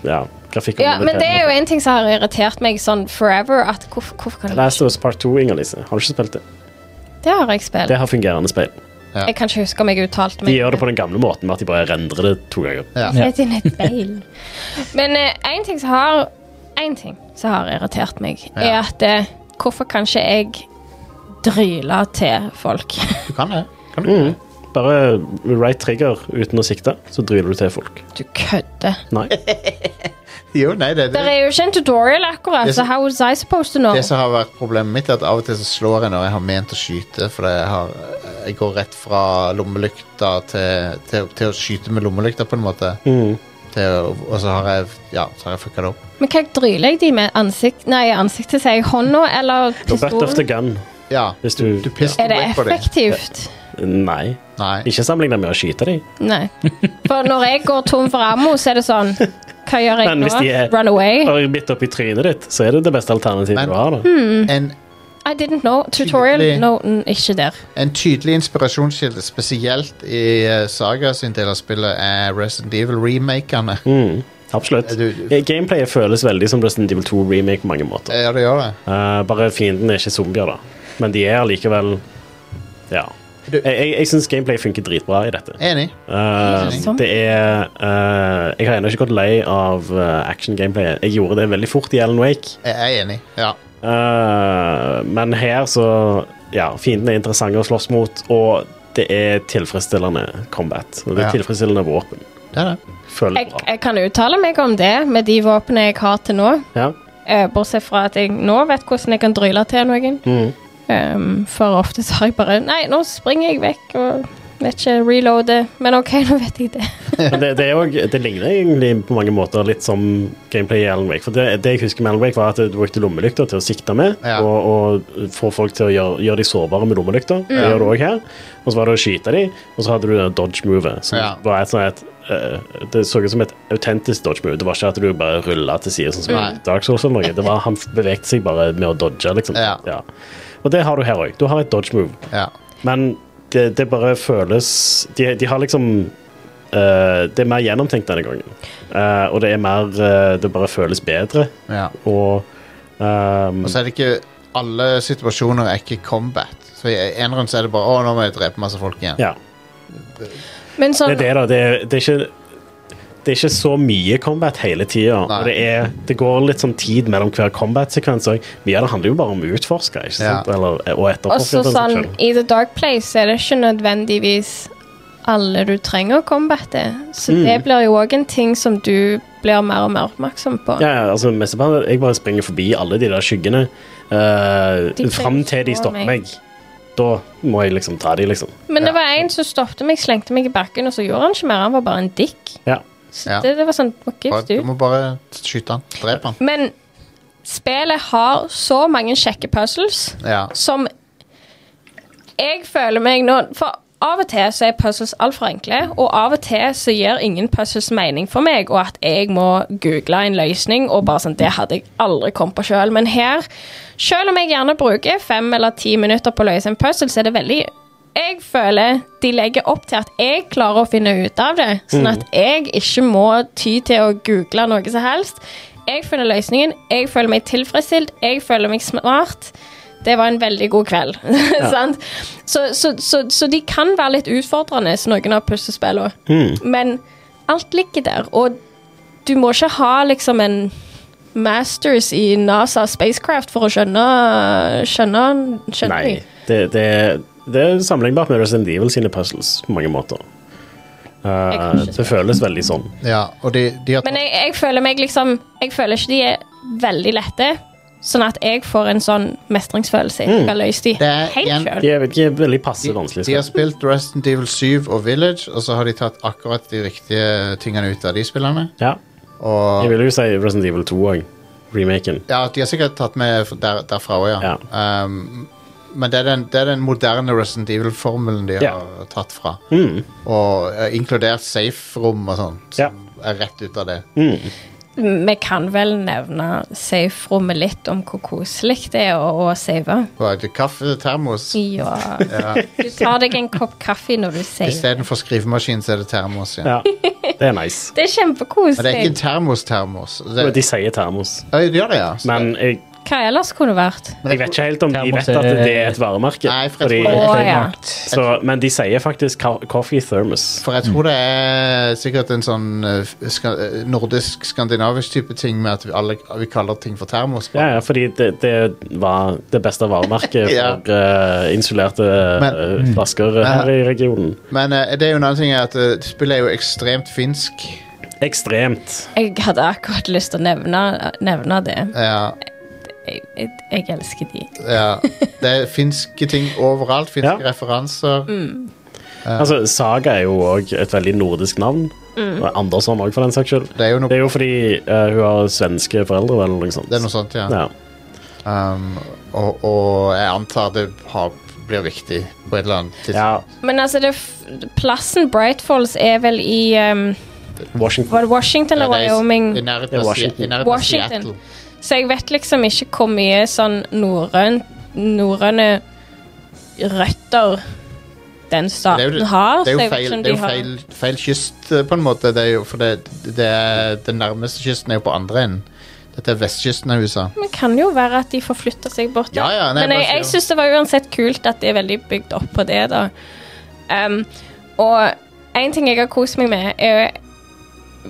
Ja, grafikk
Ja, men det er jo en ting som har irritert meg sånn forever. At hvorfor, hvorfor kan jeg
Last of Us Part 2, Inger-Lise. Har du ikke spilt det?
Det har jeg spilt.
Det har fungerende speil.
Jeg kan ikke huske om jeg uttalte
De
meg.
gjør det på den gamle måten med at de bare rendrer det to ganger.
Det er din et speil. Men én ting som har En ting som har irritert meg, er
Ja.
at eh, Hvorfor kan ikke jeg dryle til folk?
Du kan det. Kan du?
Bare right trigger uten å sikte, så dryler du til folk.
Du kødder.
Nei.
Mm. Jo, nei, det,
Det
det,
er jo ikke en tutorial akkurat,
Det
så
som-
how was I supposed to know?
det som har vært problemet mitt, er at av og til så slår jeg når jeg har ment å skyte, for jeg, har, jeg går rett fra lommelykta til, til, til å skyte med lommelykta, på en måte.
Mm.
Til, å- og så har jeg, ja, så har jeg fucka det opp.
Men hva dryler jeg de med? Ansikt, nei, ansiktet sier jeg hånda eller
Og Butt of the
pistolen?
gun.
Ja,
Hvis du
du pisser
Er det
vekk på det.
effektivt?
Nei.
Nei.
Ikke sammenlign det med å skyte dem.
Nei. For når jeg går tom for ammo, så er det sånn Hva gjør jeg
Men hvis
nå?
de er-
Run away?
Bare midt oppi trynet ditt, så er det det beste alternativet
Men-
du har. da
Hmm. Mm.
En,
I didn't know. Tutorial?
Tydelig.
No, n- ikke der.
en tydelig inspirasjonskilde, spesielt i eh, Saga sin del av spillet, er Resident Evil-remakene.
Mm, absolutt. Eh,
Er du-
Gameplayet føles veldig som Resident Evil 2 remake på mange måter.
Ja, det gjør det.
Eh, bare fienden er ikke zombier, da. Men de er likevel Ja.
Du-
Jeg, jeg, jeg syns gameplay funker dritbra i dette.
Enig.
Eh,
Sånn.
det er eh, Jeg har ennå ikke gått lei av eh, action-gameplay. Jeg gjorde det veldig fort i Alan Wake,
Jeg er enig. Ja.
Eh, men her så Ja, fiendene er interessante å slåss mot, og det er tilfredsstillende combat. Og det er
Ja.
tilfredsstillende våpen.
Det er det.
Føler
Jeg,
bra.
jeg kan uttale meg om det med de våpnene jeg har til nå.
Ja.
Eh, bortsett fra at jeg nå vet hvordan jeg kan dryle til noen.
Mhm.
Ehm, for ofte så har jeg bare Nei, nå springer jeg vekk og vet ikke reloade. Men OK, nå vet jeg det.
Men det, det, er jo, det ligner egentlig på mange måter litt som gameplay i Alan Wake. For det, det jeg husker med Alan Wake, var at du brukte lommelykter til å sikte med.
Ja.
Og, og få folk til å gjøre, gjøre de sårbare med lommelykter. Det gjør du også her. Og så var det å skyte dem, og så hadde du det dodge movet. Som
Ja.
var et sånn et eh, det så ut som et autentisk dodge move. Det var ikke at du bare rulla til siden sånn som
Nei.
i Dark Souls. eller noe. Det var Han bevegde seg bare med å dodge, liksom.
Ja.
Og det har du her òg. Du har et dodge move.
Ja.
Men det, det bare føles De, de har liksom eh, Det er mer gjennomtenkt denne gangen. Eh, og det er mer eh, Det bare føles bedre.
ja.
Og ehm,
Og så er det ikke Alle situasjoner er ikke combat. Så i en runde så er det bare Å, nå må jeg drepe masse folk igjen.
Ja.
Men
Det
sånn
er det, da. Det er, det er ikke det er ikke så mye combat hele tida.
Nei.
Det, er- det går litt sånn tid mellom hver combat-sekvens. og Mye av det handler jo bare om å utforske ikke
Ja.
sant? Eller, og
Og
etterforske.
så
for den
sånn,
saks skyld.
i The Dark Place er det ikke nødvendigvis alle du trenger å combatte. Så
Mm.
det blir jo òg en ting som du blir mer og mer oppmerksom på.
Ja, ja, altså mesteparten Jeg bare springer forbi alle de der skyggene uh,
De
fram
trenger
til de
ikke
stopper
meg.
meg. Da må jeg liksom ta de, liksom.
Men det var en som stoppet meg, slengte meg i bakken, og så gjorde han ikke mer. Han var bare en dick.
Ja.
Så
Ja.
det, det var sånn OK,
Bare,
du.
du må bare skyte han. Drepe han.
Men spillet har så mange kjekke puzzles
Ja.
som Jeg føler meg nå For av og til så er puzzles altfor enkle, og av og til så gir ingen puzzles mening for meg, og at jeg må google en løsning og bare sånn Det hadde jeg aldri kommet på sjøl. Men her, sjøl om jeg gjerne bruker fem eller ti minutter på å løse en puzzle, så er det veldig jeg føler de legger opp til at jeg klarer å finne ut av det, sånn at jeg ikke må ty til å google noe som helst. Jeg finner løsningen, jeg føler meg tilfredsstilt, jeg føler meg smart. Det var en veldig god kveld. sant? Så, så, så, så de kan være litt utfordrende, så noen av puslespillene. Men alt ligger der, og du må ikke ha liksom en masters i NASA spacecraft for å skjønne skjønne, skjønne
Nei. Det, det, det er sammenlignbart med Resident Evil sine puzzles på mange måter. Eh,
kan ikke
det føles veldig sånn.
ja. Og de, de har
Men jeg, jeg føler meg liksom Jeg føler ikke de er veldig lette. Sånn at jeg får en sånn mestringsfølelse. Jeg har løst de
Mm. Det er igjen-
helt sjøl.
De er, de er veldig passe
de,
vanskelige.
de har
spill.
spilt Resident Evil 7 og Village, og så har de tatt akkurat de riktige tingene ut av de spillene.
Ja.
Og
Jeg vil jo si Resident Evil 2 òg. Remaken.
Ja, de har sikkert tatt med f- der, derfra òg, ja. Um, men det er, den, det er den moderne Resident Evil-formelen de
Ja.
har tatt fra.
Mm.
Og eh, inkludert safe-rom og sånn.
Ja. Mm.
Som er rett ut av det.
Vi kan vel nevne safe-rommet litt om hvor koselig det er å, å save.
Og Kaffetermos.
Ja. Du tar deg en kopp kaffe når du saver.
Istedenfor skrivemaskin, så er det termos. Ja.
Ja. Det er nice.
Det er
Men det er ikke en
kjempekoselig.
termos-termos.
Men
Det,
De sier termos,
Øy, de gjør det, ja. Så-
men jeg,
Hva ellers kunne vært?
jeg vet ikke helt om de
Termos
vet at
er-
det er et varemerke.
Nei, for
fordi,
jeg
Å
tror,
ja.
så, men de sier faktisk ka- coffee thermos.
for jeg tror det er sikkert en sånn eh, ska, eh, nordisk-skandinavisk type ting med at vi, alle, vi kaller ting for termos.
Ja, ja, fordi det, det var det beste varemerket
Ja.
for eh, insulerte
Men-
eh, flasker her i regionen.
Men eh, det er jo en annen ting er at eh, spillet er jo ekstremt finsk.
Ekstremt.
Jeg hadde akkurat lyst til å nevne, nevne det.
Ja,
Jeg, jeg, jeg elsker de.
ja. Det er finske ting overalt. Finske
Ja.
referanser.
Mm.
Altså, Saga er jo òg et veldig nordisk navn. Og Andersson òg, for den saks skyld.
Mm. Det er jo noe,
Det er jo fordi eh, hun har svenske foreldre, eller noe sånt.
det er noe sånt, ja.
Ja.
Um, og, og jeg antar det har, blir riktig på et eller annet
ja.
tidspunkt.
Men altså, det, f- plassen Bright Falls er vel i ehm,
Washington.
Var det Washington eller
det er i-
Wyoming?
I nærheten
Det
av
er
Se-
Washington.
i nærheten av
Washington.
Seattle.
Så jeg vet liksom ikke hvor mye sånn norrøn- norrøne røtter den
Det er
staten
jo,
har.
det er
så
jo
jeg vet
feil,
ikke om
det er jo
de har-
feil, feil kyst, eh, på en måte. Det er jo, for det, det er, den nærmeste kysten er jo på andre enden. Dette er vestkysten av USA.
Men det kan jo være at de forflytter seg bort.
Ja, ja, nei,
Men jeg,
bare
jeg
sier-
syns det var uansett kult at det er veldig bygd opp på det, da. Um, og en ting jeg har kost meg med, er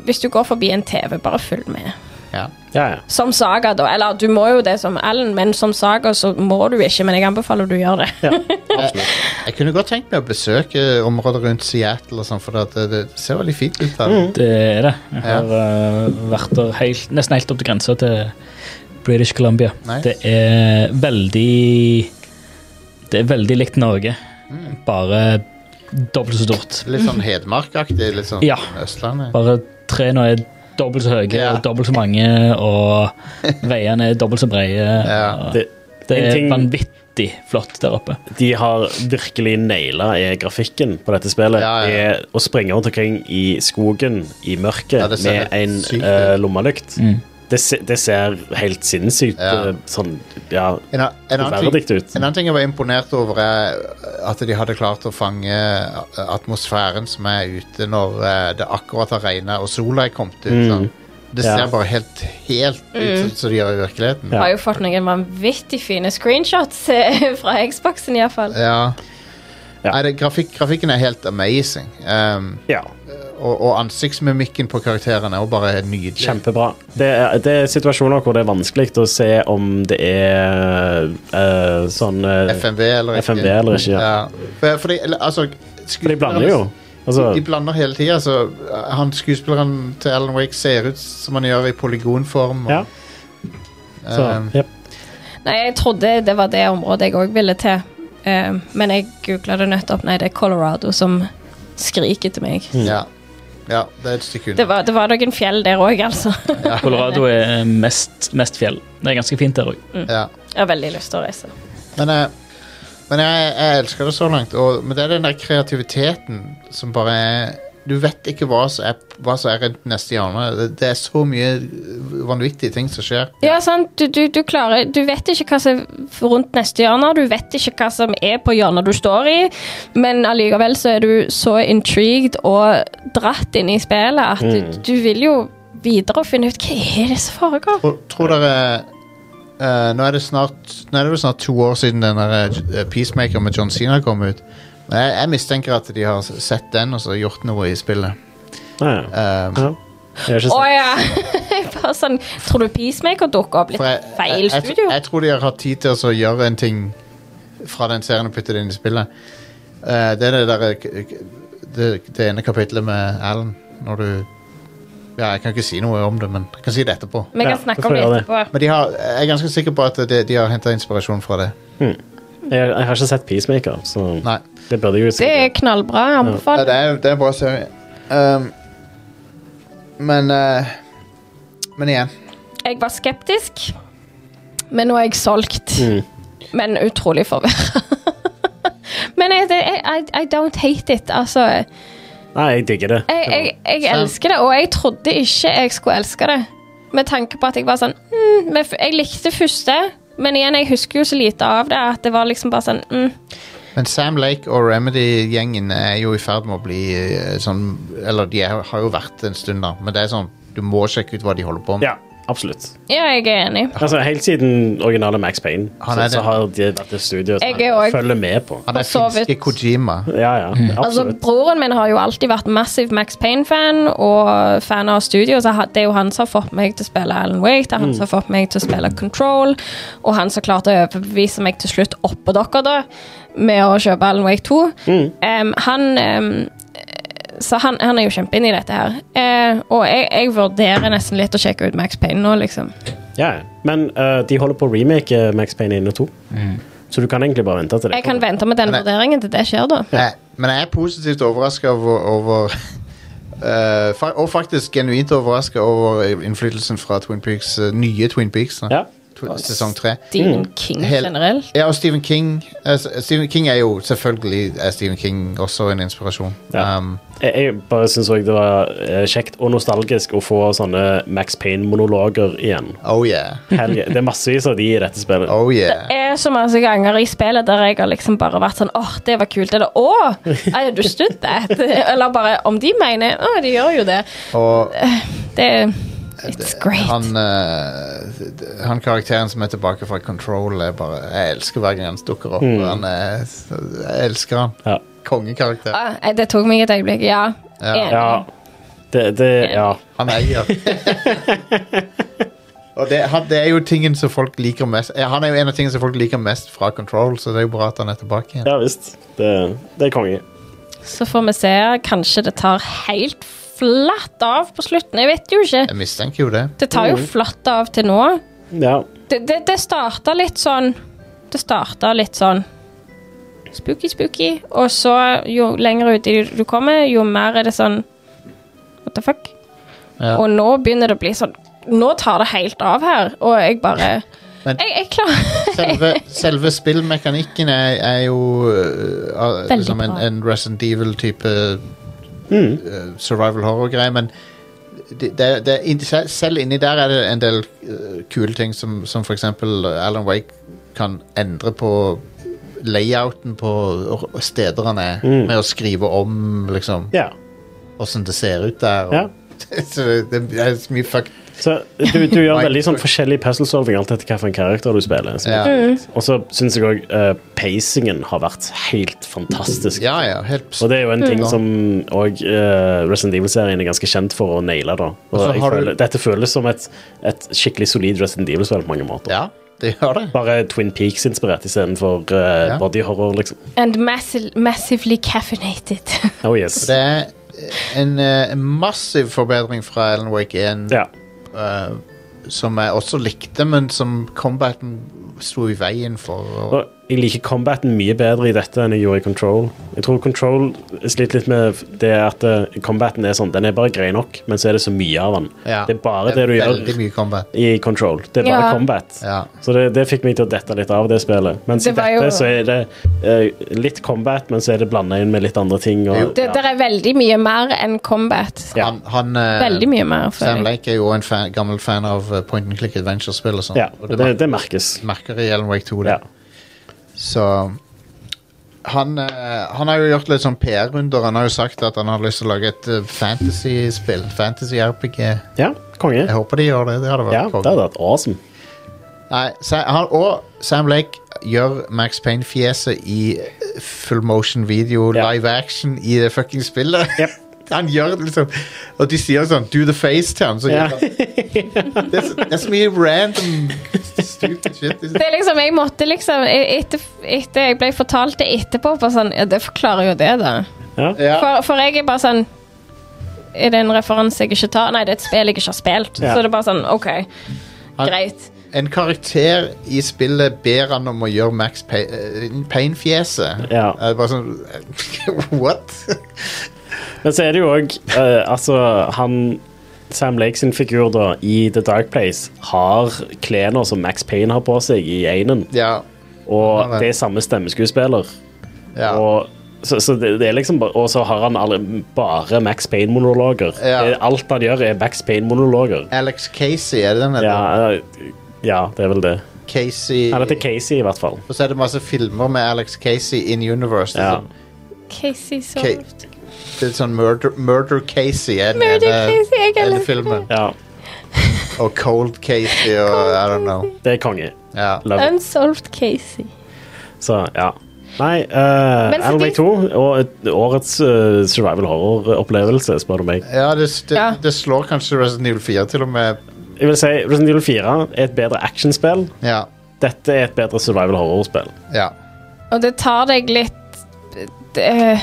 Hvis du går forbi en TV, bare følg med.
Ja.
Ja, ja.
Som Saga, da. Eller du må jo det som Ellen, men som Saga så må du ikke. Men jeg anbefaler du gjør det.
Jeg kunne godt tenkt meg å besøke området rundt Seattle, og sånn, for det, det ser veldig fint ut der.
Mm.
Det er det. Jeg har eh, vært der helt, nesten helt opp til grensa til British Columbia.
Nice.
Det er veldig Det er veldig likt Norge, bare dobbelt så stort.
Litt sånn Hedmark-aktig. Litt sånn
Ja.
Østlandet.
Bare trærne er dobbelt så høye
Ja.
og dobbelt så mange, og veiene er dobbelt så brede.
Ja.
og
Det,
Det
en
er
ting-
vanvittig flott der oppe.
de har virkelig naila er grafikken på dette spillet.
Ja, ja.
Er å springe rundt omkring i skogen i mørket
Ja, det ser
med
helt
en
sykt ut.
eh, lommelykt. Det, se, det ser helt sinnssykt
Ja.
eh, sånn ja,
En, a- en, annen
forferdelig
ting,
ut.
en annen ting jeg var imponert over, er eh, at de hadde klart å fange eh, atmosfæren som er ute når eh, det akkurat har regna og sola er kommet ut. Sånn. Det
Mm. Ja.
ser bare helt, helt ut som- som det gjør i virkeligheten.
Ja.
Har jo fått noen vanvittig fine screenshots eh, fra Xboxen, iallfall.
Ja.
Ja.
Nei, det, grafikk, grafikken er helt amazing. Um,
ja,
og, og ansiktsmimikken på karakterene er jo bare nydelig.
kjempebra. Det er, det er situasjoner hvor det er vanskelig å se om det er eh, sånn eh,
FMV eller ikke.
FMV eller ikke, ja.
For, fordi, eller, altså,
For de blander jo. Altså,
De blander hele tida, så han skuespilleren til Alan Wake ser ut som han gjør i polygonform. og-
ja. Så,
Um,
jep.
Nei, jeg trodde det var det området jeg òg ville til, eh, men jeg googla det nettopp. Nei, det er Colorado som skriker til meg.
Mm.
ja. ja, det er et stykke
Det
unna.
var, det var noen fjell der òg, altså.
Colorado er mest, mest fjell. Det er ganske fint der òg.
Ja.
Jeg har veldig lyst til å reise.
Men, eh, men jeg, jeg elsker det så langt. Og, men det er den der kreativiteten som bare er Du vet ikke hva som er, hva som er rundt neste hjørne. Det, det er så mye vanvittige ting som skjer.
Ja, sant. Du, du, du klarer Du vet ikke hva som er rundt neste hjørne, du vet ikke hva som er på hjørnet du står i, men allikevel så er du så intrigued og dratt inn i spillet at du, du vil jo videre og finne ut hva er det som foregår.
Tror, tror dere eh, Nå er det snart Nå er det vel snart to år siden den der eh, Peacemaker med John Cena kom ut. Men jeg, jeg mistenker at de har sett den og så gjort noe i spillet.
Ja, ja.
Eh,
Ja. Jeg er ikke
Å
så-
ja! Bare sånn Tror du Peacemaker dukker opp litt
for jeg, jeg,
feil
jeg,
studio?
jeg tror de har hatt tid til å så gjøre en ting fra den serien og putte det inn i spillet. Eh, det er det derre k- k- det, det ene kapitlet med Alan, når du Ja, jeg kan ikke si noe om det, men jeg kan si det etterpå.
Vi
Ja,
kan
du
snakke
får
om det
gjøre det.
etterpå.
Men de har, jeg er ganske sikker på at de, de har henta inspirasjon fra det.
jeg, jeg har ikke sett Peacemaker, så
Nei.
det burde jeg jo
Det er
sikkert.
knallbra.
Ja,
Jeg
det
anbefaler.
er, det er en bra serie. Ehm, men eh, Men igjen.
Jeg var skeptisk, men nå er jeg solgt.
Mm.
Men utrolig forvirra. men jeg, jeg, I, I don't hate it. Altså, jeg,
Nei, jeg digger det.
jeg, jeg
Sam-
elsker det, og jeg trodde ikke jeg skulle elske det. Med tanke på at jeg var sånn mm, men f- Jeg likte første, men igjen, jeg husker jo så lite av det at det var liksom bare sånn mm.
Men Sam Lake og Remedy-gjengen er jo i ferd med å bli eh, sånn Eller de er, har jo vært det en stund, da, men det er sånn du må sjekke ut hva de holder på med.
Ja, absolutt.
Ja, jeg er enig.
Altså, Helt siden originale Max Payne
Han
så,
er det.
så har de vært et studio som
Jeg er også-
følger med på.
Han er
for så vidt.
finske Kojima.
Ja, ja,
Mm.
Altså,
absolutt.
Broren min har jo alltid vært massiv Max Payne-fan og fan av studio. Så ha- det er jo han som har fått meg til å spille Alan Wake, det er han som
Mm.
har fått meg til å spille Control, og han som klarte å overbevise meg til slutt oppå dere da, med å kjøpe Alan Wake 2.
Mm.
Em, han em, så han, han er jo kjempeinn i dette her. Eh, og jeg, jeg vurderer nesten litt å sjekke ut Max Payne nå, liksom.
Ja, ja. Men eh, de holder på å remake eh, Max Payne 1 og 2,
Mm.
så du kan egentlig bare vente til det
Jeg kan
kommer.
vente med den
Men jeg-
vurderingen til det skjer, da.
Jeg, men jeg er positivt overraska over, over eh, fa Og faktisk genuint overraska over innflytelsen fra Twin Peaks, eh, nye Twin Peaks. da.
Ja.
Tw- Sesong tre.
Stephen King
Mm. Hel-
generelt.
Ja, og Stephen King. eh, s- Stephen King er jo selvfølgelig er Stephen King også en inspirasjon.
Ja.
Um,
Jeg, jeg bare syns òg det var eh, kjekt og nostalgisk å få sånne Max Payne-monologer igjen.
oh yeah.
Hell, yeah. det er massevis av de i dette spillet.
Oh yeah.
er så mange ganger i spillet der jeg har liksom bare vært sånn åh, det var kult, eller åh, I understood that. eller bare om de mener åh, de gjør jo det.
Og
Det It's great.
han, eh, d- d- han karakteren som er tilbake fra Control, er bare Jeg elsker hver gang han dukker opp.
Mm.
Han er, jeg elsker han.
Ja.
Kongekarakter.
Ah, det tok meg et øyeblikk, ja.
Ja.
Enig.
Ja. Det, det, ja.
Han eier. Og det, han, det er jo tingen som folk liker mest eh, Han er jo en av tingene som folk liker mest fra Control, så det er jo bra at han er tilbake igjen.
Ja visst. Det, det er konge.
Så får vi se. Kanskje det tar helt flatt av på slutten. Jeg vet jo ikke.
Jeg mistenker jo det.
Det tar jo
Mm.
flatt av til nå.
Ja.
Det, det, det starta litt sånn Det starta litt sånn spooky, spooky, og så jo lenger ut i- du kommer, jo mer er det sånn What the fuck?
Ja.
Og nå begynner det å bli sånn Nå tar det helt av her, og jeg bare
Men-
jeg, jeg klarer
Selve, selve spillmekanikken er, er jo øh, ah,
Veldig
liksom en,
bra.
en Resident Evil-type
Mm.
øh, survival horror-greie, men det, det, det, inni- se- selv inni der er det en del øh, kule ting som, som for eksempel Alan Wake kan endre på layouten på r- steder han er, med å skrive om liksom
Mm. ja.
åssen det ser ut der. Og,
Ja.
så det, det er så mye fuck.
Så du, du gjør
Nei.
veldig sånn forskjellig puzzle-solving alt etter hvilken karakter du spiller. Så-
Ja.
Og så syns jeg òg pacingen har vært helt fantastisk.
ja, ja, helt
Og det er jo en ting
Mm.
som òg Resident Evil-serien er ganske kjent for å naile. da. Og
så
jeg
Altså, har du-
føler, dette føles som et, et skikkelig solid Resident Evil-spill på mange måter.
Ja, det gjør det.
Bare Twin Peaks-inspirert istedenfor uh,
Ja.
body horror, liksom.
And massi- massively caffeinated.
Oh yes.
Det er en eh, massiv forbedring fra Alan Wake 1,
Ja.
eh, som jeg også likte, men som combaten sto i veien for. Og,
Og jeg liker combaten mye bedre i dette enn jeg gjorde i Control. Jeg tror Control sliter litt med det at eh, combaten er sånn, den er bare grei nok, men så er det så mye av den.
ja,
Det er bare det du
Veldig
gjør
mye combat.
i Control. Det er bare
Ja.
combat.
Ja.
Så det, det fikk meg til å dette litt av det spillet. Mens i
Det var
dette
jo-
så er det eh, litt combat, men så er det blanda inn med litt andre ting. Og,
Det der er veldig mye mer enn combat.
Ja.
Han, han eh,
Veldig mye
Sam
mer. føler jeg.
Lake er jo en fan, gammel fan av eh, point and click adventure-spill og sånn.
ja,
og
det,
det
det merkes.
merker i Alan Wake 2. det.
Ja.
Så han, eh, han har jo gjort litt sånn PR-runder. Han har jo sagt at han har lyst til å lage et eh, fantasy-spill. Fantasy-RPG.
ja, konge.
Jeg håper de gjør det. Det hadde vært
Ja, det
konge.
hadde vært awesome.
Nei, Sa- han, og Sam Lake gjør Max Payne-fjeset i full motion video,
Ja.
live action, i det fucking spillet.
Yep.
Han gjør det liksom Og de sier sånn 'do the face' til ham. Så gjør
Ja.
han. det, er så, det er så mye random stupid shit.
Det er liksom, jeg måtte liksom e- etter, etter jeg ble fortalt det etterpå, bare sånn ja, Det forklarer jo det, da.
Ja.
Ja,
For, for jeg er bare sånn Er det en referanse jeg ikke tar? Nei, det er et spill jeg ikke har spilt.
Ja.
Så det er bare sånn OK,
Han-
greit.
en karakter i spillet ber han om å gjøre Max Pay- eh, Payne-fjeset.
Ja.
Eh, Bare sånn What?
Men så er det jo òg Altså, han Sam Lake sin figur da i The Dark Place har klærne som Max Payne har på seg i einen,
ja.
og
Ja, det.
det er samme stemmeskuespiller.
ja.
Og så, så det, det er liksom bare, og så har han alle, bare Max Payne-monologer.
Ja.
Det- Alt han gjør, er Max Payne-monologer.
Alex Casey, er det den heter?
Ja, eh, ja, det er vel det.
Casey
Han heter Casey, i hvert fall.
Og så er det masse filmer med Alex Casey in universe. Det er
Ja.
sånn-
Casey så
Ca- Det er sånn Murder, murder Casey er den
Murder
ene-
Casey, jeg
ene
elsker
filmen.
Ja,
Og Cold Casey og I don't know.
det er konge.
Ja.
Love it.
Unsolved Casey.
Så, ja. Nei, uh,
Men fordi-
Alan Wake 2 og et- årets eh, survival horror-opplevelse, spør du meg.
Ja, det, det,
Ja.
det slår kanskje Resident Evil 4 til og med.
Jeg vil si Resident Evil 4 er et bedre actionspill.
Ja.
Dette er et bedre survival horror-spill.
ja.
Og det tar deg litt det,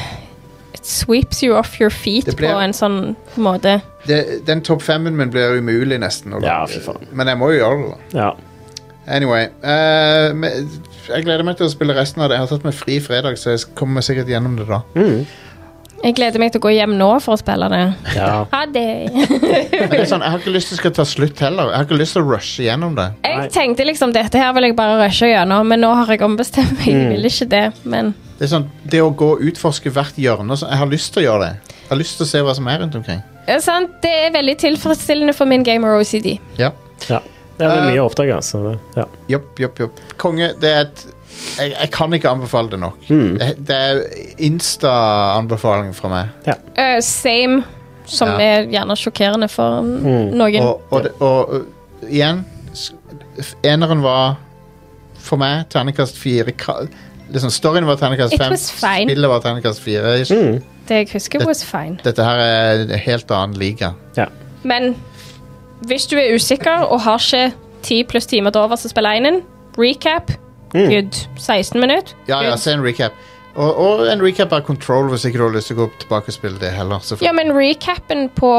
It sweeps you off your feet
Det ble-
på en sånn måte.
Det, den topp femmen min blir umulig nesten. å
Ja,
lage.
fy faen.
Men jeg må jo gjøre det. da.
Ja.
Anyway. eh, men jeg gleder meg til å spille resten av det. Jeg har tatt meg fri fredag, så jeg kommer meg sikkert gjennom det da.
Jeg gleder meg til å gå hjem nå for å spille det.
ja.
Ha det.
Men det er sånn, jeg har ikke lyst til å skal ta slutt heller. Jeg har ikke lyst til å rushe gjennom det.
Jeg
Nei.
tenkte liksom dette her vil jeg bare rushe gjennom, men nå har jeg ombestemt meg.
Mm.
Jeg vil ikke det, men
Det er sånn, det å gå og utforske hvert hjørne så Jeg har lyst til å gjøre det. Jeg har lyst til å se hva som er rundt omkring.
Ja, sant? Det er veldig tilfredsstillende for min gamer OCD.
Ja.
ja. Det er
Eh,
mye å oppdage, så det- ja.
Jopp, jopp, jopp. Konge, det er et jeg, jeg kan ikke anbefale det nok. Det, det er insta-anbefaling fra meg.
Øh, same, som
Ja. Mm.
er gjerne sjokkerende for noen.
Og, og, det- og, uh, igjen s- f- Eneren var for meg terningkast fire. ka- Liksom, storyen var terningkast
It
fem,
was fine.
spillet var terningkast fire.
Det jeg husker,
Det-
was fine.
Dette her er en helt annen liga.
ja.
Men hvis du er usikker og har ikke 10 pluss timer til over, så spill einen. Recap. Good. 16 minutter.
Mm. Ja, ja,
Good.
se en recap. Og, og en recap av Control, hvis ikke du har lyst til å gå tilbake og spille det heller. så får-
Ja, men recapen på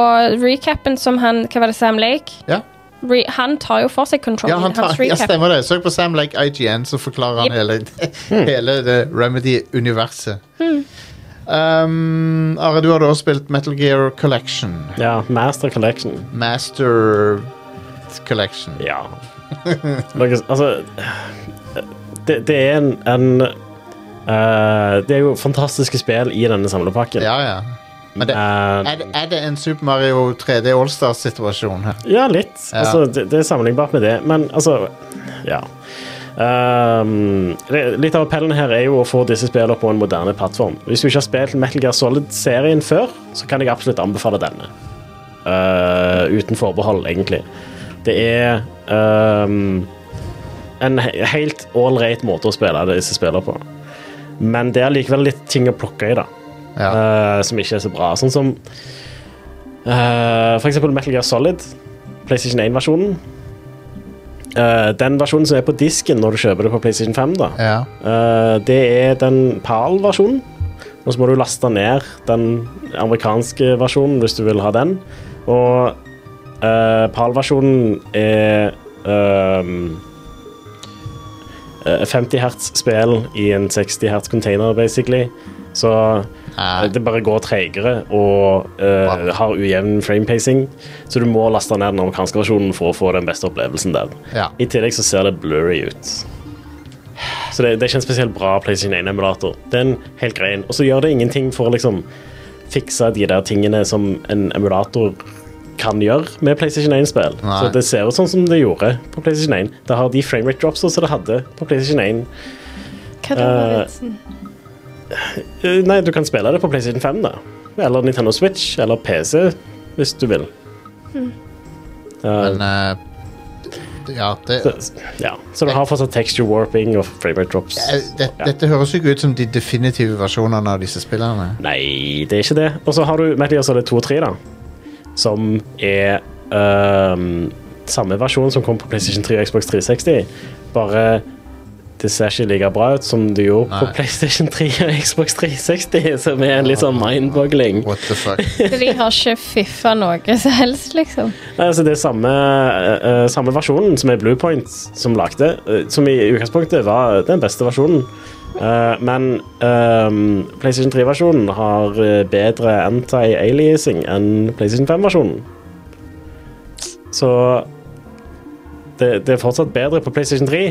Recapen som han Hva var det, Sam Lake?
ja.
Re, han tar jo for seg control.
ja, han tar,
hans
ja,
recap.
stemmer det. Søk på Sam Lake IGN, så forklarer han
Yep.
hele,
Hmm.
hele det Remedy-universet.
Hmm.
Um, Are, du hadde også spilt Metal Gear Collection.
Ja, Master Collection.
Master Collection.
Ja. Noe, s- altså Det, det er en, en eh, Det er jo fantastiske spill i denne samlepakken.
Ja, ja. Men det,
Eh,
er, det- er det en Super Mario 3D Allstars-situasjon her?
Ja, litt.
Ja.
Altså, det, det er sammenlignbart med det, men altså Ja. Ehm, det, litt av appellen her er jo å få disse spillene på en moderne plattform. Hvis du ikke har spilt Metal Gear Solid-serien før, så kan jeg absolutt anbefale denne. Eh, uten forbehold, egentlig. Det er ehm, en he helt ålreit måte å spille disse spillene på. Men det er likevel litt ting å plukke i, da.
Ja.
Eh, som ikke er så bra. Sånn som eh, for eksempel Metal Gear Solid, PlayStation 1-versjonen. Eh, den versjonen som er på disken når du kjøper det på PlayStation 5, da,
ja.
eh, det er den PAL-versjonen. Og så må du laste ned den amerikanske versjonen hvis du vil ha den. Og eh, PAL-versjonen er ehm, eh, 50 hertz-spill i en 60 hertz-container, basically. Så
Nei.
det bare går tregere og eh, har ujevn frame-pacing, så du må laste ned den amerikanske versjonen for å få den beste opplevelsen der.
Ja.
I tillegg så ser det blurry ut. Så det, det er ikke en spesielt bra PlayStation 1-emulator. Det er en helt grei en. Og så gjør det ingenting for å liksom fikse de der tingene som en emulator kan gjøre med PlayStation 1-spill.
Nei.
Så det ser ut sånn som det gjorde på PlayStation 1. Det har de framerate dropsa som det hadde på PlayStation 1.
Hva da,
Eh,
Maritsen?
Eh, Nei, du kan spille det på PlayStation 5, da. Eller Nintendo Switch, eller PC, hvis du vil. Eh,
Men eh, Ja, det
så, ja. så du har fortsatt texture warping og framerate drops.
Eh, det, Dette høres jo ikke ut som de definitive versjonene av disse spillene.
Nei, det er ikke det. Og så har du Metal Gear Solid 2 og 3, da. Som er ehm, samme versjon som kom på PlayStation 3 og Xbox 360. Bare det ser ikke like bra ut som det gjorde
Nei.
på PlayStation 3 og Xbox 360, som er en litt sånn mind-boggling.
What the fuck?
De har ikke fiffa noe som helst, liksom.
Nei, altså det er samme, eh, eh, samme versjonen som er Bluepoint som lagde, eh, som i utgangspunktet var den beste versjonen. Eh, men ehm, PlayStation 3-versjonen har eh, bedre anti-aliasing enn PlayStation 5-versjonen. Så det, det er fortsatt bedre på PlayStation 3.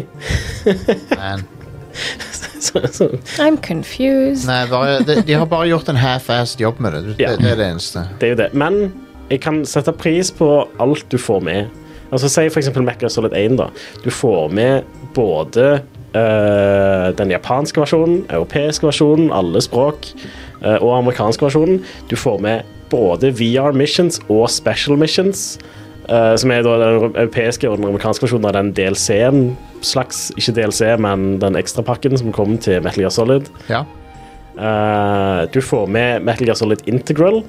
Man.
så, så,
I'm confused.
Nei, bare, de, de har bare gjort en half-assed jobb med det. Det,
Ja.
det er det eneste.
det er jo det. Men jeg kan sette pris på alt du får med. Altså Si for eksempel Mecha Solid 1. da Du får med både eh, den japanske versjonen, europeiske versjonen, alle språk, eh, og amerikanske versjonen. Du får med både VR missions og special missions. eh, som er da den europeiske og den amerikanske versjonen av den DLC-en. slags, Ikke DLC, men den ekstrapakken som kom til Metal Gear Solid.
Ja.
Eh, du får med Metal Gear Solid Integral,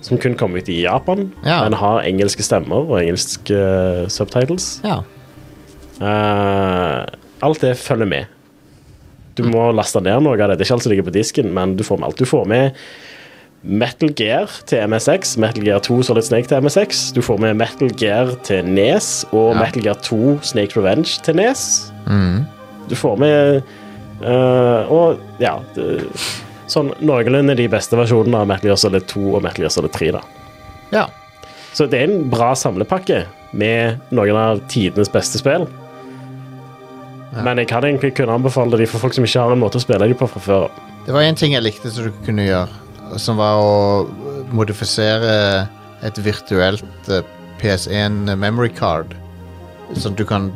som kun kom ut i Japan.
Ja.
Den har engelske stemmer og engelske eh, subtitles.
ja.
Eh, alt det følger med. Du må laste ned noe av det. Det er ikke alt som ligger på disken, men du får med alt. Du får med Metal Gear til MSX, Metal Gear 2 Solid Snake til MSX. Du får med Metal Gear til Nes og
Ja.
Metal Gear 2 Snake Revenge til Nes. Du får med eh, Og ja det, Sånn noenlunde de beste versjonene av Metal Gear Solid 2 og Metal Gear Solid 3. da
ja.
så det er en bra samlepakke med noen av tidenes beste spill. Men jeg kan egentlig kunne anbefale de for folk som ikke har en måte å spille de på fra før.
Det var én ting jeg likte som du kunne gjøre, som var å modifisere et virtuelt eh, PS1 memory card. Sånn at du kan,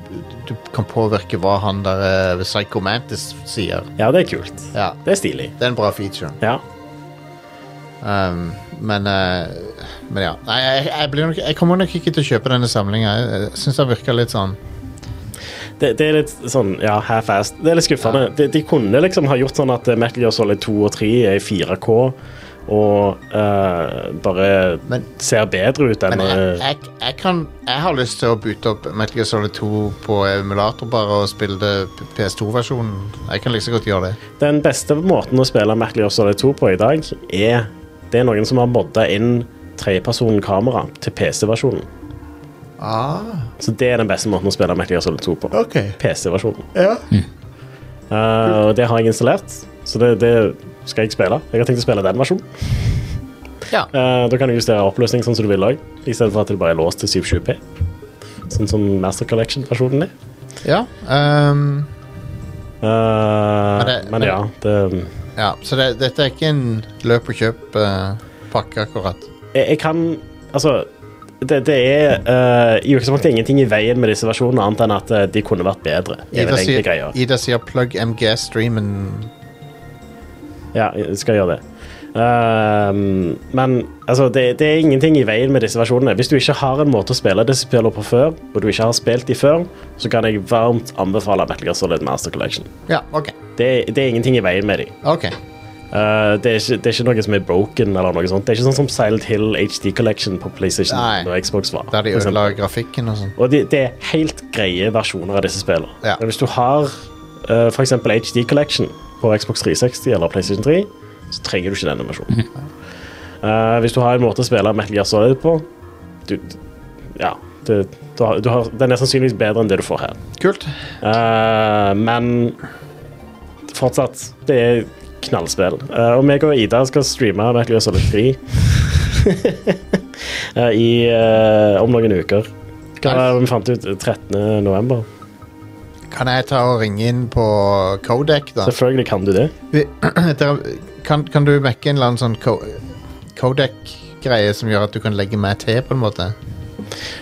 du kan påvirke hva han der eh, Psycho Mantis sier.
Ja, det er kult.
Ja,
Det er stilig.
det er en bra feature.
Ja.
Um, men, eh, men ja. Nei, jeg, jeg, blir nok, jeg kommer nok ikke til å kjøpe denne samlinga. Jeg, jeg syns den virker litt sånn
Det, det er litt sånn, ja, half-assed. Det er litt skuffende. De, de kunne liksom ha gjort sånn at eh, Metal Gear Solid 2 og 3 er i 4K, og eh, bare
Men-
ser bedre ut enn
Men jeg,
eh,
jeg, jeg, kan, jeg har lyst til å bytte opp Metal Gear Solid 2 på emulator bare og spille det P- PS2-versjonen. Jeg kan like så godt gjøre det.
Den beste måten å spille Metal Gear Solid 2 på i dag, er det er noen som har modda inn trepersonen-kamera til PC-versjonen. Så det er den beste måten å spille Metal Gear Solid 2 på.
Ok.
PC-versjonen.
Ja.
Eh, og det har jeg installert, så det, det skal jeg spille. Jeg har tenkt å spille den versjonen.
Ja.
Eh, da kan du justere oppløsning sånn som du vil òg, istedenfor at det bare er låst til 720P. Sånn som Master Collection-versjonen er.
ja. ehm,
Eh,
Men det-
men
men-
ja, det
ja. Så det, dette er ikke en løp og kjøp-pakke, akkurat.
jeg, jeg kan Altså, det, det er eh, i utgangspunktet ingenting i veien med disse versjonene, annet enn at eh, de kunne vært bedre. er
Ida
vel egentlig greia.
sier, Ida sier 'plug MGS-streamen'.
Ja, jeg skal gjøre det. Ehm, men altså, det, det er ingenting i veien med disse versjonene. Hvis du ikke har en måte å spille disse spillene på før, og du ikke har spilt de før, så kan jeg varmt anbefale Metal Gear Solid Master Collection.
Ja, OK.
Det, det er ingenting i veien med de.
ok
Eh, det, er ikke, det er ikke noe som er broken eller noe sånt. Det er ikke sånn som Silent Hill HD Collection på PlayStation
Nei.
og Xbox var.
Der de
for eksempel.
ødela grafikken og sånn.
Og det, det er helt greie versjoner av disse spillene.
Ja.
Men Hvis du har uh, f.eks. HD Collection på Xbox 360 eller PlayStation 3, så trenger du ikke denne versjonen. Eh, hvis du har en måte å spille Metal Gear Solid på du, Ja, det, du har, du har, den er sannsynligvis bedre enn det du får her.
Kult.
Eh, men fortsatt, det er knallspill. Eh, og meg og Ida skal streame Metal Gear Solid 3 eh, i, eh, om noen uker. Hva var det vi fant ut 13. november?
Kan jeg ta og ringe inn på Kodek, da?
Selvfølgelig kan du det.
Vi- Dere, kan, kan du mekke en eller annen sånn ko- Kodak-greie som gjør at du kan legge meg til, på en måte?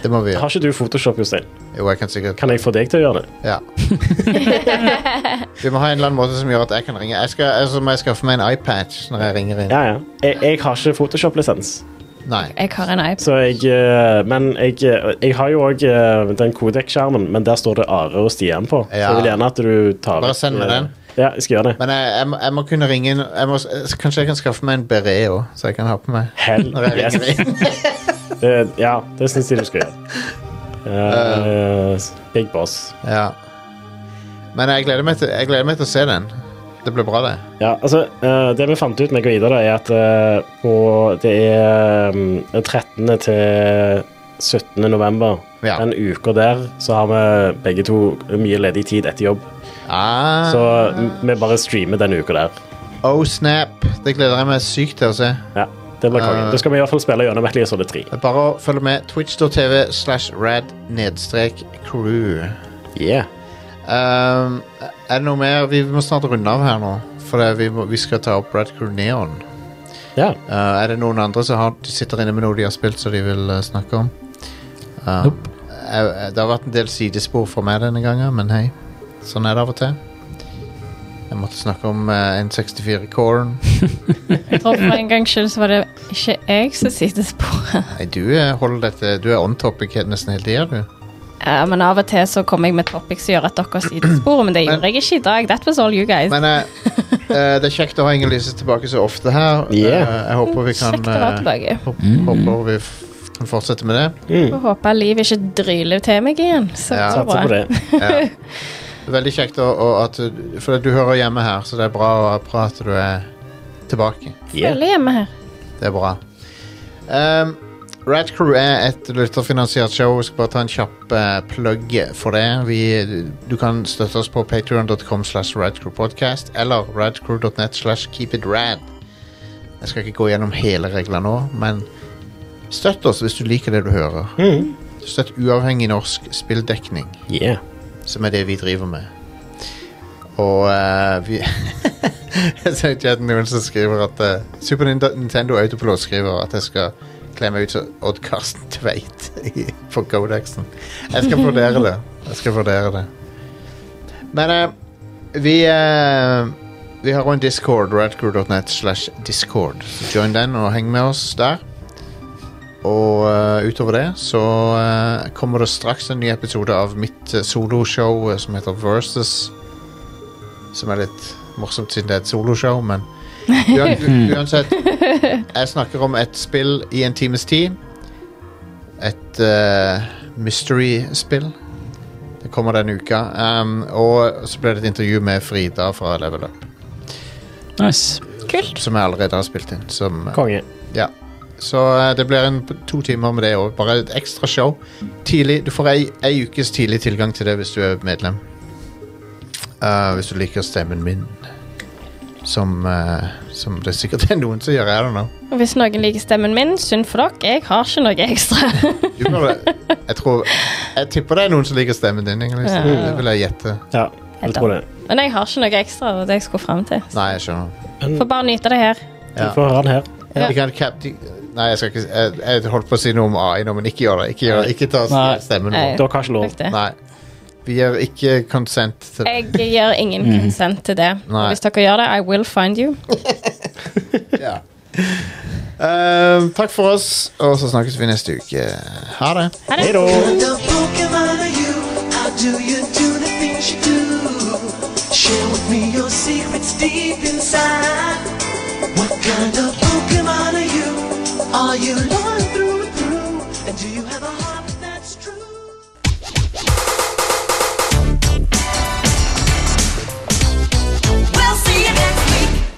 Det må vi
Har
gjøre.
ikke du Photoshop, Jostein?
Jo, jeg kan sikkert
Kan jeg få deg til å gjøre det?
Ja. vi må ha en eller annen måte som gjør at jeg kan ringe. Jeg skal, altså, må jeg skaffe meg en iPatch når jeg ringer inn.
Ja, ja. Jeg, jeg har ikke Photoshop-lisens.
Nei.
Jeg har en iPad.
Så jeg eh, Men jeg, eh, jeg har jo òg den Kodek-skjermen, men der står det Are og Stian på. Så
Ja.
jeg vil gjerne at du tar
Bare send meg
eh,
den.
Ja, jeg skal gjøre det.
Men jeg, jeg, må- jeg må kunne ringe inn jeg må, s- Kanskje jeg kan skaffe meg en beret òg, så jeg kan ha på meg
Hell
når jeg
yes.
ringer inn.
Det, ja, det syns jeg du skal gjøre. Eh, big Boss.
Ja. Men jeg gleder, meg til, jeg gleder meg til å se den. Det blir bra, det.
Ja, altså, eh, det vi fant ut, meg og Ida, da, er at eh, på, det er mm, 13. til 17. november.
Ja.
Den uka der så har vi begge to mye ledig tid etter jobb.
Ah.
Så mm, vi bare streamer den uka der.
Oh snap, det gleder jeg meg sykt til å se.
Ja, det blir
Eh.
kongen. Da skal vi i hvert fall spille gjennom Metal Gear Solid 3.
Det er Bare å følge med twitch.tv slash rad nedstrek crew.
Yeah.
Um, er det noe mer? Vi må snart runde av her nå, for det, vi, må, vi skal ta opp Rad Crew Neon.
Ja.
Uh, er det noen andre som har, de sitter inne med noe de har spilt som de vil uh, snakke om? Uh,
Nope.
jeg- jeg- det har vært en del sidespor for meg denne gangen, men hei. Sånn er det av og til. Jeg måtte snakke om uh, N64 Corn.
Jeg tror for en gangs skyld så var det ikke jeg som sitter sporet.
Nei, du eh, holder dette Du er on topic he- nesten hele tida, du.
Ja, men av og til så kommer jeg med topics som gjør at dere sitter sporet, men det gjorde jeg ikke i dag. That was all you guys.
Men eh, eh, det er kjekt å ha Inger Lise tilbake så ofte her.
Yeah.
Eh, jeg håper vi kan
Kjekt å være
eh,
tilbake.
håp- Håper vi f kan fortsette med det.
Får håpe liv ikke dryler til meg igjen. Så,
Ja.
så
Mm. Satser på
bra.
det.
Ja. Veldig kjekt å, å, at du For du hører hjemme her, så det er bra, å- bra at du er tilbake.
Yeah.
Føler hjemme her.
Det er bra. Um, Rad Crew er et lytterfinansiert show. Jeg skal bare ta en kjapp eh, plugg for det. Vi, du kan støtte oss på patreon.com slash radcrewpodcast eller radcrew.net slash keepitrad. Jeg skal ikke gå gjennom hele reglene nå, men støtt oss hvis du liker det du hører.
Mm.
Støtt uavhengig norsk spilldekning
Yeah.
som er det vi driver med. Og eh, vi Jeg ser ikke at noen som skriver at eh, Super Nind- Nintendo Autopilot skriver at jeg skal kle meg ut som Odd Karsten Tveit i- på Codexen. Jeg skal vurdere det. Jeg skal vurdere det. Men eh, vi eh, Vi har også en Discord, radcrew.net slash discord. Så join den og heng med oss der. Og eh, utover det så eh, kommer det straks en ny episode av mitt eh, soloshow eh, som heter Versus. Som er litt morsomt siden det er et soloshow, men Uan- Uansett, jeg snakker om et spill i en times tid. Et eh, mystery-spill. Det kommer denne uka. Um, og så ble det et intervju med Frida fra Level Up,
Nice.
Kult.
som jeg allerede har spilt inn. Som,
Konge.
ja. Så eh, det blir en, to timer med det òg. Bare et ekstra show. Tidlig, du får ei, ei ukes tidlig tilgang til det hvis du er medlem. Eh, hvis du liker stemmen min. Som, eh, som det sikkert er noen som gjør. I don't know.
Og Hvis noen liker stemmen min, synd for dere. Jeg har ikke noe ekstra.
Du må det. Jeg, tror, jeg tipper det er noen som liker stemmen din. Ingrid.
Ja.
Det vil jeg gjette.
Ja, jeg tror det.
Men jeg har ikke noe ekstra. Det var det jeg skulle frem til.
Nei, jeg skjønner.
Får bare nyte det her.
Ja.
Du får høre den her.
Ja.
De kan cap, de, nei, jeg, skal ikke, jeg, jeg holdt på å si noe om AI nå, men ikke gjør det. Ikke, gjør det. ikke ta
Nei.
stemmen
Nei.
vår.
Dere har ikke lov.
Fuck det.
Nei. Vi gir ikke consent til det.
Jeg gjør ingen
Mm.
konsent til det.
Nei.
Hvis dere gjør det, I will find you.
Ja. Eh, takk for oss, og så snakkes vi neste uke. Ha det.
Ha det.
Hei da.
wonder, Pokemon, are you? How do you do the things you do? Share with me your secrets deep inside. What kind of Pokemon are you? Are you loyal